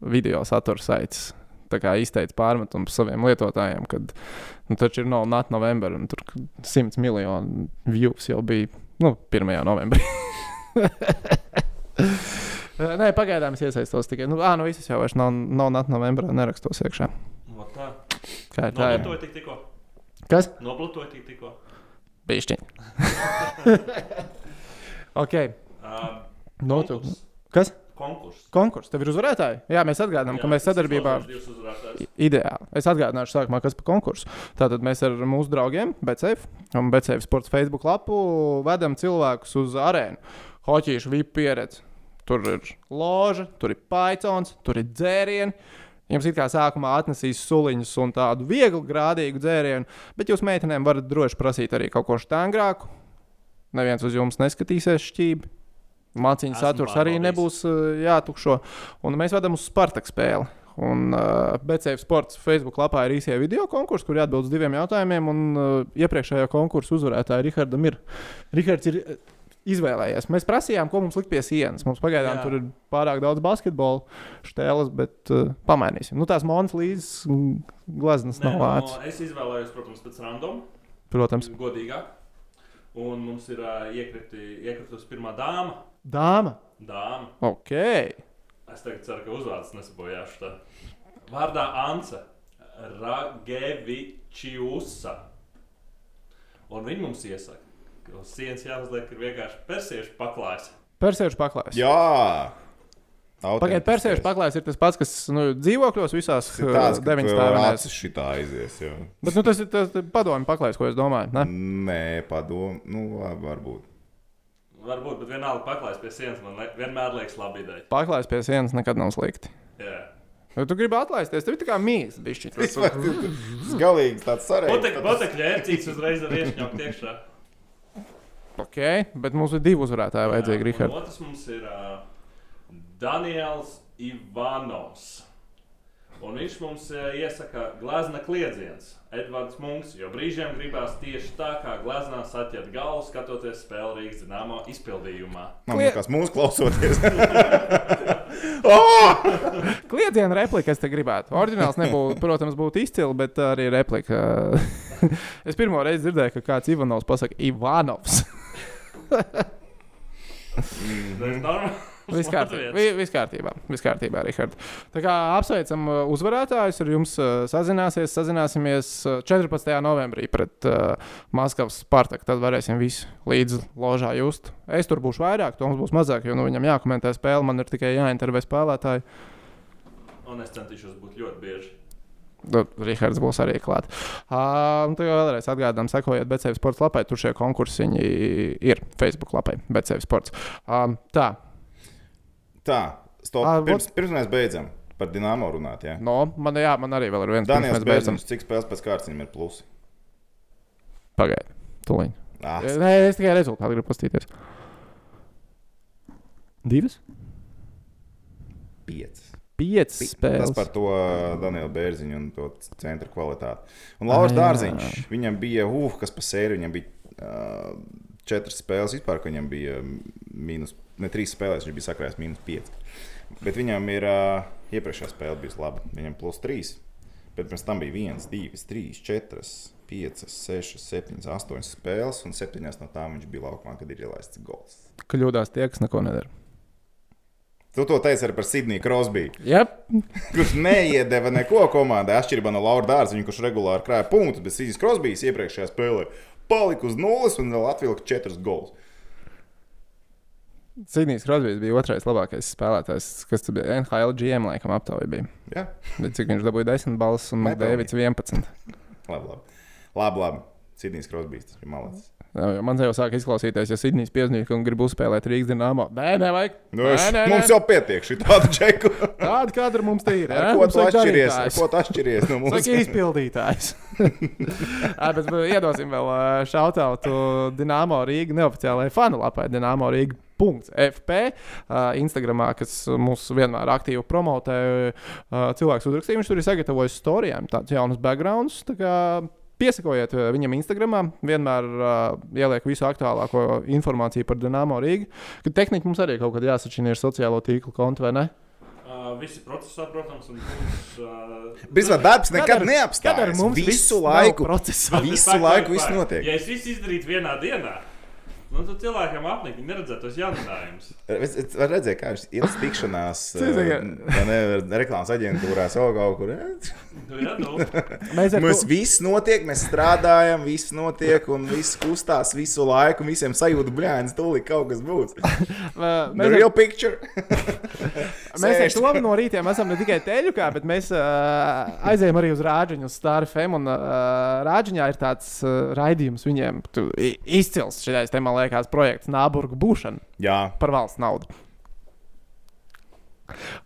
[SPEAKER 1] video satura saits. Tā kā izteica pārmetumu saviem lietotājiem, kad nu, taču ir no Nācis Novembrī un tur 100 miljonu views jau bija nu, 1. novembrī. Nē, pagaidām es iesaistos tikai. Nu, ā, nu visas jau vairs nav, nav Nācis Novembrī, nerakstos iekšā.
[SPEAKER 3] No tā.
[SPEAKER 1] Kā ir tā? ir?
[SPEAKER 3] Noplatoja tik tikko.
[SPEAKER 1] Kas?
[SPEAKER 3] Noplatoja tik tikko.
[SPEAKER 1] Pišķiņa. ok.
[SPEAKER 3] Ā,
[SPEAKER 1] Nu, tu-
[SPEAKER 3] konkurs.
[SPEAKER 1] Kas?
[SPEAKER 3] Konkurss.
[SPEAKER 1] Konkurss. Tev ir uzvarētāji? Jā, mēs atgādinām, ka mēs sadarbībā.
[SPEAKER 3] Divas uzvarētājas.
[SPEAKER 1] i- Ideāli. Es atgādināšu, sākumā, kas par konkursu. Tātad mēs ar mūsu draugiem, Becēvi un Becēvi sports Facebook lapu, vedam cilvēkus uz arēnu. Hoķīšu vip pieredzi. Tur ir loža, tur ir paicons, tur ir dzērieni. Jums it kā sākumā atnesīs suliņus un tādu vieglu grādīgu dzērienu, bet jūs meitenēm varat droši prasīt arī kaut ko štangrāku. Neviens uz jums neskatīsies šķīvi. Mācīņu
[SPEAKER 3] Esmu
[SPEAKER 1] saturs arī
[SPEAKER 3] pārbaudījis.
[SPEAKER 1] nebūs uh, jātukšo. Un mēs vedam uz Spartak spēli. Un uh, BCF sports Facebook lapā ir īsie video konkurss, kur jāatbild uz diviem jautājumiem. Un uh, iepriekšējā konkursu uzvarētāja Rihardam ir. Rihards ir uh, izvēlējies. Mēs prasījām, ko mums likt pie sienas. Mums pagaidām
[SPEAKER 3] Jā.
[SPEAKER 1] Jā. tur ir pārāk daudz basketbola štēles, bet uh, pamainīsim. Nu, tās monētas līdz glazmas
[SPEAKER 3] Nē,
[SPEAKER 1] nav vērts.
[SPEAKER 3] no, es izvēlējos, protams, pēc random.
[SPEAKER 1] Protams,
[SPEAKER 3] Godīgāk. Un mums ir ā, iekriti- iekritusi pirmā dāma.
[SPEAKER 1] dāma.
[SPEAKER 3] Dāma.
[SPEAKER 1] Ok.
[SPEAKER 3] Es tagad ceru, ka uzvārds nesabojāšu. Tā. Vārdā Anse Ragevičiusa. Un viņi mums iesaka, ka uz sienas jāuzliek ir vienkārši persiešu paklājs.
[SPEAKER 1] Persiešu paklājs.
[SPEAKER 2] Jā!
[SPEAKER 1] Pagaidiet, persiešu paklājs ir tas pats, kas nu, dzīvokļos visās
[SPEAKER 2] Tāds, ka
[SPEAKER 1] deviņās
[SPEAKER 2] tev
[SPEAKER 1] stāvēs.
[SPEAKER 2] acis šitā aizies. Jau.
[SPEAKER 1] Bet nu, tas ir tas padomju paklājs, ko es domāju. Ne?
[SPEAKER 2] Nē, padomu. Nu, labi, varbūt.
[SPEAKER 3] Varbūt, bet vienalga paklājs pie sienas man liek, vienmēr liekas laba ideja.
[SPEAKER 1] Paklājs pie sienas nekad nav slikti.
[SPEAKER 3] Jā.
[SPEAKER 1] Jo tu gribi atlaisties, tev ir tā kā mīlestība, bišķi.
[SPEAKER 2] Tas ir galīgi tāds
[SPEAKER 3] Botek-
[SPEAKER 2] sarežģīts.
[SPEAKER 3] Botekļa ērcīts uzreiz ar iešņaukt iekšā.
[SPEAKER 1] Ok, bet mums ir divi uzvarētāji
[SPEAKER 3] Jā,
[SPEAKER 1] vajadzīgi,
[SPEAKER 3] un
[SPEAKER 1] Rihards.
[SPEAKER 3] Otrs mums ir uh, Daniels Ivanovs. Un viņš mums uh, iesaka glazna kliedziens, Edvards Munks, jo brīžiem gribās tieši tā, kā glaznā saķert galvu, skatoties spēli Rīgas zināmā izpildījumā.
[SPEAKER 2] Man
[SPEAKER 1] Klie-
[SPEAKER 2] liekas, mūsu klausoties. oh!
[SPEAKER 1] Kliedziena replika, es te gribētu. Orģināls nebūtu, protams, būtu izcili, bet arī replika. es pirmo reizi dzirdēju, ka kāds Ivanovs pasakā Ivanovs.
[SPEAKER 3] Tas ir normāli.
[SPEAKER 1] Viss kārtībā. Vi- Viss kārtībā, viss kārtībā Rihards. Tā kā apsveicam uh, uzvarētājus, ar jums uh, sazināsies. Sazināsimies uh, 14. novembrī pret uh, Maskavas Spartaku. Tad varēsim visu līdz ložā just. Es tur būšu vairāk, Toms būs mazāk, jo nu, viņam jākomentē spēle, man ir tikai jāintervē spēlētāji.
[SPEAKER 3] Un es centīšos būt ļoti bieži.
[SPEAKER 1] Nu, Rihards būs arī klāts. Uh, tā jau vēlreiz atgādinām, sekojiet BCU sports lapai. Tur šie konkursi ir Facebook lapai BCU sports. Uh, tā,
[SPEAKER 2] Tā, stop.
[SPEAKER 1] Ah,
[SPEAKER 2] Pirms, pirms mēs beidzam par dināmo runāt. Ja?
[SPEAKER 1] no, man, jā, man arī vēl ir viens. pirms
[SPEAKER 2] Daniels
[SPEAKER 1] mēs beidzam.
[SPEAKER 2] Bērns, cik spēles pēc kārtas viņam ir plusi?
[SPEAKER 1] Pagaidiet, tūlīt.
[SPEAKER 2] Ah,
[SPEAKER 1] Nē, es tikai rezultātu gribu paskatīties. Divas?
[SPEAKER 2] pieci.
[SPEAKER 1] Piecas
[SPEAKER 2] Tas
[SPEAKER 1] spēles.
[SPEAKER 2] par to Danielu Bērziņu un to centra kvalitāti. Un
[SPEAKER 1] Ah,
[SPEAKER 2] Lauris
[SPEAKER 1] jā.
[SPEAKER 2] Dārziņš, viņam bija, uh, kas pa sēri, viņam bija uh, četras spēles vispār, ka viņam bija um, mīnus, ne trīs spēlēs, viņš bija sakrājis mīnus pieci. Bet viņam ir uh, iepriekšējā spēle bijusi laba. Viņam plus trīs. Bet pirms tam bija viens, divas, trīs, četras, piecas, sešas, septiņas, astoņas spēles. Un septiņās no tām viņš bija laukumā, kad ir ielaists gols.
[SPEAKER 1] Kļūdās tie, kas neko nedara.
[SPEAKER 2] Tu to teici arī par Sidniju Krosbiju.
[SPEAKER 1] Jā,
[SPEAKER 2] kurš neiedeva neko komandai. Atšķirībā no Laura Dārza, viņa, kurš regulāri krāja punktus, bet Sīsīs Krosbīs iepriekšējā spēlē palika uz nulles un vēl atvilka četrus golus.
[SPEAKER 1] Sidnijas Krosbīs bija otrais labākais spēlētājs, kas tur bija NHL GM laikam aptaujā. bija.
[SPEAKER 2] Jā,
[SPEAKER 1] Bet Cik viņš dabūja 10 balsis un Makdēvits 11.
[SPEAKER 2] labi, labi. labi, labi. Sidnijas Krosbīs, tas ir malacis.
[SPEAKER 1] Jā, jo Man jau sāk izklausīties, ja Sidnijas piezīmēs, ka grib uzspēlēt Rīgas dīnāmā. Nē, nē, vajag.
[SPEAKER 2] Nu, es, nē, nē, nē. Mums jau pietiek šī tāda čeku.
[SPEAKER 1] Tāda kadra mums te ir. jā?
[SPEAKER 2] Ar ko
[SPEAKER 1] Mums
[SPEAKER 2] tu
[SPEAKER 1] vajag
[SPEAKER 2] atšķiries? Ar
[SPEAKER 1] darītājs.
[SPEAKER 2] ko tu atšķiries no mums?
[SPEAKER 1] Tas ir izpildītājs. Jā, bet uh, iedosim vēl šautautu Dienāmo Rīgā neoficiālajai fanu lapai Dienāmo Rīgā. .fp, uh, Instagramā, kas mūs vienmēr aktīvi promotē, uh, cilvēks uzrakstīja, viņš tur ir sagatavojis storijām tādus jaunus backgroundus. Tā kā piesakojiet uh, viņam Instagramā, vienmēr uh, ieliek visu aktuālāko informāciju par Dienāmo Rīgā. Kad tehniski mums arī kaut kad jāsačina ir sociālo tīklu konta vai ne?
[SPEAKER 3] Uh, visi procesā, protams, un būs. Uh,
[SPEAKER 2] Brīsīsā darbs nekad
[SPEAKER 1] Kad ar
[SPEAKER 2] neapstājas.
[SPEAKER 1] mums
[SPEAKER 2] Visu
[SPEAKER 1] viss nav
[SPEAKER 2] laiku.
[SPEAKER 1] procesā?
[SPEAKER 2] Visu
[SPEAKER 3] bet
[SPEAKER 2] laiku
[SPEAKER 3] vai-
[SPEAKER 2] viss
[SPEAKER 3] vai-
[SPEAKER 2] notiek.
[SPEAKER 3] Ja es visu izdarītu vienā dienā, nu, tad cilvēkiem apnika, viņi neredzētu tos jauninājumus.
[SPEAKER 2] Es, es redzēju, kā viņš ir tikšanās eh,
[SPEAKER 1] Cilvēki-
[SPEAKER 2] vai ne, reklāmas aģentūrās, vēl kaut kur. eh?
[SPEAKER 3] Nu, jā, nu,
[SPEAKER 1] Mēs ar
[SPEAKER 2] Mums
[SPEAKER 1] to-
[SPEAKER 2] viss notiek, mēs strādājam, viss notiek, un viss kustās visu laiku. un Visiem sajūta, blēņas, tūlīt kaut kas būs.
[SPEAKER 1] uh,
[SPEAKER 2] The
[SPEAKER 1] mēs ar
[SPEAKER 2] real picture.
[SPEAKER 1] Mēs ar
[SPEAKER 2] Sēž.
[SPEAKER 1] to no rīta esam ne tikai teļukā, bet mēs uh, aizējām arī uz Rāģiņu, uz Starfem. Un uh, Rāģiņā ir tāds uh, raidījums viņiem, tu, i- izcils šis te, man liekas, projekts Nāburgu būšana
[SPEAKER 2] Jā,
[SPEAKER 1] par valsts naudu.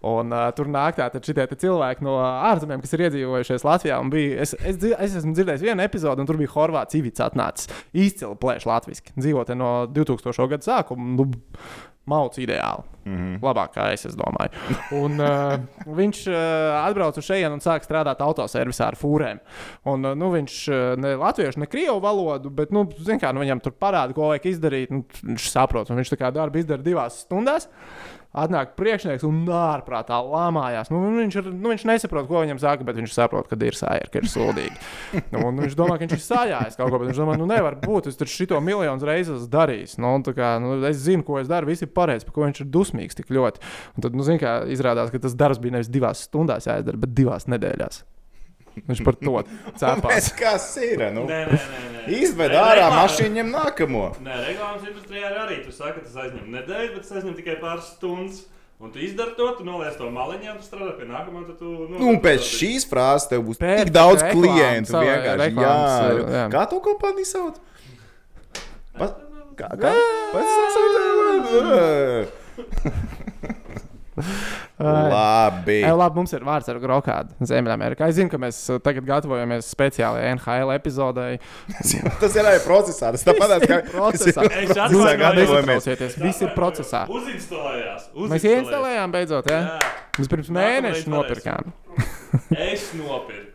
[SPEAKER 1] Un uh, tur nāk tādi cilvēki no ārzemēm, kas ir iedzīvojušies Latvijā. un Bija, es, es, dzir- es esmu dzirdējis vienu epizodi, un tur bija Horvāts Ivits atnācis. Izcili plēš latviešu. Dzīvo te no 2000. gada sākuma. Nu, Mauts ideāli. Mm -hmm. Labākā es, es domāju. Un, uh, viņš uh, atbrauca šeit un sāka strādāt autoservisā ar fūrēm. Un, uh, nu, viņš uh, ne latviešu, ne krievu valodu, bet nu, zin kā, nu, viņam tur parāda, ko vajag izdarīt. Nu, viņš saprot, un viņš tā kā darbu izdara divās stundās. Atnāk priekšnieks un ārprātā lamājās. Nu, viņš, ir, nu, viņš nesaprot, ko viņam saka, bet viņš saprot, ka ir sāļi, ka ir sūdīgi. Nu, un viņš domā, ka viņš ir sāļājis kaut ko, bet viņš domā, nu nevar būt. Es tur šito miljonus reizes darīju. Nu, un tā kā, nu, es zinu, ko es daru, viss ir pareizi, par ko viņš ir dusmīgs tik ļoti. Un tad, nu, zin, kā, izrādās, ka tas darbs bija nevis divās stundās jāizdara, bet divās nedēļās. Viņš par to cēpās.
[SPEAKER 2] tas kas ir. Nu?
[SPEAKER 3] nē, nē, nē, nē.
[SPEAKER 2] Izved
[SPEAKER 3] Nē,
[SPEAKER 2] ārā
[SPEAKER 3] reklāmas-
[SPEAKER 2] mašīnu ņem nākamo.
[SPEAKER 3] Nē, reklāmas industrijā ir arī tu saki, ka tas aizņem nedēļu, bet tas aizņem tikai pāris stundas. Un tu izdari to, tu noliec to maliņā, tu strādā pie nākamā, tad tu. Nu,
[SPEAKER 2] Nu, un pēc šīs frāzes tev būs
[SPEAKER 1] Pēc
[SPEAKER 2] tik daudz
[SPEAKER 1] reklāmas,
[SPEAKER 2] klientu.
[SPEAKER 1] savai
[SPEAKER 2] Vienkārši. Jā, nu,
[SPEAKER 1] reklāmas, jā.
[SPEAKER 2] kā to kompāniju sauc? Pa- Kā? kā? Labi.
[SPEAKER 1] Ei, labi, mums ir vārds ar grokādu Ziemeļamerikā. Es zinu, ka mēs uh, tagad gatavojamies speciālajai NHL epizodei.
[SPEAKER 2] Tas ir arī procesā. Tas tāpat kā
[SPEAKER 1] procesā.
[SPEAKER 2] Procesā
[SPEAKER 3] Es atvainojos.
[SPEAKER 2] gatavojamies.
[SPEAKER 1] Nesatraucieties, viss ir procesā.
[SPEAKER 3] Uzinstalējās.
[SPEAKER 1] Mēs ieinstalējām beidzot, jā?
[SPEAKER 3] Jā.
[SPEAKER 1] Mēs pirms
[SPEAKER 3] Nākamreiz
[SPEAKER 1] mēneša
[SPEAKER 3] varēsim.
[SPEAKER 1] nopirkām.
[SPEAKER 3] Es nopirku.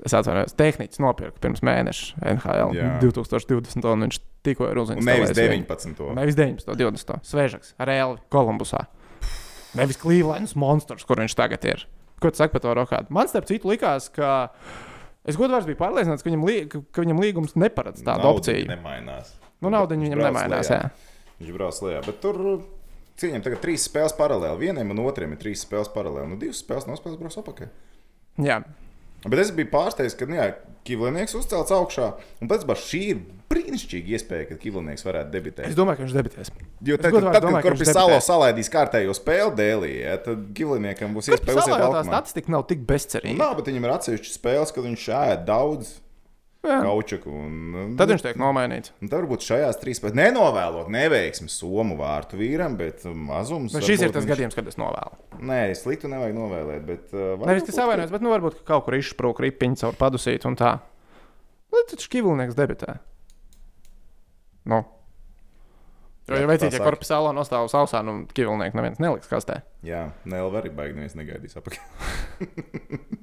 [SPEAKER 1] Es atceros, tehnicis nopirka pirms mēneša NHL
[SPEAKER 2] Jā.
[SPEAKER 1] 2020. un viņš tikko ir
[SPEAKER 2] Un
[SPEAKER 1] uzzīmējis.
[SPEAKER 2] Nevis 19.
[SPEAKER 1] Nevis 19. 20. Svežaks, reāli Kolumbusā. Nevis Clevelands monstrs, kur viņš tagad ir. Ko tu saki par to rokādu? Man starp citu likās, ka. Es godīgi biju pārliecināts, ka viņam, lī, ka- ka viņam līgums neparedz tādu
[SPEAKER 2] Nauda
[SPEAKER 1] opciju.
[SPEAKER 2] Nemainās.
[SPEAKER 1] Nu, nauda viņam
[SPEAKER 2] Brauc
[SPEAKER 1] nemainās.
[SPEAKER 2] lejā.
[SPEAKER 1] Jā.
[SPEAKER 2] Viņš brauc lejā. Bet tur cīņām tagad trīs spēles paralēli. Vienam un otram ir trīs spēles paralēli. Nu, divas spēles nospēlēs brauc apakā.
[SPEAKER 1] jā,
[SPEAKER 2] Bet es biju pārsteigts, ka nu jā, Kivlinieks uzcelts augšā. Un pēc tam šī ir brīnišķīga iespēja, ka Kivlinieks varētu debitēt.
[SPEAKER 1] es domāju, ka viņš debitēs.
[SPEAKER 2] Jo
[SPEAKER 1] Es
[SPEAKER 2] tad,
[SPEAKER 1] godvārdu
[SPEAKER 2] tad, tad
[SPEAKER 1] domāju,
[SPEAKER 2] kad
[SPEAKER 1] ka viņš
[SPEAKER 2] Korpisālo
[SPEAKER 1] debitēs.
[SPEAKER 2] salaidīs kārtējo spēli dēlī, ja, tad Giliniekam būs
[SPEAKER 1] Kāpēc
[SPEAKER 2] iespēja uziet
[SPEAKER 1] tā
[SPEAKER 2] laukumā.
[SPEAKER 1] statistika nav tik bezcerīga?
[SPEAKER 2] Nav, bet viņam ir atsevišķi spēles, kad viņš ēd daudz
[SPEAKER 1] Jā.
[SPEAKER 2] kaučaku. Un, nu,
[SPEAKER 1] Tad viņš tiek nomainīts.
[SPEAKER 2] Un Nu, Tad varbūt šajās trīs pat nenovēlot neveiksmi somu vārtu vīram, bet um, mazums.
[SPEAKER 1] Nu, šis
[SPEAKER 2] varbūt
[SPEAKER 1] ir tas
[SPEAKER 2] viņš-
[SPEAKER 1] gadījums, kad es novēlu.
[SPEAKER 2] Nē, sliktu nevajag novēlēt, bet. Uh,
[SPEAKER 1] Nevis tas savainojas, bet nu, varbūt ka kaut kur izsprūka ripiņš caur padusīt un tā. Nu, tad šķīvulnieks debitē. Nu. Jo,
[SPEAKER 2] Jā,
[SPEAKER 1] ja
[SPEAKER 2] tu
[SPEAKER 1] veicīt, ja
[SPEAKER 2] tā saki.
[SPEAKER 1] korpusālo nostāv uz ausā, nu, šķīvulnieku neviens neliks kastē.
[SPEAKER 2] Jā, Nelva arī baigi neviens negaidīs apakšā.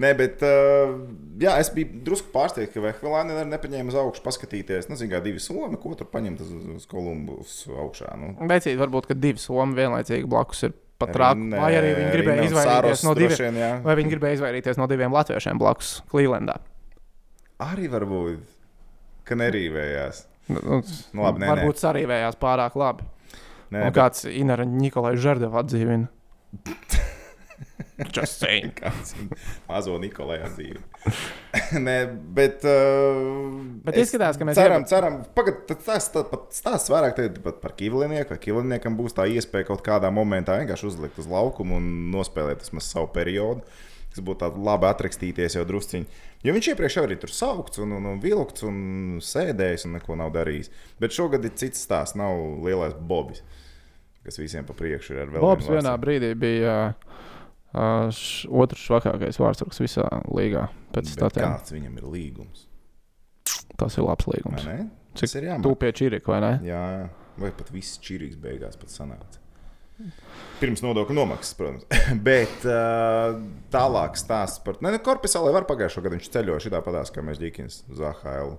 [SPEAKER 2] Nē, bet uh, jā, es biju drusku pārsteigts, ka Vehvilāne arī nepaņēma uz augšu paskatīties. Nu, zināmā mērā, divi somi, ko tur paņemt uz, uz Kolumbus augšā. Nu.
[SPEAKER 1] Veicīgi, varbūt, ka divi somi vienlaicīgi blakus ir pat rāku.
[SPEAKER 2] Nē,
[SPEAKER 1] Vai arī viņi gribēja
[SPEAKER 2] Rino
[SPEAKER 1] izvairīties
[SPEAKER 2] Saros
[SPEAKER 1] no diviem.
[SPEAKER 2] droši vien, jā.
[SPEAKER 1] Vai viņi gribēja izvairīties no diviem latviešiem blakus Clevelandā?
[SPEAKER 2] Arī varbūt, ka nerīvējās.
[SPEAKER 1] Nu, nu,
[SPEAKER 2] Nu, labi, nē, nē.
[SPEAKER 1] varbūt sarīvējās pārāk labi.
[SPEAKER 2] Nē,
[SPEAKER 1] Nē, un kāds Inara Nikolai Žerdevu atdzīvina. Just saying.
[SPEAKER 2] kāds mazo Nikolai dzīvi. Nē, bet. Uh,
[SPEAKER 1] Bet
[SPEAKER 2] es
[SPEAKER 1] izskatās, ka mēs
[SPEAKER 2] ceram,
[SPEAKER 1] ieba-
[SPEAKER 2] ceram. Pagaidiet, tas stāsts vairāk tagad pat par Kivlinieku. Vai Kivliniekam būs tā iespēja kaut kādā momentā vienkārši uzlikt uz laukumu un nospēlēt vismaz savu periodu. Tas būtu tāds labi atrakstīties jau drusciņā. Jo viņš iepriekš arī tur saukts, un, un, un vilkts, un sēdējis, un neko nav darījis. Bet šogad ir cits stāsts, nav lielais Bobs, kas visiem pa priekšu ir ar vēl
[SPEAKER 1] Bobs
[SPEAKER 2] vienu
[SPEAKER 1] vienā
[SPEAKER 2] vārdu.
[SPEAKER 1] brīdī bija uh, š, otrs švakākais vārdsargs visā līgā. Pēc
[SPEAKER 2] Bet
[SPEAKER 1] statiem.
[SPEAKER 2] Kāds viņam ir līgums?
[SPEAKER 1] Tas ir labs
[SPEAKER 2] Vai
[SPEAKER 1] līgums.
[SPEAKER 2] ne?
[SPEAKER 1] Cik
[SPEAKER 2] Tas ir jāmāk.
[SPEAKER 1] Tu pie Čirika, vai ne?
[SPEAKER 2] Jā, jā. vai pat viss čirīgs beigās pat sanāca. Pirms nodokļu nomaksas, protams. Bet uh, tālāk stāsts par. Nē, Korpusā lai var pagājušā gada viņš ceļoja šitā padās, kā mēs Dīkins uz AHL.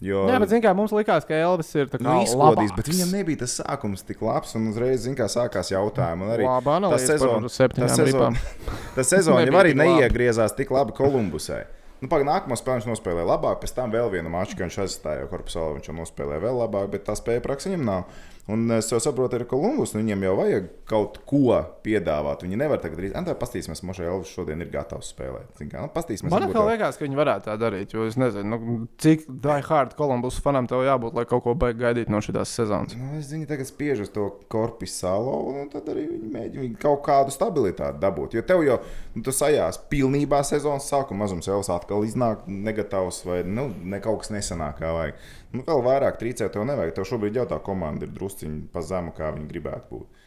[SPEAKER 2] Jo...
[SPEAKER 1] Jā, bet zini, kā mums likās, ka Elvis ir tāds
[SPEAKER 2] Nu, izkodīs, bet viņam nebija tas sākums tik labs, un uzreiz, zin, kā sākās jautājumi. un Arī
[SPEAKER 1] Laba analīze par septiņām
[SPEAKER 2] tā sezona-
[SPEAKER 1] ripām.
[SPEAKER 2] tā sezona jau
[SPEAKER 1] Nebija
[SPEAKER 2] arī
[SPEAKER 1] tik laba.
[SPEAKER 2] neiegriezās tik labi Kolumbusai. Nu, pag, nākamā spēlē viņš nospēlēja labāk, pēc tam vēl vienu maču, ka viņš aizstāja korpusā, viņš jau nospēlēja vēl labāk, bet tā spēja praktiski viņam nav. Un es jau saprotu, ir Kolumbus, nu, viņiem jau vajag kaut ko piedāvāt. Viņi nevar tagad darīt. Antā, pastīsimies, Mošai Elvis šodien ir gatavs spēlēt. Zin kā, Nu, pastīsimies,
[SPEAKER 1] Man
[SPEAKER 2] varbūt
[SPEAKER 1] atkal
[SPEAKER 2] tev-
[SPEAKER 1] liekas, ka viņi varētu tā darīt, jo es nezinu, nu, cik diehard Kolumbus fanam tev jābūt, lai kaut ko beigtu gaidīt no šīs sezonas.
[SPEAKER 2] Nu, es viņu tagad spiežu uz to korpusālo, un tad arī viņi mēģina viņi kaut kādu stabilitāti dabūt. Jo tev jau nu, tas sajās pilnībā sezonas sākumā, mazums jau atkal iznāk negatīvs, vai nu, ne kaut kas nesanāk kā vajag. Nu, vēl vairāk trīcēt, tev nevajag. Tev šobrīd jau tā komanda ir drusciņi pa zemu, kā viņi gribētu būt.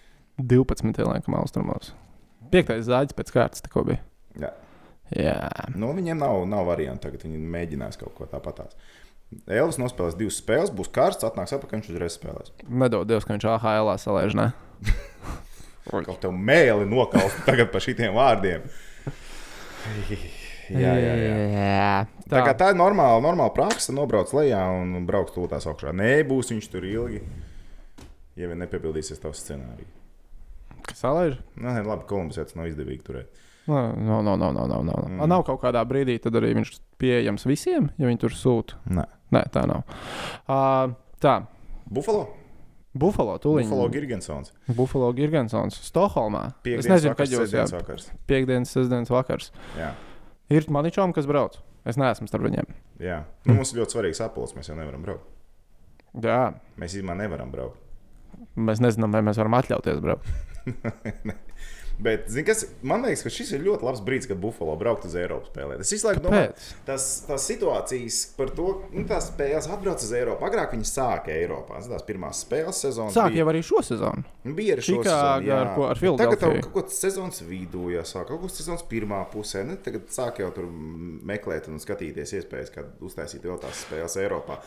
[SPEAKER 1] 12. laikam, austrumos. Piektais zāģis pēc kārtas tikko bija.
[SPEAKER 2] Jā.
[SPEAKER 1] Jā,
[SPEAKER 2] Nu, viņiem nav, nav variantu tagad. Viņi mēģinās kaut ko tāpatās. Elvis nospēlēs divas spēles, būs karsts, atnāks apakšā, viņš uzreiz spēlēs.
[SPEAKER 1] nedod Dievs, ka viņš AHL salēž. Ne?
[SPEAKER 2] Kaut tev mēli nokaust tagad par šitiem vārdiem. Jā, jā, jā.
[SPEAKER 1] jā.
[SPEAKER 2] Tā, tā, tā ir normāla, normāla praksa. Nobrauc lejā un brauks tūlītās augšā. Nē, būs viņš tur ilgi. Ja vien nepiepildīsies tavs scenārijs.
[SPEAKER 1] Kas salēž?
[SPEAKER 2] Nu, nē, labi, Kolumbus jau tas nav izdevīgi turēt.
[SPEAKER 1] No, no, no, no, no, no. Mm. Nav kaut kādā brīdī, tad arī viņš pieejams visiem, ja viņi tur sūta.
[SPEAKER 2] Nē.
[SPEAKER 1] Nē, tā nav. Uh, tā,
[SPEAKER 2] Buffalo?
[SPEAKER 1] Buffalo tūlīt.
[SPEAKER 2] Buffalo Girgensons.
[SPEAKER 1] Buffalo Girgensons, Stokholmā. Es
[SPEAKER 2] Piektdienas
[SPEAKER 1] nezinu,
[SPEAKER 2] vakars,
[SPEAKER 1] kad jūs
[SPEAKER 2] sestdienas
[SPEAKER 1] esat.
[SPEAKER 2] vakars.
[SPEAKER 1] Piektdienas, sestdienas vakars.
[SPEAKER 2] Jā,
[SPEAKER 1] Ir maničām, kas brauc. Es neesmu starp viņiem.
[SPEAKER 2] jā. Nu, mums ir ļoti svarīgs apelsīns. Mēs jau nevaram braukt.
[SPEAKER 1] Jā,
[SPEAKER 2] Mēs īstenībā nevaram braukt.
[SPEAKER 1] mēs nezinām, vai mēs varam atļauties braukt.
[SPEAKER 2] Bet, zini, kas man liekas, ka šis ir ļoti labs brīdis, kad Buffalo braukt uz Eiropu spēlēt. Es visu laiku domāju,
[SPEAKER 1] Pēc.
[SPEAKER 2] tas, tās situācijas par to, nu, tās spēles atbrauc uz Eiropu. Agrāk viņi sāka Eiropā. Zini, Tās pirmās spēles sezonas.
[SPEAKER 1] Sāk
[SPEAKER 2] bija-
[SPEAKER 1] jau arī šo sezonu.
[SPEAKER 2] Nu, Bija arī
[SPEAKER 1] Čikāga
[SPEAKER 2] šī
[SPEAKER 1] ar ko- ar
[SPEAKER 2] Tagad jau
[SPEAKER 1] Filadelfiju.
[SPEAKER 2] kaut kāds sezonas vidū, jau sāk kaut kāds sezonas pirmā pusē. Ne? Tagad sāk jau tur meklēt un skatīties iespējas, kā uztaisīt vēl tās spēles Eiropā.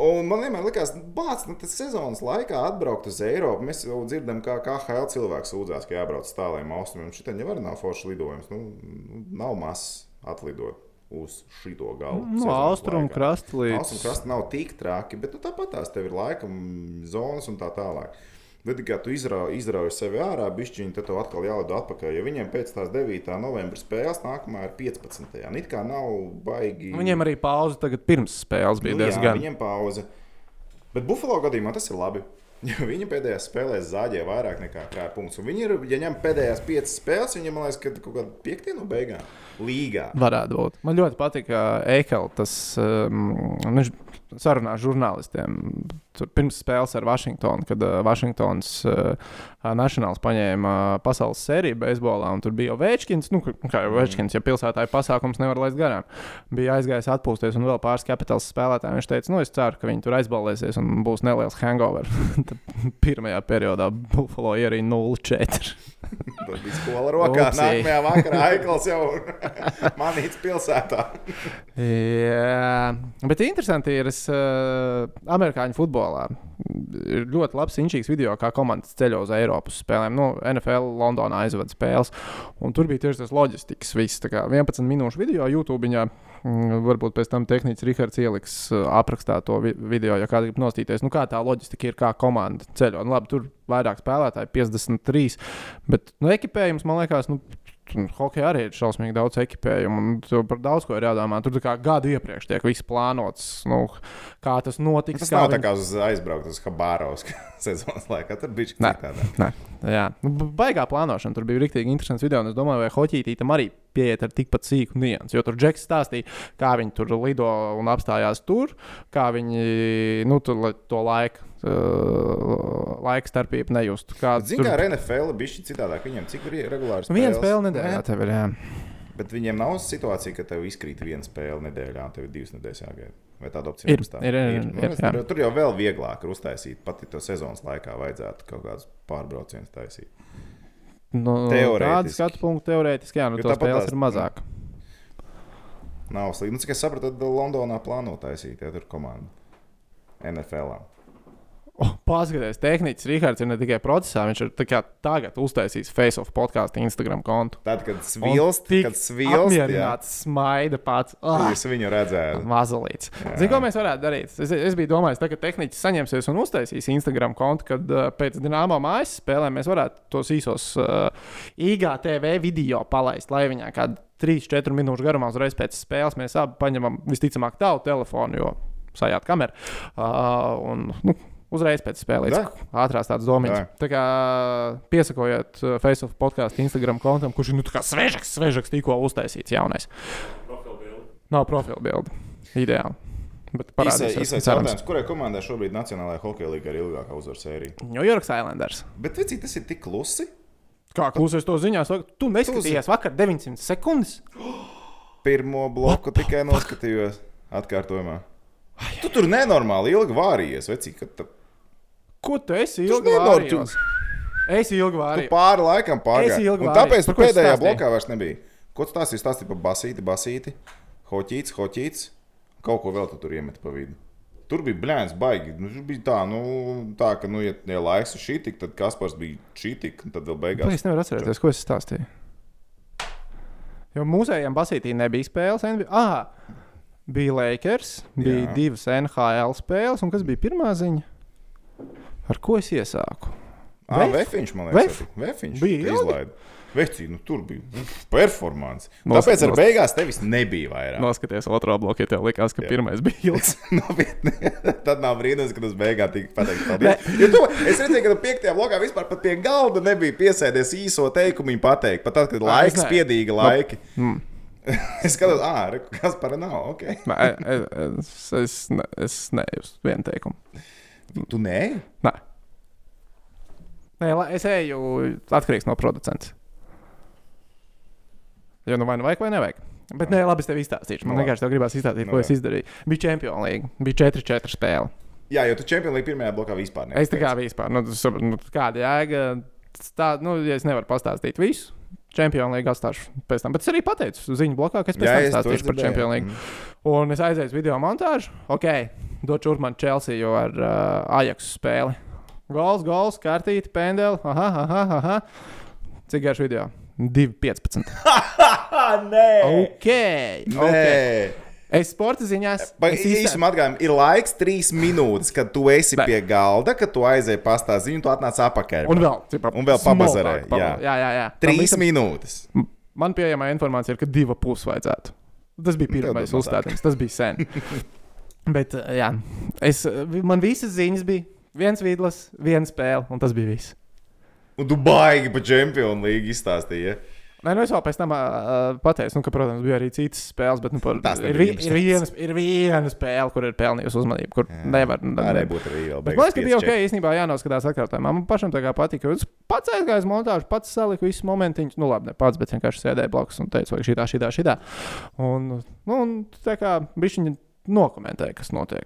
[SPEAKER 2] Un man vienmēr likās, bāc, nu, tas sezonas laikā atbraukt uz Eiropu. Mēs jau dzirdam, kā KL cilvēks sūdzās, ka jābrauc uz tāliem austrumiem. Šitā jau arī nav forša lidojums. Nu, nu, nav mazs atlidot uz šito galu.
[SPEAKER 1] No
[SPEAKER 2] sezonas
[SPEAKER 1] Nu, austrumu
[SPEAKER 2] laikā.
[SPEAKER 1] krasta
[SPEAKER 2] Austrumu
[SPEAKER 1] līdz.
[SPEAKER 2] krasta nav tik traki, bet nu, tāpat tās tev ir laika mm, zonas un tā tālāk. Bet, kā tu izrau- izrauj sevi ārā, bišķiņi, tad tev atkal jālido atpakaļ. Jo viņiem pēc tās 9. novembra spēles nākamā ir 15. Nē, kā nav baigi.
[SPEAKER 1] Viņiem arī pauze tagad pirms spēles bija
[SPEAKER 2] Nu jā,
[SPEAKER 1] diezgan.
[SPEAKER 2] Viņiem pauze. Bet Buffalo gadījumā tas ir labi. Jo viņi pēdējās spēlēs zāģē vairāk nekā krāpjas punkts. Un viņi ir, ja ņem pēdējās piecas spēles, viņiem man liekas, ka kaut kāda piekdiena beigās līgā.
[SPEAKER 1] Varētu būt. Man ļoti patika Eikels, tas um, viņš sarunā ar žurnālistiem. Tur pirms spēles ar Vašingtonu, kad uh, Vašingtons uh, Nationāls paņēma uh, pasaules sēriju beisbolā, un tur bija Ovečkins. Nu, ka- kā jau Ovečkins, ja pilsētā ir pasākums, nevar laist garām. Bija aizgājis atpūsties, un vēl pāris kapitāla spēlētāji. Viņš teica, nu, es ceru, ka viņi tur aizbalēsies un būs neliels hangover. Tad Pirmajā periodā Buffalo ir arī 0-4.
[SPEAKER 2] Tur bija skola rokā.
[SPEAKER 1] Upsi.
[SPEAKER 2] Nākamajā vakarā Aikls jau manīts pilsētā.
[SPEAKER 1] Jā, bet interesanti ir, es uh, amerikāņu futbolā futbolā. Ir ļoti labs, inčīgs video, kā komandas ceļo uz Eiropas spēlēm. Nu, NFL Londonā aizvada spēles. Un tur bija tieši tas loģistikas viss. Tā kā 11 minūšu video YouTube. Ņā. Varbūt pēc tam tehnicis Rahards ieliks ā, aprakstā to vi- video, ja kāds grib nostīties. Nu, kā tā loģistika ir, kā komanda ceļo. Nu, labi, tur vairāk spēlētāji, 53. Bet nu, ekipējums, man liekas, nu, Hokejā arī ir šausmīgi daudz ekipējumu, un tur par daudz ko ir jādomā. Tur tā kā gadu iepriekš tiek viss plānots, nu, kā tas notiks.
[SPEAKER 2] Tas
[SPEAKER 1] kā
[SPEAKER 2] nav tā
[SPEAKER 1] viņi-
[SPEAKER 2] kā uz aizbraukt uz Habārovas sezonas laikā. Tur bija
[SPEAKER 1] Nē.
[SPEAKER 2] šķiet tāda.
[SPEAKER 1] Nē, jā. Nu, b- Baigā plānošana tur bija rīktīgi interesants video, un es domāju, vai Hoķītī tam arī pieiet ar tikpat sīku niansu. Jo tur Džeks stāstīja, kā viņi tur lido un apstājās tur, kā viņi nu, tur, lai to laiku, uh, laika starpību nejustu. Kā
[SPEAKER 2] Ziniet, kā ar NFL bija citādāk. Viņam cik ir regulāri
[SPEAKER 1] Nu, Viena
[SPEAKER 2] spēles?
[SPEAKER 1] spēle nedēļā tev ir. Jā.
[SPEAKER 2] Bet viņiem nav situācija, ka tev izkrīt viena spēle nedēļā, un tev ir divas nedēļas jāgaida. Vai tāda opcija
[SPEAKER 1] Ir,
[SPEAKER 2] jums tā?
[SPEAKER 1] ir, ir, ir,
[SPEAKER 2] Nu,
[SPEAKER 1] ir,
[SPEAKER 2] es-
[SPEAKER 1] jā.
[SPEAKER 2] tur- Tur jau vēl vieglāk ir uztaisīt. Pat ja to sezonas laikā vajadzētu kaut kādus pārbraucienus taisīt.
[SPEAKER 1] Nu,
[SPEAKER 2] Teorētiski.
[SPEAKER 1] Tādu skatu punktu teorētiski, jā, nu,
[SPEAKER 2] Jo
[SPEAKER 1] tas
[SPEAKER 2] tāpat
[SPEAKER 1] spēles
[SPEAKER 2] tās-
[SPEAKER 1] ir mazāk.
[SPEAKER 2] Nav slikti. Nu, cik es sapratu, tad Londonā plāno taisīt, ja tur komanda NFL. -ā.
[SPEAKER 1] Oh, Paskaties, tehnicis Rīgārds ir ne tikai procesā, viņš ir tā kā tagad uztaisījis face-off podkāstu Instagram kontu.
[SPEAKER 2] Tad, kad
[SPEAKER 1] Un
[SPEAKER 2] svilst,
[SPEAKER 1] tik
[SPEAKER 2] kad svilst, jā,
[SPEAKER 1] apmierināts, smaida pats. Ah,
[SPEAKER 2] jūs viņu redzētu.
[SPEAKER 1] Mazalīts.
[SPEAKER 2] Jā.
[SPEAKER 1] Zini, ko mēs varētu darīt? Es, es biju domājis, tā, ka tehnicis saņemsies un uztaisīs Instagram kontu, kad uh, pēc dīnāmā mājas spēlēm mēs varētu tos īsos uh, IGTV video palaist, lai viņā kādā 3-4 minūšu garumā uzreiz pēc spēles mēs abi paņemam visticamāk tavu telefonu, jo sajāt kameru. Uh, un, nu, Uzreiz pēc spēles.
[SPEAKER 2] Da.
[SPEAKER 1] Ātrās tādas domas.
[SPEAKER 2] Da.
[SPEAKER 1] Tā kā piesakojiet uh, Facebook podkāstu Instagram kontam, kurš ir nu, tā kā svežaks, svežaks, tikko uztaisīts jaunais.
[SPEAKER 3] Profilbildi.
[SPEAKER 1] Nav profilu bildi. Ideāli. Bet
[SPEAKER 2] Īsais
[SPEAKER 1] parādīsies,
[SPEAKER 2] īsais
[SPEAKER 1] cerams.
[SPEAKER 2] jautājums, kurai komandai šobrīd Nacionālajā hokeja līnijā ir ilgākā uzvaru sērija?
[SPEAKER 1] New York Islanders.
[SPEAKER 2] Bet, vecīt, tas ir tik klusi.
[SPEAKER 1] Kā klausies to ziņā, saka, tu neskatījies vakar 900 sekundes.
[SPEAKER 2] Pirmo bloku tikai noskatījos atkārtojumā. Tu tur nenormāli ilgi vārījies, vecīt, kad tu
[SPEAKER 1] Ko tu esi
[SPEAKER 2] Tas
[SPEAKER 1] ilgi
[SPEAKER 2] nenormāli.
[SPEAKER 1] vārījis? Es ilgi
[SPEAKER 2] Tu
[SPEAKER 1] vārīju.
[SPEAKER 2] pāri laikam
[SPEAKER 1] Esi
[SPEAKER 2] pārgāji.
[SPEAKER 1] ilgi
[SPEAKER 2] Un
[SPEAKER 1] vārījies.
[SPEAKER 2] Tāpēc
[SPEAKER 1] Par
[SPEAKER 2] tur
[SPEAKER 1] ko tu
[SPEAKER 2] pēdējā
[SPEAKER 1] stāstīji?
[SPEAKER 2] blokā vairs nebija. Ko tu stāstīji? Stāstīji par basīti, basīti, hoķīts, hoķīts. Kaut ko vēl tu tur iemeti pa vidu. Tur bija blēņas, baigi. Nu, tur bija tā, nu, tā ka, nu, ja, ja laiks ir šī tik, tad Kaspars bija šī tik, un tad vēl
[SPEAKER 1] Vai
[SPEAKER 2] beigās.
[SPEAKER 1] Es nevaru atcerēties, ko es stāstīju. Jo mūsējiem basītī nebija spēles. NBA. Ah, bija Lakers, bija
[SPEAKER 2] Jā.
[SPEAKER 1] Jā. divas NHL spēles, un kas bija pirmā ziņa? Ar ko es iesāku?
[SPEAKER 2] Ah,
[SPEAKER 1] Vef?
[SPEAKER 2] Vefiņš, man
[SPEAKER 1] Vef?
[SPEAKER 2] liekas, arī. Vefiņš
[SPEAKER 1] Bija
[SPEAKER 2] tu
[SPEAKER 1] ilgi?
[SPEAKER 2] izlaidi. Vecī, nu, tur bija mm, performance.
[SPEAKER 1] Nost-
[SPEAKER 2] Tāpēc ar
[SPEAKER 1] nost-
[SPEAKER 2] beigās tevis nebija vairāk.
[SPEAKER 1] Noskaties, otrā blokā, ja tev likās, ka Jā. pirmais bija ilgs.
[SPEAKER 2] Nopietni. Tad nav brīnums, ka tas beigās tika pateikts. Paldies. Jo tu, es redzēju, ka tu piektajā blokā vispār pat pie galda nebija piesēdies īso teikumu viņa pateikt. Pat tad,
[SPEAKER 1] Ai,
[SPEAKER 2] kad
[SPEAKER 1] es
[SPEAKER 2] laiks
[SPEAKER 1] ne.
[SPEAKER 2] piedīga laiki.
[SPEAKER 1] Mm.
[SPEAKER 2] Es skatos, ah, re, kas par nav. Okay.
[SPEAKER 1] Nē, es, es, ne- es neju uz vienu teikumu.
[SPEAKER 2] Tu nē?
[SPEAKER 1] Nē, Nē la, es eju atkarīgs no producenta. Jo nu vai nu vajag, vai nevajag. Bet nē, labi, es tev izstāstīšu. Man
[SPEAKER 2] Nu,
[SPEAKER 1] vienkārši tev gribās izstāstīt,
[SPEAKER 2] Nu,
[SPEAKER 1] ko
[SPEAKER 2] labi.
[SPEAKER 1] es izdarīju. Bija Champions League, bija 4-4 spēle.
[SPEAKER 2] Jā, jo tu čempionu līniju pirmajā blokā vispār nē.
[SPEAKER 1] Es tā kā vispār, nu, tu saproti, nu kāda jēga. Tā, nu, ja es nevaru pastāstīt visu. Champions League atstāšu pēc tam. Bet es arī pateicu ziņu blokā, ka es pēc
[SPEAKER 2] Jā,
[SPEAKER 1] tam
[SPEAKER 2] es to Mm.
[SPEAKER 1] pastāstīšu par Champions League. Un es aizēju uz video montāžu. Ok, došu šurp man Chelsea jau ar uh, Ajax spēli. Gols, gols, kārtīte, pendeli. Aha, aha, aha. Cik garš video? 2,15.
[SPEAKER 2] nē!
[SPEAKER 1] Ok, ok.
[SPEAKER 2] Nē!
[SPEAKER 1] Es sporta ziņās.
[SPEAKER 2] Vai
[SPEAKER 1] es izstāstu-
[SPEAKER 2] īstenībā atgādājam, ir laiks trīs minūtes, kad tu esi
[SPEAKER 1] Nē.
[SPEAKER 2] pie galda, kad tu aizēji pastāstīt, un tu atnāc apakaļ.
[SPEAKER 1] Un vēl, cipa,
[SPEAKER 2] Un vēl pabazarē, jā.
[SPEAKER 1] jā, jā, jā. Tam
[SPEAKER 2] Trīs
[SPEAKER 1] visam-
[SPEAKER 2] minūtes.
[SPEAKER 1] Man pieejamā informācija ir, ka divu pusi vajadzētu. Tas bija
[SPEAKER 2] Nu, tev
[SPEAKER 1] pirmais
[SPEAKER 2] dod mazāk.
[SPEAKER 1] uzstādījums, tas bija sen. Bet, uh, jā, es, uh, vi- man visas ziņas bija viens vidlis, viena spēle, un tas bija viss.
[SPEAKER 2] Un tu baigi par čempionu līniju izstāstīji. Ja?
[SPEAKER 1] Nē, nu es vēl pēc tam uh, pateicu, nu, ka, protams, bija arī citas spēles, bet nu, par,
[SPEAKER 2] Tās
[SPEAKER 1] ir,
[SPEAKER 2] nebija
[SPEAKER 1] vi-
[SPEAKER 2] jums
[SPEAKER 1] ir, viena, sp- ir viena spēle, kur ir pelnījusi uzmanību, kur
[SPEAKER 2] Jā.
[SPEAKER 1] jā, nevar.
[SPEAKER 2] Tā arī būtu arī vēl.
[SPEAKER 1] Bet, man liekas, ka bija ok, īstenībā jānoskatās atkārtojumā. Man pašam tā kā patika, jo es pats aizgāju uz montāžu, pats saliku visus momentiņus. Nu, labi, ne pats, bet vienkārši sēdēju blakus un teicu, vajag šitā, šitā, šitā. Un, nu, un tā kā bišķiņi nokomentēja, kas notiek.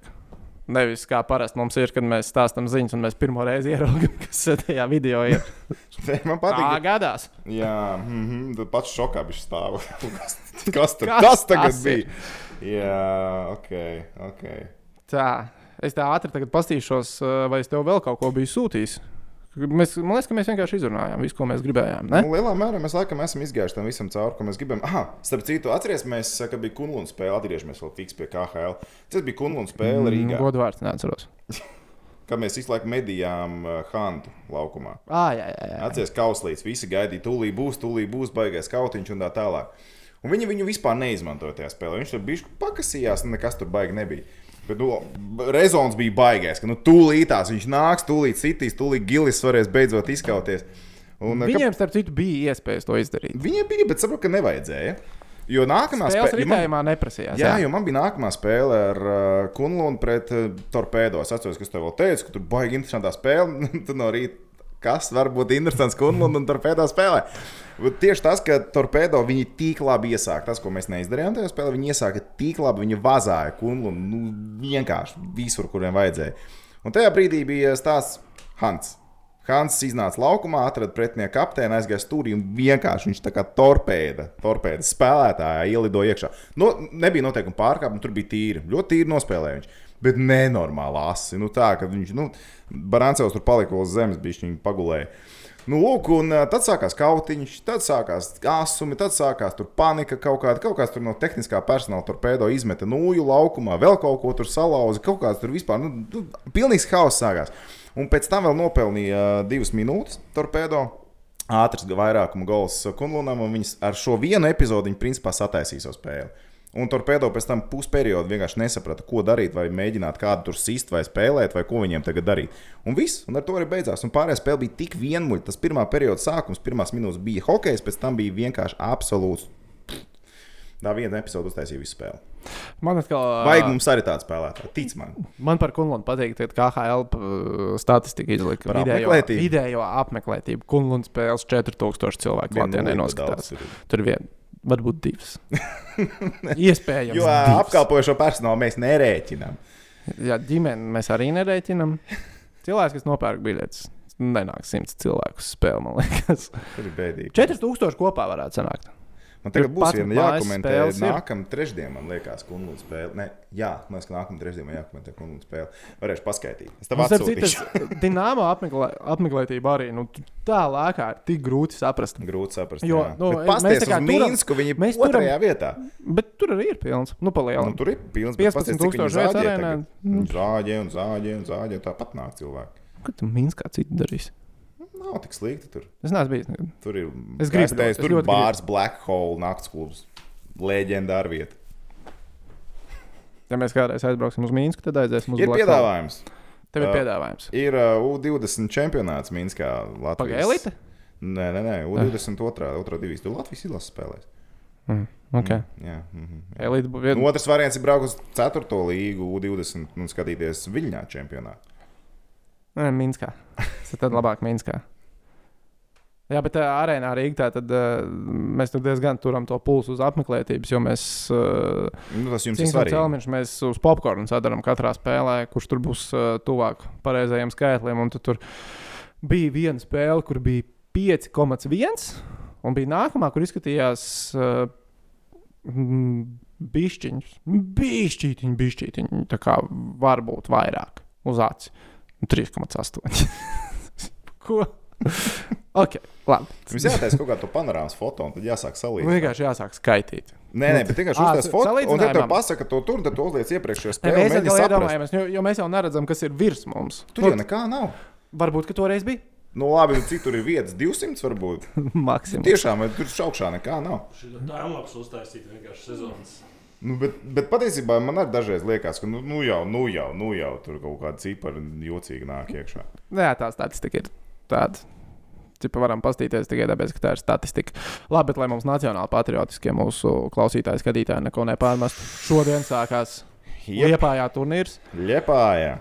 [SPEAKER 1] Nevis kā parasti mums ir, kad mēs stāstām ziņas, un mēs pirmo reizi ieraugām, kas tajā video ir. Tā
[SPEAKER 2] Man patīk.
[SPEAKER 1] gadās.
[SPEAKER 2] Jā, mm -hmm, tad pats šokā bija stāv. kas, kas, tur,
[SPEAKER 1] Kas
[SPEAKER 2] kas tagad
[SPEAKER 1] tas
[SPEAKER 2] bija?
[SPEAKER 1] ir?
[SPEAKER 2] Jā, ok, ok.
[SPEAKER 1] Tā. Es tā ātri tagad paskatīšos, ā, vai es tev vēl kaut ko biju sūtījis. Mēs, man liekas, ka mēs vienkārši izrunājām visu, ko mēs gribējām. Ne?
[SPEAKER 2] Nu, lielā mērā mēs laikam esam izgājuši tam visam cauri, ko mēs gribam. Ah, starp citu, atcerieties, mēs, kad bija Kunlunds spēle, atgriežamies vēl tiks pie KHL. Tas bija Kunlunds
[SPEAKER 1] Mm,
[SPEAKER 2] spēle Rīgā,
[SPEAKER 1] Godu vārds neatceros.
[SPEAKER 2] kad mēs visu laiku medījām eh, Hantu laukumā.
[SPEAKER 1] Ah, jā, jā, jā.
[SPEAKER 2] Atcerieties, kauslīts, visi gaidīja, tūlī būs, tūlī būs baigais kautiņš un tā tālāk. Un viņi viņu vispār neizmantoja tajā spēlē. Viņš tur bija pakasījās, un nekas tur baigi nebija. Bet, nu, b- rezons bija baigais, ka nu, tūlītās viņš nāks, tūlīt citīs, tūlīt gilis varēs beidzot izkauties. Un, eh,
[SPEAKER 1] Viņiem, starp citu, bija iespējas to izdarīt.
[SPEAKER 2] Viņiem bija, bet saprotu, ka nevajadzēja. Jo nākamā
[SPEAKER 1] Spēles
[SPEAKER 2] spē- jo man-
[SPEAKER 1] ritējumā neprasījās.
[SPEAKER 2] Jā, jo man bija nākamā spēle ar uh, Kunlunu pret uh, Torpēdo. Es atceros, kas tev vēl teica, ka tur baigi interesantā spēle. Tad no rīta, kas var būt interesants Kunlunu un Torpēdo spēlē. Bet Tieši tas, ka Torpēdo viņi tik labi iesāka, tas, ko mēs neizdarījām tajā spēlē, viņi iesāka tik labi, viņi vazāja Kunlunu nu, vienkārši visur, kuriem vajadzēja. Un tajā brīdī bija stāsts Hans. Hans iznāca laukumā, atrada pretinieka kapteini, aizgāja stūrī un vienkārši viņš tā kā torpēda, torpēda spēlētāja ielidoja iekšā. No, nebija noteikuma pārkāpuma, tur bija tīri. Ļoti tīri nospēlēja viņš. Bet nenormāli asi. Nu, tā kā viņš, nu, Barancevs tur palika uz zemes, bija viņa pagulēja. Nu, lūk, un ā, tad sākās kautiņš, tad sākās asumi, tad sākās tur panika kaut kāda. Kaut kāds tur no tehniskā personāla torpēdo izmeta nūju laukumā, vēl kaut ko tur salauza. Kaut kāds tur vispār, nu, nu pilnīgs haoss sākās. Un pēc tam vēl nopelnīja ā, divas minūtes torpēdo. Ātrs vairākuma gols Kunlunam, un viņas ar šo vienu epizodi viņa principā sataisīs savu spēli. Un torpēdo pēc tam pusperiodu vienkārši nesaprata, ko darīt, vai mēģināt kādu tur sist, vai spēlēt, vai ko viņiem tagad darīt. Un viss, un ar to arī beidzās. Un pārējā spēle bija tik vienmuļa. Tas pirmā perioda sākums, pirmās minūtes bija hockey, pēc tam bija vienkārši absolūts. Tā viena epizode uztaisīja visu spēli.
[SPEAKER 1] Man atkal,
[SPEAKER 2] Vajag mums arī tādu spēlētāju, tic man.
[SPEAKER 1] Man par Kunlunu patīk, ka KHL p- statistika izlika
[SPEAKER 2] Par
[SPEAKER 1] vidējo
[SPEAKER 2] apmeklētību?
[SPEAKER 1] vidējo apmeklētību. Kunlunu spēles 4000 cilvēku klātienē
[SPEAKER 2] Vienmuļa
[SPEAKER 1] noskatās.
[SPEAKER 2] daudz ir.
[SPEAKER 1] Tur vien, varbūt divas. Iespējams,
[SPEAKER 2] Jo
[SPEAKER 1] divas.
[SPEAKER 2] apkalpojošo personālu mēs nerēķinām.
[SPEAKER 1] Jā, ģimeni mēs arī nerēķinām. Cilvēks, kas nopērk biļetes, nenāk simts cilvēku uz spēli, man liekas.
[SPEAKER 2] Tas ir bēdīgi.
[SPEAKER 1] 4000 kopā varētu sanākt.
[SPEAKER 2] Man tagad
[SPEAKER 1] Tur
[SPEAKER 2] būs
[SPEAKER 1] pat
[SPEAKER 2] viena
[SPEAKER 1] mājas
[SPEAKER 2] jākomentē.
[SPEAKER 1] spēles ir.
[SPEAKER 2] Nākamā trešdiena, man liekas, kundze spēle. Nē, jā, man liekas, ka nākamā trešdiena jākomentē kundze spēle. Varēšu paskaidrot. Es tev
[SPEAKER 1] Un, Nu, starp citu,
[SPEAKER 2] atsūtīšu.
[SPEAKER 1] tas Dienāmo apmeklē, apmeklētība arī nu, tā lēkā ir tik grūti saprast.
[SPEAKER 2] Grūti saprast.
[SPEAKER 1] Jo,
[SPEAKER 2] Jo,
[SPEAKER 1] nu,
[SPEAKER 2] nu,
[SPEAKER 1] mēs
[SPEAKER 2] Pastāstiet,
[SPEAKER 1] tā kā
[SPEAKER 2] kā
[SPEAKER 1] turam-
[SPEAKER 2] Mīnsku viņi
[SPEAKER 1] mēs
[SPEAKER 2] ir otrajā vietā.
[SPEAKER 1] Bet tur arī ir pilns. Nu,
[SPEAKER 2] Nu,
[SPEAKER 1] palielināts.
[SPEAKER 2] tur ir pilns
[SPEAKER 1] 15 000 vietas arēnā.
[SPEAKER 2] Zāģē un zāģē un zāģē. Tāpat nāk cilvēki. Nu,
[SPEAKER 1] Ko tu Minskā citu darīsi?
[SPEAKER 2] Nav tik slikti tur.
[SPEAKER 1] Es neesmu bijis. nekad.
[SPEAKER 2] Tur ir,
[SPEAKER 1] Es
[SPEAKER 2] kā
[SPEAKER 1] gribu, es
[SPEAKER 2] teicu, tur
[SPEAKER 1] ļoti
[SPEAKER 2] ir bārs, black hole, nakts klubs. Leģendāra vieta.
[SPEAKER 1] Ja mēs kādreiz aizbrauksim uz Mīnsku, tad aiziesim uz
[SPEAKER 2] Ir
[SPEAKER 1] Blackpool.
[SPEAKER 2] piedāvājums.
[SPEAKER 1] Tev ir
[SPEAKER 2] Ā.
[SPEAKER 1] piedāvājums.
[SPEAKER 2] Ir uh, U20 čempionāts Minskā. Latvijas.
[SPEAKER 1] Pagaidīt,
[SPEAKER 2] Nē, nē, nē,
[SPEAKER 1] Ah.
[SPEAKER 2] U22. otrā divīs. Tur Latvijas izlases spēlēs.
[SPEAKER 1] okay.
[SPEAKER 2] Jā. mhm.
[SPEAKER 1] elite būs
[SPEAKER 2] Un
[SPEAKER 1] viena.
[SPEAKER 2] otrs variants ir braukt uz 4. līgu U20 un skatīties Viļņā čempionātā.
[SPEAKER 1] Nē, Nu, Minskā. Tas tad labāk Minskā. Jā, bet tā arēnā Rīgā tad uh, mēs tur diezgan turam to pulsu uz apmeklētības, jo mēs uh,
[SPEAKER 2] Nu, tas jums ir
[SPEAKER 1] Cīņas ar
[SPEAKER 2] svarīgi.
[SPEAKER 1] cēlniņš mēs uz popkornu sadarām katrā spēlē, kurš tur būs uh, tuvāk pareizajiem skaitļiem. Un tad tur bija viena spēle, kur bija 5,1, un bija nākamā, kur izskatījās. Uh, Bišķiņš, bišķiņš, bišķiņš. Tā kā var būt vairāk uz Nu, acu. Un 3,8. Ko? ok, labi.
[SPEAKER 2] Jums jātaisa kaut kā to panorāmas foto, un tad jāsāk
[SPEAKER 1] Man
[SPEAKER 2] salīdzināt.
[SPEAKER 1] vienkārši jāsāk skaitīt.
[SPEAKER 2] Nē, nē, bet vienkārši
[SPEAKER 1] Ā,
[SPEAKER 2] uztaisīt foto. Un tad tev
[SPEAKER 1] salīdzinājumam.
[SPEAKER 2] pasaka, to tur, tad tu uzliec iepriekšējā
[SPEAKER 1] Ne,
[SPEAKER 2] spēlē.
[SPEAKER 1] mēs jau
[SPEAKER 2] un mēģini
[SPEAKER 1] tādā
[SPEAKER 2] saprast.
[SPEAKER 1] domājam, jo mēs jau neredzam, kas ir virs mums.
[SPEAKER 2] Tur jau nekā nav.
[SPEAKER 1] Varbūt, ka toreiz bija
[SPEAKER 2] Nu, labi, un cik tur ir vietas? 200 varbūt.
[SPEAKER 1] maksimums.
[SPEAKER 2] Tiešām, tur šaukšā nekā nav.
[SPEAKER 3] Šī tā ir labs uztaisīt vienkārši sezonas.
[SPEAKER 2] Nu, bet, bet patiesībā man arī dažreiz liekas, ka nu, nu jau, nu jau, nu jau tur kaut kāda cipara jocīgi nāk iekšā.
[SPEAKER 1] Nē, tā statistika ir tāda. Cipa varam paskatīties tikai tāpēc, ka tā ir statistika. Labi, bet lai mums nacionāli patriotiskie mūsu klausītāji, skatītāji neko nepārmest. Šodien sākās
[SPEAKER 2] Jep,
[SPEAKER 1] Liepājā turnīrs.
[SPEAKER 2] Ļepājā.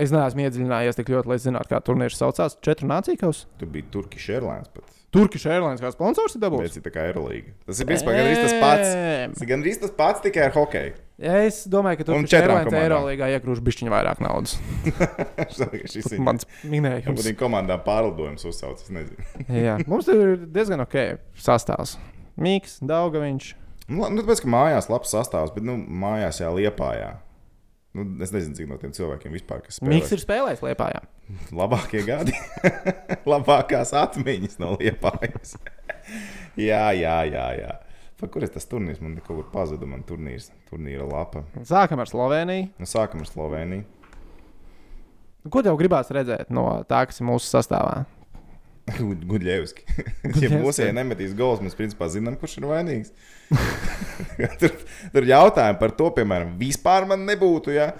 [SPEAKER 1] Es neesmu iedziļinājies tik ļoti, lai zinātu, kā turnīrs saucās. Četru nāciju kaus.
[SPEAKER 2] Tur bija Turkish Airlines pat.
[SPEAKER 1] Turkish Airlines kā sponsors ir
[SPEAKER 2] Tāpēc
[SPEAKER 1] dabūjis.
[SPEAKER 2] ir tā kā aerolīga. Tas ir principā gandrīz tas pats. Tas ir gandrīz tas pats, tikai ar hokeju.
[SPEAKER 1] Es domāju, ka
[SPEAKER 2] Un
[SPEAKER 1] Turkish
[SPEAKER 2] četrām
[SPEAKER 1] Airlines
[SPEAKER 2] komandām.
[SPEAKER 1] Eirolandā iekrūž bišķiņu vairāk naudas.
[SPEAKER 2] Šis ir
[SPEAKER 1] Mans
[SPEAKER 2] Varbūt
[SPEAKER 1] minējums.
[SPEAKER 2] viņa komandām pārlidojums uzsaucas. Es nezinu.
[SPEAKER 1] Jā, mums tur ir diezgan ok sastāvs. Mīks, Daugaviņš.
[SPEAKER 2] Nu, la- nu, tāpēc, ka mājās labs sastāvs, bet nu, mājās jāliepājā. Nu, es nezinu, cik no tiem cilvēkiem vispār kas spēlē.
[SPEAKER 1] Miks ir spēlējis Lietpā.
[SPEAKER 2] labākie gadi, labākās atmiņas no liepājas. jā, jā, jā. jā. Pa, kur ir tas turnīrs? Man kaut kur pazuda man turnīrs, turnīra lapa.
[SPEAKER 1] Sākam ar Sloveniju.
[SPEAKER 2] Nu, sākam ar Sloveniju.
[SPEAKER 1] Ko tev gribās redzēt no tā, kas ir mūsu sastāvā?
[SPEAKER 2] Gud- Gudļevski. ja
[SPEAKER 1] Gudļevski.
[SPEAKER 2] mūsu gājēji nemetīs gols, mēs principā zinām, kurš ir vainīgs. tur, tur jautājumi par to, piemēram, vispār man nebūtu. Ja?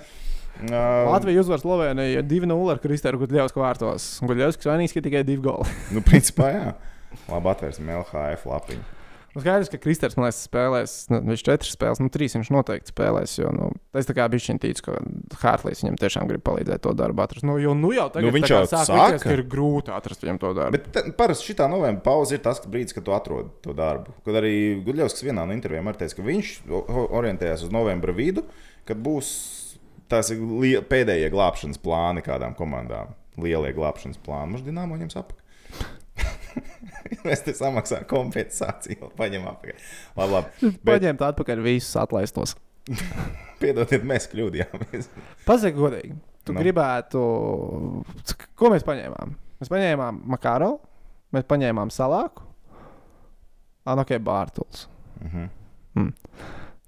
[SPEAKER 2] Uh,
[SPEAKER 1] Latvija uzvar Sloveniju 2-0 ar Kristēru Gudļevsku vārtos. Gudļevskis vainīgs, ka tikai divi goli.
[SPEAKER 2] Nu, principā, jā. Labi, atvērsim LHF lapiņu.
[SPEAKER 1] Nu, Skaidrs, ka Kristers man liekas, spēlēs, nu, viņš četras spēles, nu, trīs viņš noteikti spēlēs. Jo, nu, es tā kā bijuši ticu, ka Hārtlīs viņam tiešām grib palīdzēt to darbu atrast. Nu, jo, nu jau tagad
[SPEAKER 2] Nu, viņš
[SPEAKER 1] tā kā
[SPEAKER 2] jau
[SPEAKER 1] sāk
[SPEAKER 2] saka.
[SPEAKER 1] likties, ka ir grūti atrast viņam to darbu.
[SPEAKER 2] Bet te- parasti šī novembra pauze ir tas brīdis, kad tu atrod to darbu. Kad arī Gudļevskis vienā no intervijām arī teica, ka viņš o- o- orientējās uz novembra vidu, kad būs tās lie- pēdējie glābšanas plāni kādām komandām. Lielie glābšanas plāni. Mums dīnāmo ņems apakšā. Mēs te samaksājam kompensāciju, paņemam apakšā. Labi, labi.
[SPEAKER 1] Bet...
[SPEAKER 2] Bet,
[SPEAKER 1] Paņemt atpakaļ visus atlaistos.
[SPEAKER 2] piedodiet, mēs kļūdījāmies.
[SPEAKER 1] Pasaki godīgi, tu
[SPEAKER 2] Nu.
[SPEAKER 1] nu. gribētu, ko mēs paņēmām? Mēs paņēmām Makaro, mēs paņēmām Salāku, Anokai Bārtuls.
[SPEAKER 2] Mhm.
[SPEAKER 1] Mm.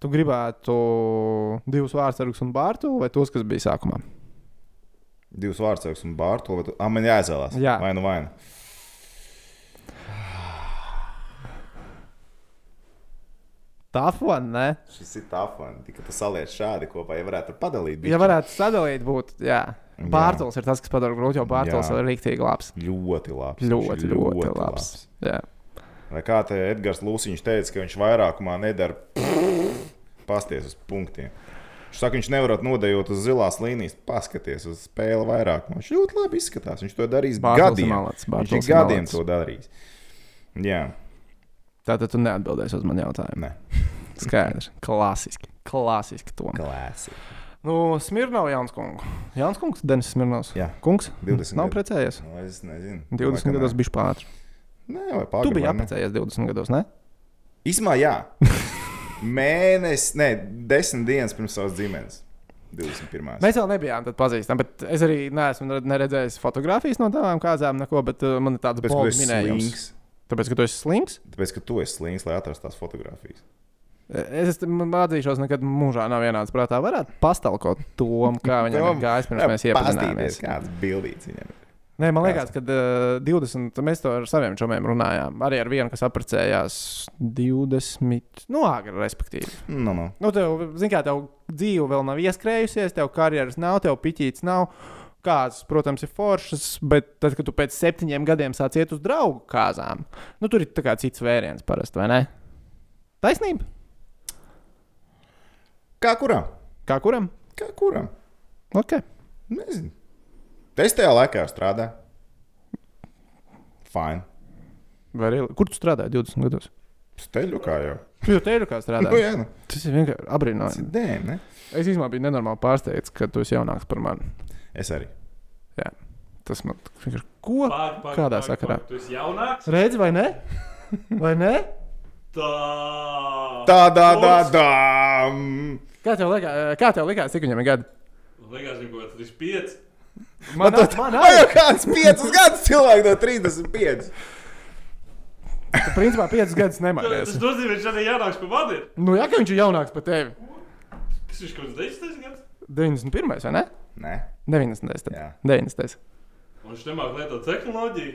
[SPEAKER 1] Tu gribētu divus vārdsargus un Bārtu vai tos, kas bija sākumā?
[SPEAKER 2] Divus vārdus un bārtu, bet ah, man jāizvēlās.
[SPEAKER 1] Jā.
[SPEAKER 2] Vai nu vai nu.
[SPEAKER 1] Tāfu, ne?
[SPEAKER 2] Šis ir tāfani, tikai tas saliec šādi kopā, ja varētu padalīt.
[SPEAKER 1] Ja
[SPEAKER 2] bišķi.
[SPEAKER 1] varētu sadalīt, būtu. Jā.
[SPEAKER 2] Jā.
[SPEAKER 1] Bārtaļs ir tas, kas padara grūti, jo Bārtaļs
[SPEAKER 2] Jā.
[SPEAKER 1] ir rīktīgi labs.
[SPEAKER 2] Ļoti labs. viņš
[SPEAKER 1] Ļoti, ļoti,
[SPEAKER 2] ir
[SPEAKER 1] ļoti labs. Jā.
[SPEAKER 2] Vai kā te Edgars Lūsiņš teica, ka viņš vairākumā nedara pasties uz punktiem. Viņš saka, viņš nevar nodejot uz zilās līnijas, paskaties uz spēli vairāk. Viņš ļoti labi izskatās. Viņš to darīs
[SPEAKER 1] Bārtaļs ir
[SPEAKER 2] gadiem.
[SPEAKER 1] malāts,
[SPEAKER 2] Viņš
[SPEAKER 1] Bārtaļs
[SPEAKER 2] ir
[SPEAKER 1] ir
[SPEAKER 2] gadiem
[SPEAKER 1] malāts.
[SPEAKER 2] to darījis. Jā,
[SPEAKER 1] Tātad tu neatbildēsi uz manu jautājumu.
[SPEAKER 2] nē,
[SPEAKER 1] Skaidrs. Klasiski. Klasiski to.
[SPEAKER 2] klāsi.
[SPEAKER 1] Nu, Smirnovs, Jānis Kungs. Jānis Kungs, Denis Smirnovs.
[SPEAKER 2] Jā.
[SPEAKER 1] Kungs.
[SPEAKER 2] 20
[SPEAKER 1] Nav
[SPEAKER 2] gadu.
[SPEAKER 1] precējies.
[SPEAKER 2] Nu, es nezinu.
[SPEAKER 1] 20 gados bija pāri.
[SPEAKER 2] bija. Nē, vai
[SPEAKER 1] Tu
[SPEAKER 2] pārāk.
[SPEAKER 1] biji apprecējies 20 gados, ne?
[SPEAKER 2] Īsumā, jā. Mēnesis, nē, desmit dienas pirms savas dzimšanas. 21.
[SPEAKER 1] Mēs vēl nebijām tad pazīstami, bet es arī neesmu red- neredzējis fotogrāfijas no tām kāzām, neko, bet uh, man ir tāds
[SPEAKER 2] Tāpēc, ka tu
[SPEAKER 1] bols
[SPEAKER 2] esi
[SPEAKER 1] minējums.
[SPEAKER 2] slings.
[SPEAKER 1] Tāpēc, ka tu esi slings,
[SPEAKER 2] Tāpēc, ka tu esi slings, lai atrastu tās fotogrāfijas.
[SPEAKER 1] E, Es es- man atzīšos, nekad mūžā nav ienācis prātā. Varētu pastalkot to, kā viņam ir gājis pirms mēs
[SPEAKER 2] Pastāstīties,
[SPEAKER 1] iepazināmies.
[SPEAKER 2] kādas bildītas viņam ir.
[SPEAKER 1] Nē, man liekas, ka uh, 20. Mēs to ar saviem čomiem runājām. Arī ar vienu, kas apprecējās 20. No agri, respektīvi.
[SPEAKER 2] Nu, nu.
[SPEAKER 1] Nu, tev, zini, kā tev dzīve vēl nav ieskrējusies, tev karjeras nav, tev piķīts nav. Kāds, protams, ir foršs, bet tad, kad tu pēc septiņiem gadiem sāc iet uz draugu kāzām, nu, tur ir tā kā cits vēriens parasti, vai ne? Taisnība?
[SPEAKER 2] Kā kuram?
[SPEAKER 1] Kā kuram?
[SPEAKER 2] Kā kuram?
[SPEAKER 1] Okay.
[SPEAKER 2] Nezinu. Es tajā laikā strādāju. Fine.
[SPEAKER 1] Vai arī, kur tu strādāji 20 gados?
[SPEAKER 2] Steļu kā jau.
[SPEAKER 1] Jo te ir kā
[SPEAKER 2] Nu,
[SPEAKER 1] strādājot.
[SPEAKER 2] jā, nu.
[SPEAKER 1] Tas ir vienkārši
[SPEAKER 2] Tas
[SPEAKER 1] apbrīnojami.
[SPEAKER 2] ir dēļ, ne?
[SPEAKER 1] Es īstenībā biju nenormāli pārsteigts, ka tu esi jaunāks par mani.
[SPEAKER 2] Es arī.
[SPEAKER 1] Tas man vienkārši ko?
[SPEAKER 3] Pār, pār,
[SPEAKER 1] Kādā sakarā?
[SPEAKER 3] Tu esi jaunāks?
[SPEAKER 1] Redzi, vai ne? Vai ne?
[SPEAKER 3] Tā.
[SPEAKER 2] Tā, tā, tā,
[SPEAKER 3] Ups.
[SPEAKER 2] tā.
[SPEAKER 1] Kā tev, likā, kā tev likās, cik viņam ir gadi?
[SPEAKER 3] Likās, ka kaut kas 35.
[SPEAKER 1] Man liekas, man
[SPEAKER 2] Vai jau
[SPEAKER 1] arī.
[SPEAKER 2] kāds 5 gadus cilvēks no 35?
[SPEAKER 1] Tu principā 5 gadus
[SPEAKER 3] Tas
[SPEAKER 1] nemainījies.
[SPEAKER 3] nozīmē, ka viņš arī jaunāks par mani. ir.
[SPEAKER 1] Nu, jā, ka viņš ir jaunāks par tevi.
[SPEAKER 3] Kas viņš kaut kāds 10 gads?
[SPEAKER 1] 91. vai ne?
[SPEAKER 2] Nē.
[SPEAKER 1] 90. tad.
[SPEAKER 2] Jā.
[SPEAKER 1] 90.
[SPEAKER 3] Un viņš nemāk lietot tehnoloģiju.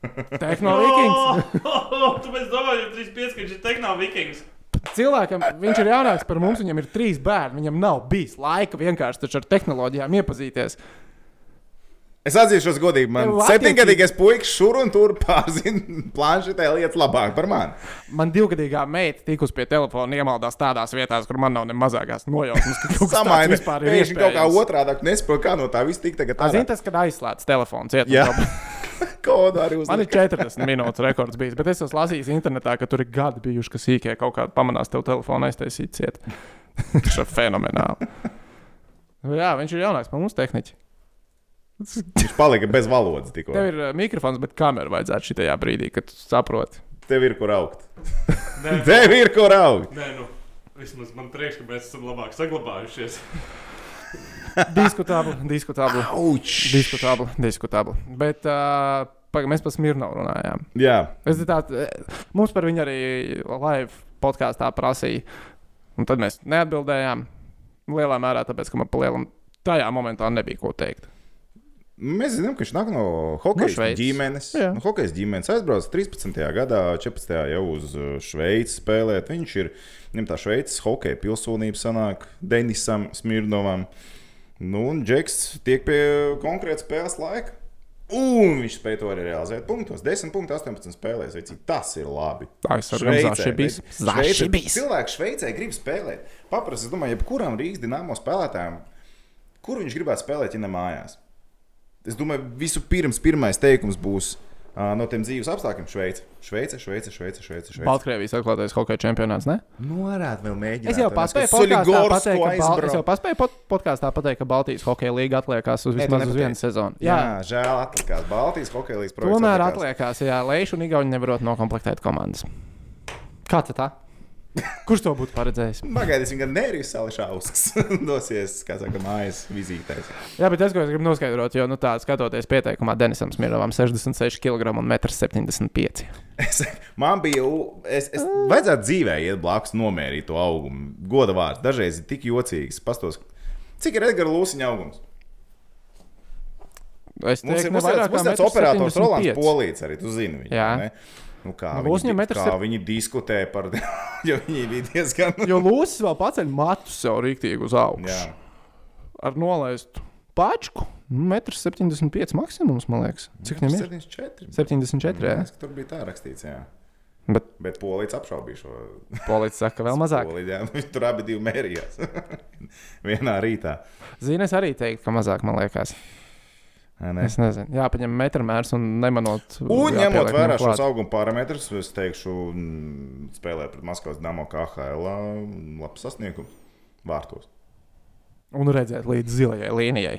[SPEAKER 1] Tehnoloģis.
[SPEAKER 3] Tāpēc domāju, ka 35 ka viņš ir tehnoloģis.
[SPEAKER 1] Cilvēkam viņš ir jaunāks par mums, viņam ir trīs bērni. Viņam nav bijis laika vienkārši taču ar tehnoloģijām iepazīties.
[SPEAKER 2] Es atzīšos godīgi, man
[SPEAKER 1] Tev attiecīgi-
[SPEAKER 2] septiņgadīgais puisis šur un tur pārzina planšetē lietas labāk par mani.
[SPEAKER 1] Man divgadīgā meita tikus pie telefona iemaldās tādās vietās, kur man nav ne mazākās nojausmas, ka kaut kas tāds
[SPEAKER 2] Samaini,
[SPEAKER 1] vispār ir
[SPEAKER 2] viņš kaut kā
[SPEAKER 1] iespējams.
[SPEAKER 2] otrādi nesaprot, kā no tā viss tika tagad
[SPEAKER 1] Zini,
[SPEAKER 2] tāds.
[SPEAKER 1] tas, kad aizslēdz telefons, iet uz
[SPEAKER 2] Jā,
[SPEAKER 1] dabu.
[SPEAKER 2] kodu arī
[SPEAKER 1] Man ir
[SPEAKER 2] uzmanīgi.
[SPEAKER 1] 40 minūtes rekords bijis, bet es esmu lasījis internetā, ka tur ir gadi bijuši, ka sīkē kaut kādā pamanās tev telefonu aiztaisīt ciet. Tas ir fenomenāli. Nu Jā, viņš ir jaunāks par mums tehniķi.
[SPEAKER 2] Viņš palika bez valodas tikko.
[SPEAKER 1] Tev ir uh, mikrofons, bet kamera vajadzētu šajā brīdī, kad tu saproti.
[SPEAKER 2] Tev ir kur augt.
[SPEAKER 3] Nē,
[SPEAKER 2] Tev ir kur augt.
[SPEAKER 3] nē, nu. Vismaz man prieks, ka mēs esam labāk saglabājušies.
[SPEAKER 1] Diskutabli, diskutabli.
[SPEAKER 2] Auč!
[SPEAKER 1] Diskutabli, diskutabli. Bet uh, paga, mēs par Smirnovu runājām.
[SPEAKER 2] Jā,
[SPEAKER 1] Es tā, mums par viņu arī live podkāstā prasīja. Un tad mēs neatbildējām. Lielā mērā tāpēc, ka man pa lielam tajā momentā nebija ko teikt.
[SPEAKER 2] Mēs zinām, ka viņš nāk no hokeja no
[SPEAKER 1] Šveices.
[SPEAKER 2] ģimenes.
[SPEAKER 1] Jā.
[SPEAKER 2] No hokeja ģimenes aizbraucis 13. gadā, 14. jau uz uh, Šveici spēlēt. Viņš ir viņam tā Šveices hokeja pilsonība, sanāk Denisam Smirnovam. Nu, un Džeks tiek pie konkrēta spēles laika. Un viņš spēja to arī realizēt. Punktos 10, punktu 18 spēlēs. Vecīt, tas ir labi.
[SPEAKER 1] Aizsargam Zašibis.
[SPEAKER 2] Šveicē, cilvēks Šveicē grib spēlēt. Paprasti, es domāju, jebkuram Rīgas dīnāmo spēlētājam, kur viņš gribētu spēlēt, ja ne mājās. Es domāju, vispirms pirmais teikums būs ā, no tiem dzīves apstākļiem Šveice. Šveice, Šveice, Šveice, Šveice. Šveice.
[SPEAKER 1] Baltkrievijas atklātais hokeja čempionāts, ne?
[SPEAKER 2] Norāda Nu, vēl mēģināt.
[SPEAKER 1] Es jau
[SPEAKER 2] tāpēc, ka
[SPEAKER 1] paspēju podkāstā
[SPEAKER 2] Soligorsku
[SPEAKER 1] pateikt, ka, Bal... es
[SPEAKER 2] aizbrauc.
[SPEAKER 1] jau paspēju pod podkāstā pateikt, ka Baltijas hokeja līga atliekās uz
[SPEAKER 2] Nē, tu
[SPEAKER 1] vismaz uz
[SPEAKER 2] nepateici.
[SPEAKER 1] vienu sezonu.
[SPEAKER 2] Jā,
[SPEAKER 1] Jā,
[SPEAKER 2] žēl atlikās. Baltijas hokeja līnijas projekts.
[SPEAKER 1] tomēr
[SPEAKER 2] atlikās.
[SPEAKER 1] atliekās, ja Leiša un Igauni nevarot nokomplektēt komandas. Kā tad tā? Kurš to būtu paredzējis?
[SPEAKER 2] Pagaidīsim, kad Nērijs Sališausks dosies, kā saka, mājas vizītēs.
[SPEAKER 1] Jā, bet tas, ko es gribu noskaidrot, jo, nu, tā skatoties pieteikumā, Denisam Smirnovam 66 kg un 1,75 m.
[SPEAKER 2] Es, man bija, u- es, es vajadzētu dzīvē iet blakus, nomērīt to augumu. Goda vārds. Dažreiz ir tik jocīgs. Pastos, cik ir Edgars Lūsija augums?
[SPEAKER 1] Es
[SPEAKER 2] Mums
[SPEAKER 1] teiktu,
[SPEAKER 2] ir
[SPEAKER 1] ka
[SPEAKER 2] mums ir tāds- mums ir tāds operators Rolands Polīts arī, tu zini viņu.
[SPEAKER 1] Jā.
[SPEAKER 2] ne? Nu, kā
[SPEAKER 1] Nu,
[SPEAKER 2] nu, viņi,
[SPEAKER 1] Lūsņam
[SPEAKER 2] di-
[SPEAKER 1] metrs
[SPEAKER 2] kā
[SPEAKER 1] ir-
[SPEAKER 2] viņi diskutē par, jo viņi bija diezgan.
[SPEAKER 1] Jo Lūsis vēl paceļ matus sev rīktīgi uz augšu.
[SPEAKER 2] Jā.
[SPEAKER 1] Ar nolaistu pačku nu, 1,75 m maksimums, man liekas. Cik viņam ir?
[SPEAKER 2] 74.
[SPEAKER 1] 74.
[SPEAKER 2] Man
[SPEAKER 1] Jā.
[SPEAKER 2] liekas, ka Tur bija tā rakstīts, jā.
[SPEAKER 1] Bet
[SPEAKER 2] Bet polīts apšaubīja šo
[SPEAKER 1] polīts saka, vēl mazāk.
[SPEAKER 2] Polīti, jā. Viņi tur abi divi mērījās. Vienā rītā.
[SPEAKER 1] Zini, es arī teiktu, ka mazāk, man liekas.
[SPEAKER 2] Nē,
[SPEAKER 1] Es nezinu. Jā, paņem metru mērs un nemanot.
[SPEAKER 2] Un
[SPEAKER 1] jāpieliek
[SPEAKER 2] ņemot vērā
[SPEAKER 1] viņam klāt.
[SPEAKER 2] šos auguma parametrus, es teikšu, mm, spēlē pret Maskavas Dāmo KHL. mm, Labs sasniegums vārtos.
[SPEAKER 1] Un redzēt līdz zilajai līnijai.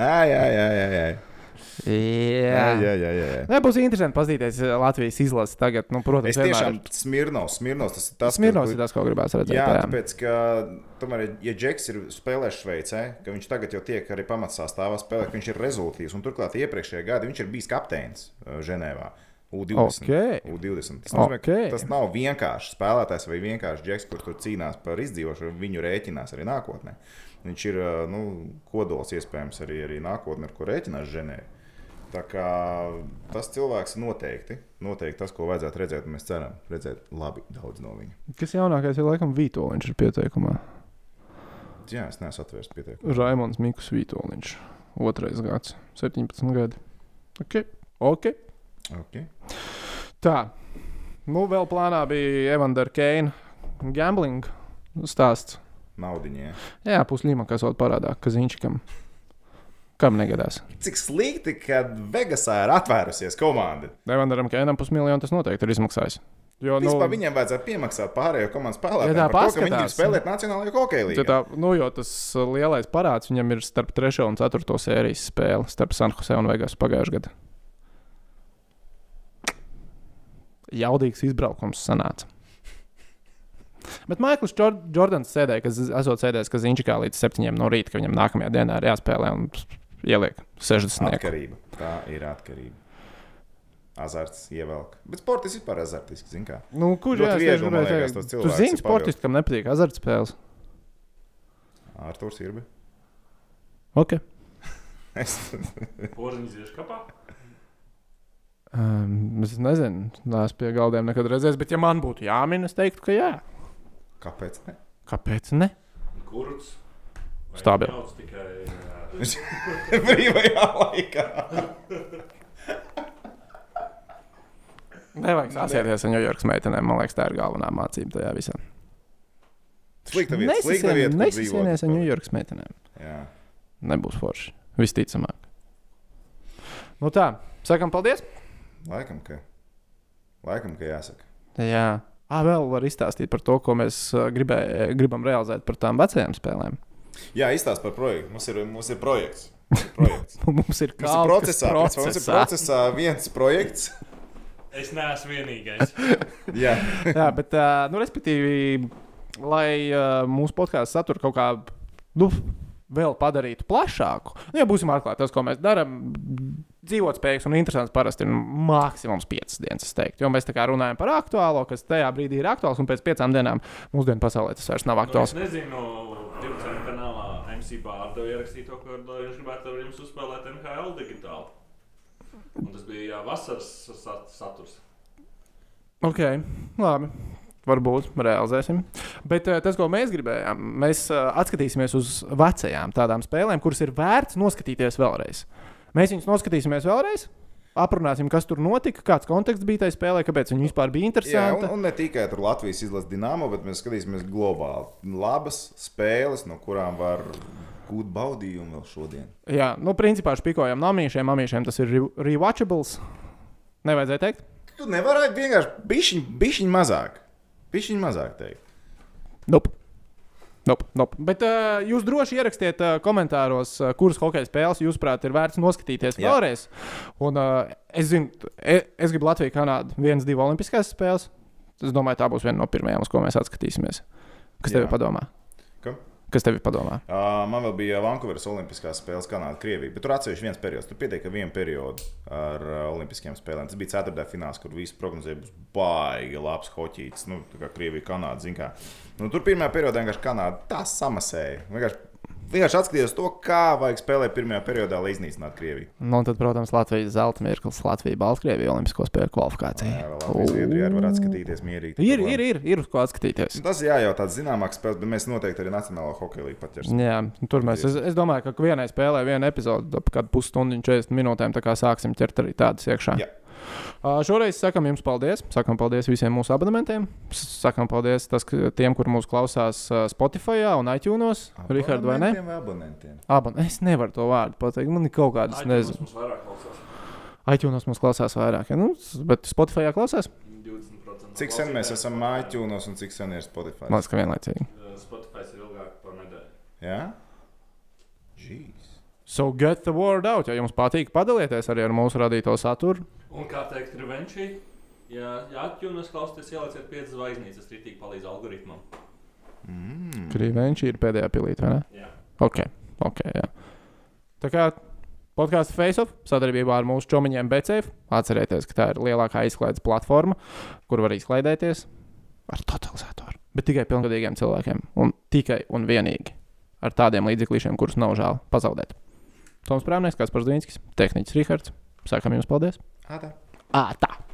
[SPEAKER 2] Ai, ai, ai, ai, ai.
[SPEAKER 1] Jā.
[SPEAKER 2] Ai, ai, ai, ai.
[SPEAKER 1] Nē, būs interesanti paskatīties eh, Latvijas izlases tagad. Nu, protams,
[SPEAKER 2] Es tiešām smirnos, smirnos, tas ir tas,
[SPEAKER 1] tas Smirnovs ir
[SPEAKER 2] kur-
[SPEAKER 1] tas, ko gribēs redzēt.
[SPEAKER 2] Jā,
[SPEAKER 1] Jā, jā.
[SPEAKER 2] tāpēc, ka, tomēr, ja Džeks ir spēlējis Šveicē, ka viņš tagad jau tiek arī pamatsastāvā spēlē, ka viņš ir rezultāts. Un turklāt iepriekšējā gada viņš ir bijis kapteinis eh, Ženēvā. U20.
[SPEAKER 1] Okei.
[SPEAKER 2] U20. Tas, nozīmē, ka
[SPEAKER 1] Okei.
[SPEAKER 2] tas nav vienkārši spēlētājs vai vienkārši džeks, kurš tur cīnās par izdzīvošanu, viņu rēķinās arī nākotnē. Viņš ir eh, nu, kodols iespējams arī, arī nākotnē, ar ko rēķinās Ženēvā. Tā kā tas cilvēks noteikti, noteikti tas, ko vajadzētu redzēt, un mēs ceram redzēt labi daudz no viņa.
[SPEAKER 1] Kas jaunākais ir laikam Vitoļņš ir pieteikumā?
[SPEAKER 2] Jā, es neesmu atvērts pietiekami.
[SPEAKER 1] Raimons Mikls Vitoļņš. Otrais gads, 17 gadi. Ok. okay.
[SPEAKER 2] Okay.
[SPEAKER 1] Tā. Nu, vēl plānā bija Evander Keina gambling stāsts.
[SPEAKER 2] Naudiņai.
[SPEAKER 1] Jā, puslīma, kas vēl parādā Kazinčikam. Kam negadās?
[SPEAKER 2] Cik slikti, ka Vegasā ir atvērusies komanda.
[SPEAKER 1] Evanderam Keinam pusmiljonu tas noteikti ir izmaksājis. Jo, nu,
[SPEAKER 2] Vispār viņiem vajadzētu piemaksāt pārējo komandas
[SPEAKER 1] Ja
[SPEAKER 2] spēlētājiem.
[SPEAKER 1] tā
[SPEAKER 2] par to, ka viņi grib
[SPEAKER 1] paskatās, nu.
[SPEAKER 2] spēlēt Nacionālajā hokeja
[SPEAKER 1] Ja
[SPEAKER 2] līnijā.
[SPEAKER 1] tā, nu, jo tas uh, lielais parāds viņam ir starp 3. un 4. sērijas spēli starp Sanhuse un Vegasu pagājušajā gadā. Jaudīgs izbraukums sanāca. Bet Maikls Čor- Jordans sēdēja, kas esot sēdējis Kazinčikā līdz 7 no rīta, ka viņam nākamajā dienā ir jāspēlē un ieliek 60. Nieku.
[SPEAKER 2] Atkarība. Tā ir atkarība. Azarts ievelk. Bet sports ir vispār azartisks. zini kā.
[SPEAKER 1] Nu, kurš
[SPEAKER 2] Ļoti
[SPEAKER 1] jā, es
[SPEAKER 2] viegli,
[SPEAKER 1] gribēju
[SPEAKER 2] man
[SPEAKER 1] teikt,
[SPEAKER 2] liekas, tas
[SPEAKER 1] Tu
[SPEAKER 2] cilvēks ir
[SPEAKER 1] zini, sportistam nepatīk azartspēles.
[SPEAKER 2] Arthurs ir.
[SPEAKER 1] Okay.
[SPEAKER 2] Es
[SPEAKER 3] Porziņš ir kapā.
[SPEAKER 1] Um, es nezinu, neesmu pie galdiem nekad redzējis, bet ja man būtu jāmin, es teiktu, ka jā.
[SPEAKER 2] kāpēc? Ne?
[SPEAKER 1] Kāpēc ne?
[SPEAKER 3] Kurts.
[SPEAKER 1] Stabili.
[SPEAKER 3] Daudz tikai. ā,
[SPEAKER 2] Brīvajā laikā.
[SPEAKER 1] Nevajag sasieties ar New York meitenēm. Man liekas, tā ir galvenā mācība tajā visā.
[SPEAKER 2] Slikta vieta. Slikta vieta. kur
[SPEAKER 1] Nesasienies ar
[SPEAKER 2] dzīvot.
[SPEAKER 1] New York meitenēm.
[SPEAKER 2] Jā.
[SPEAKER 1] Nebūs forši. Visticamāk. Nu tā, sakam paldies.
[SPEAKER 2] Laikam, ka. Laikam, ka jāsaka.
[SPEAKER 1] Jā. Ah, vēl var izstāstīt par to, ko mēs eh, gribē, gribam realizēt par tām vecajām spēlēm.
[SPEAKER 2] Jā, izstāst par projektu. Mums ir, mums ir projekts. Mums ir projekts.
[SPEAKER 1] Mums ir kaut
[SPEAKER 2] Mums ir
[SPEAKER 1] kas
[SPEAKER 2] procesā, procesā. Mums ir
[SPEAKER 1] procesā.
[SPEAKER 2] procesā viens projekts.
[SPEAKER 3] Es neesmu vienīgais.
[SPEAKER 2] Jā,
[SPEAKER 1] Jā, bet, eh, nu, respektīvi, lai uh, mūsu podkāstu saturu kaut kā nu, vēl padarītu plašāku. Nu, ja būsim atklāti, tas, ko mēs darām, dzīvotspējīgs un interesants parasti ir maksimums 5 dienas. es teiktu. Jo mēs tā kā runājam par aktuālo, kas tajā brīdī ir aktuāls, un pēc 5 dienām mūsdienu pasaulē tas vairs nav
[SPEAKER 3] Nu, es
[SPEAKER 1] aktuāls.
[SPEAKER 3] nezinu, kāda kanālā MC Bārta ierakstīja to, ko viņš gribētu ar jums uzspēlēt NHL digitāli. Un tas bija jā, vasaras sat saturs.
[SPEAKER 1] Ok, labi. Varbūt realizēsim. Bet eh, tas, ko mēs gribējām, mēs eh, atskatīsimies uz vecajām tādām spēlēm, kuras ir vērts noskatīties vēlreiz. Mēs viņus noskatīsimies vēlreiz, aprunāsim, kas tur notika, kāds konteksts bija tajā spēlē, kāpēc viņi vispār bija
[SPEAKER 2] Jā, un,
[SPEAKER 1] interesanti.
[SPEAKER 2] un ne tikai tur Latvijas izlases dīnāma, bet mēs skatīsimies globāli. Labas spēles, no kurām var gūt baudījumu vēl šodien.
[SPEAKER 1] Jā, nu, principā špikojam namiešiem, namiešiem tas ir re- rewatchables. Nevajadzēja teikt.
[SPEAKER 2] Tu nevari vienkārši bišķiņ, bišķiņ mazāk. Bišķiņ mazāk teikt.
[SPEAKER 1] Nope. Nope, nope. Bet uh, jūs droši ierakstiet uh, komentāros, uh, kuras hokeja spēles jūs, prāt, ir vērts noskatīties
[SPEAKER 2] Jā.
[SPEAKER 1] vēlreiz. Un, uh, es zinu, t- e- es gribu Latviju, Kanādu, vienas, divas olimpiskās spēles. Es domāju, tā būs viena no pirmajām, uz ko mēs atskatīsimies. Kas tev
[SPEAKER 2] Jā.
[SPEAKER 1] padomā?
[SPEAKER 2] Kam?
[SPEAKER 1] Kas tev padomā?
[SPEAKER 2] Uh, man vēl bija Vankūveras Olimpiskās spēles Kanāda, Krievija. Bet tur atsevišķi viens periods. Tur pietiek ar vienu periodu ar uh, Olimpiskajām spēlēm. Tas bija ceturtajā finālā, kur visi prognozēja, būs baigi labs hoķītis. Nu, tā kā Krievija, Kanāda, zina kā. Nu, tur pirmajā periodā vienkārši Kanāda tā samasēja. Vienkārši, vienkārši atskatījos to, kā vajag spēlēt pirmajā periodā, lai iznīcinātu Krieviju.
[SPEAKER 1] Nu, un tad, protams, Latvijas zelta mirklis, Latvija, Baltkrievija, Olimpisko spēļu
[SPEAKER 2] Jā,
[SPEAKER 1] kvalifikācija.
[SPEAKER 2] vēl Latvijas Zviedrijā arī var atskatīties mierīgi.
[SPEAKER 1] Ir, ir, ir, ir uz ko atskatīties.
[SPEAKER 2] Nu, Tas jā, jau tāds zināmāks spēles, bet mēs noteikti arī Nacionālā hokeja līnija paķersim.
[SPEAKER 1] Jā, nu, tur mēs. Es, es domāju, ka vienai spēlē, viena epizode, ap kādu pusstundu, un 40 minūtēm, tā kā sāksim ķert arī tādas iekšā.
[SPEAKER 2] Jā.
[SPEAKER 1] Uh, Šoreiz sakam jums paldies. Sakam paldies visiem mūsu abonentiem. Sakam paldies tas, ka- tiem, kur mūs klausās uh, Spotify un iTunes. Rihards, vai ne?
[SPEAKER 2] Abonentiem vai Abonentiem.
[SPEAKER 1] Abon es nevaru to vārdu pateikt. Man ir kaut kādas, nezinu,
[SPEAKER 3] Mums vairāk klausās.
[SPEAKER 1] iTunes mums klausās vairāk. Ja? Nu, s- bet Spotify klausās?
[SPEAKER 3] 20%
[SPEAKER 2] Cik sen mēs esam mājiņos un cik sen ir Spotify?
[SPEAKER 1] Man liekas, ka vienlaicīgi.
[SPEAKER 3] Spotify ir ilgāk par nedēļu.
[SPEAKER 2] Jā, Jeez.
[SPEAKER 1] So get the word out. Ja jums patīk, padalieties arī ar mūsu radīto saturu.
[SPEAKER 3] Un kā teikt, revenčī? Ja, ja atjūnas klausties, ielieciet 5 zvaigznītes, tas rītīgi palīdz algoritmam.
[SPEAKER 2] Mm.
[SPEAKER 1] Krīvenčī ir pēdējā pilīte, vai ne?
[SPEAKER 3] Jā.
[SPEAKER 1] Ok, ok. Jā. Tā kā podkāsts FaceOff sadarbībā ar mūsu čomiņiem BCF. Atcerieties, ka tā ir lielākā izklaides platforma, kur var izklaidēties ar totalizatoru. Bet tikai pilngadīgiem cilvēkiem. Un tikai un vienīgi ar tādiem līdzekļiem, kurus nav žēl pazaudēt. Toms Prāvnieks, Kaspars Dīnskis, Tehniķis Rihards. Sākam jums paldies!
[SPEAKER 2] Ātā.
[SPEAKER 1] Ā, tā!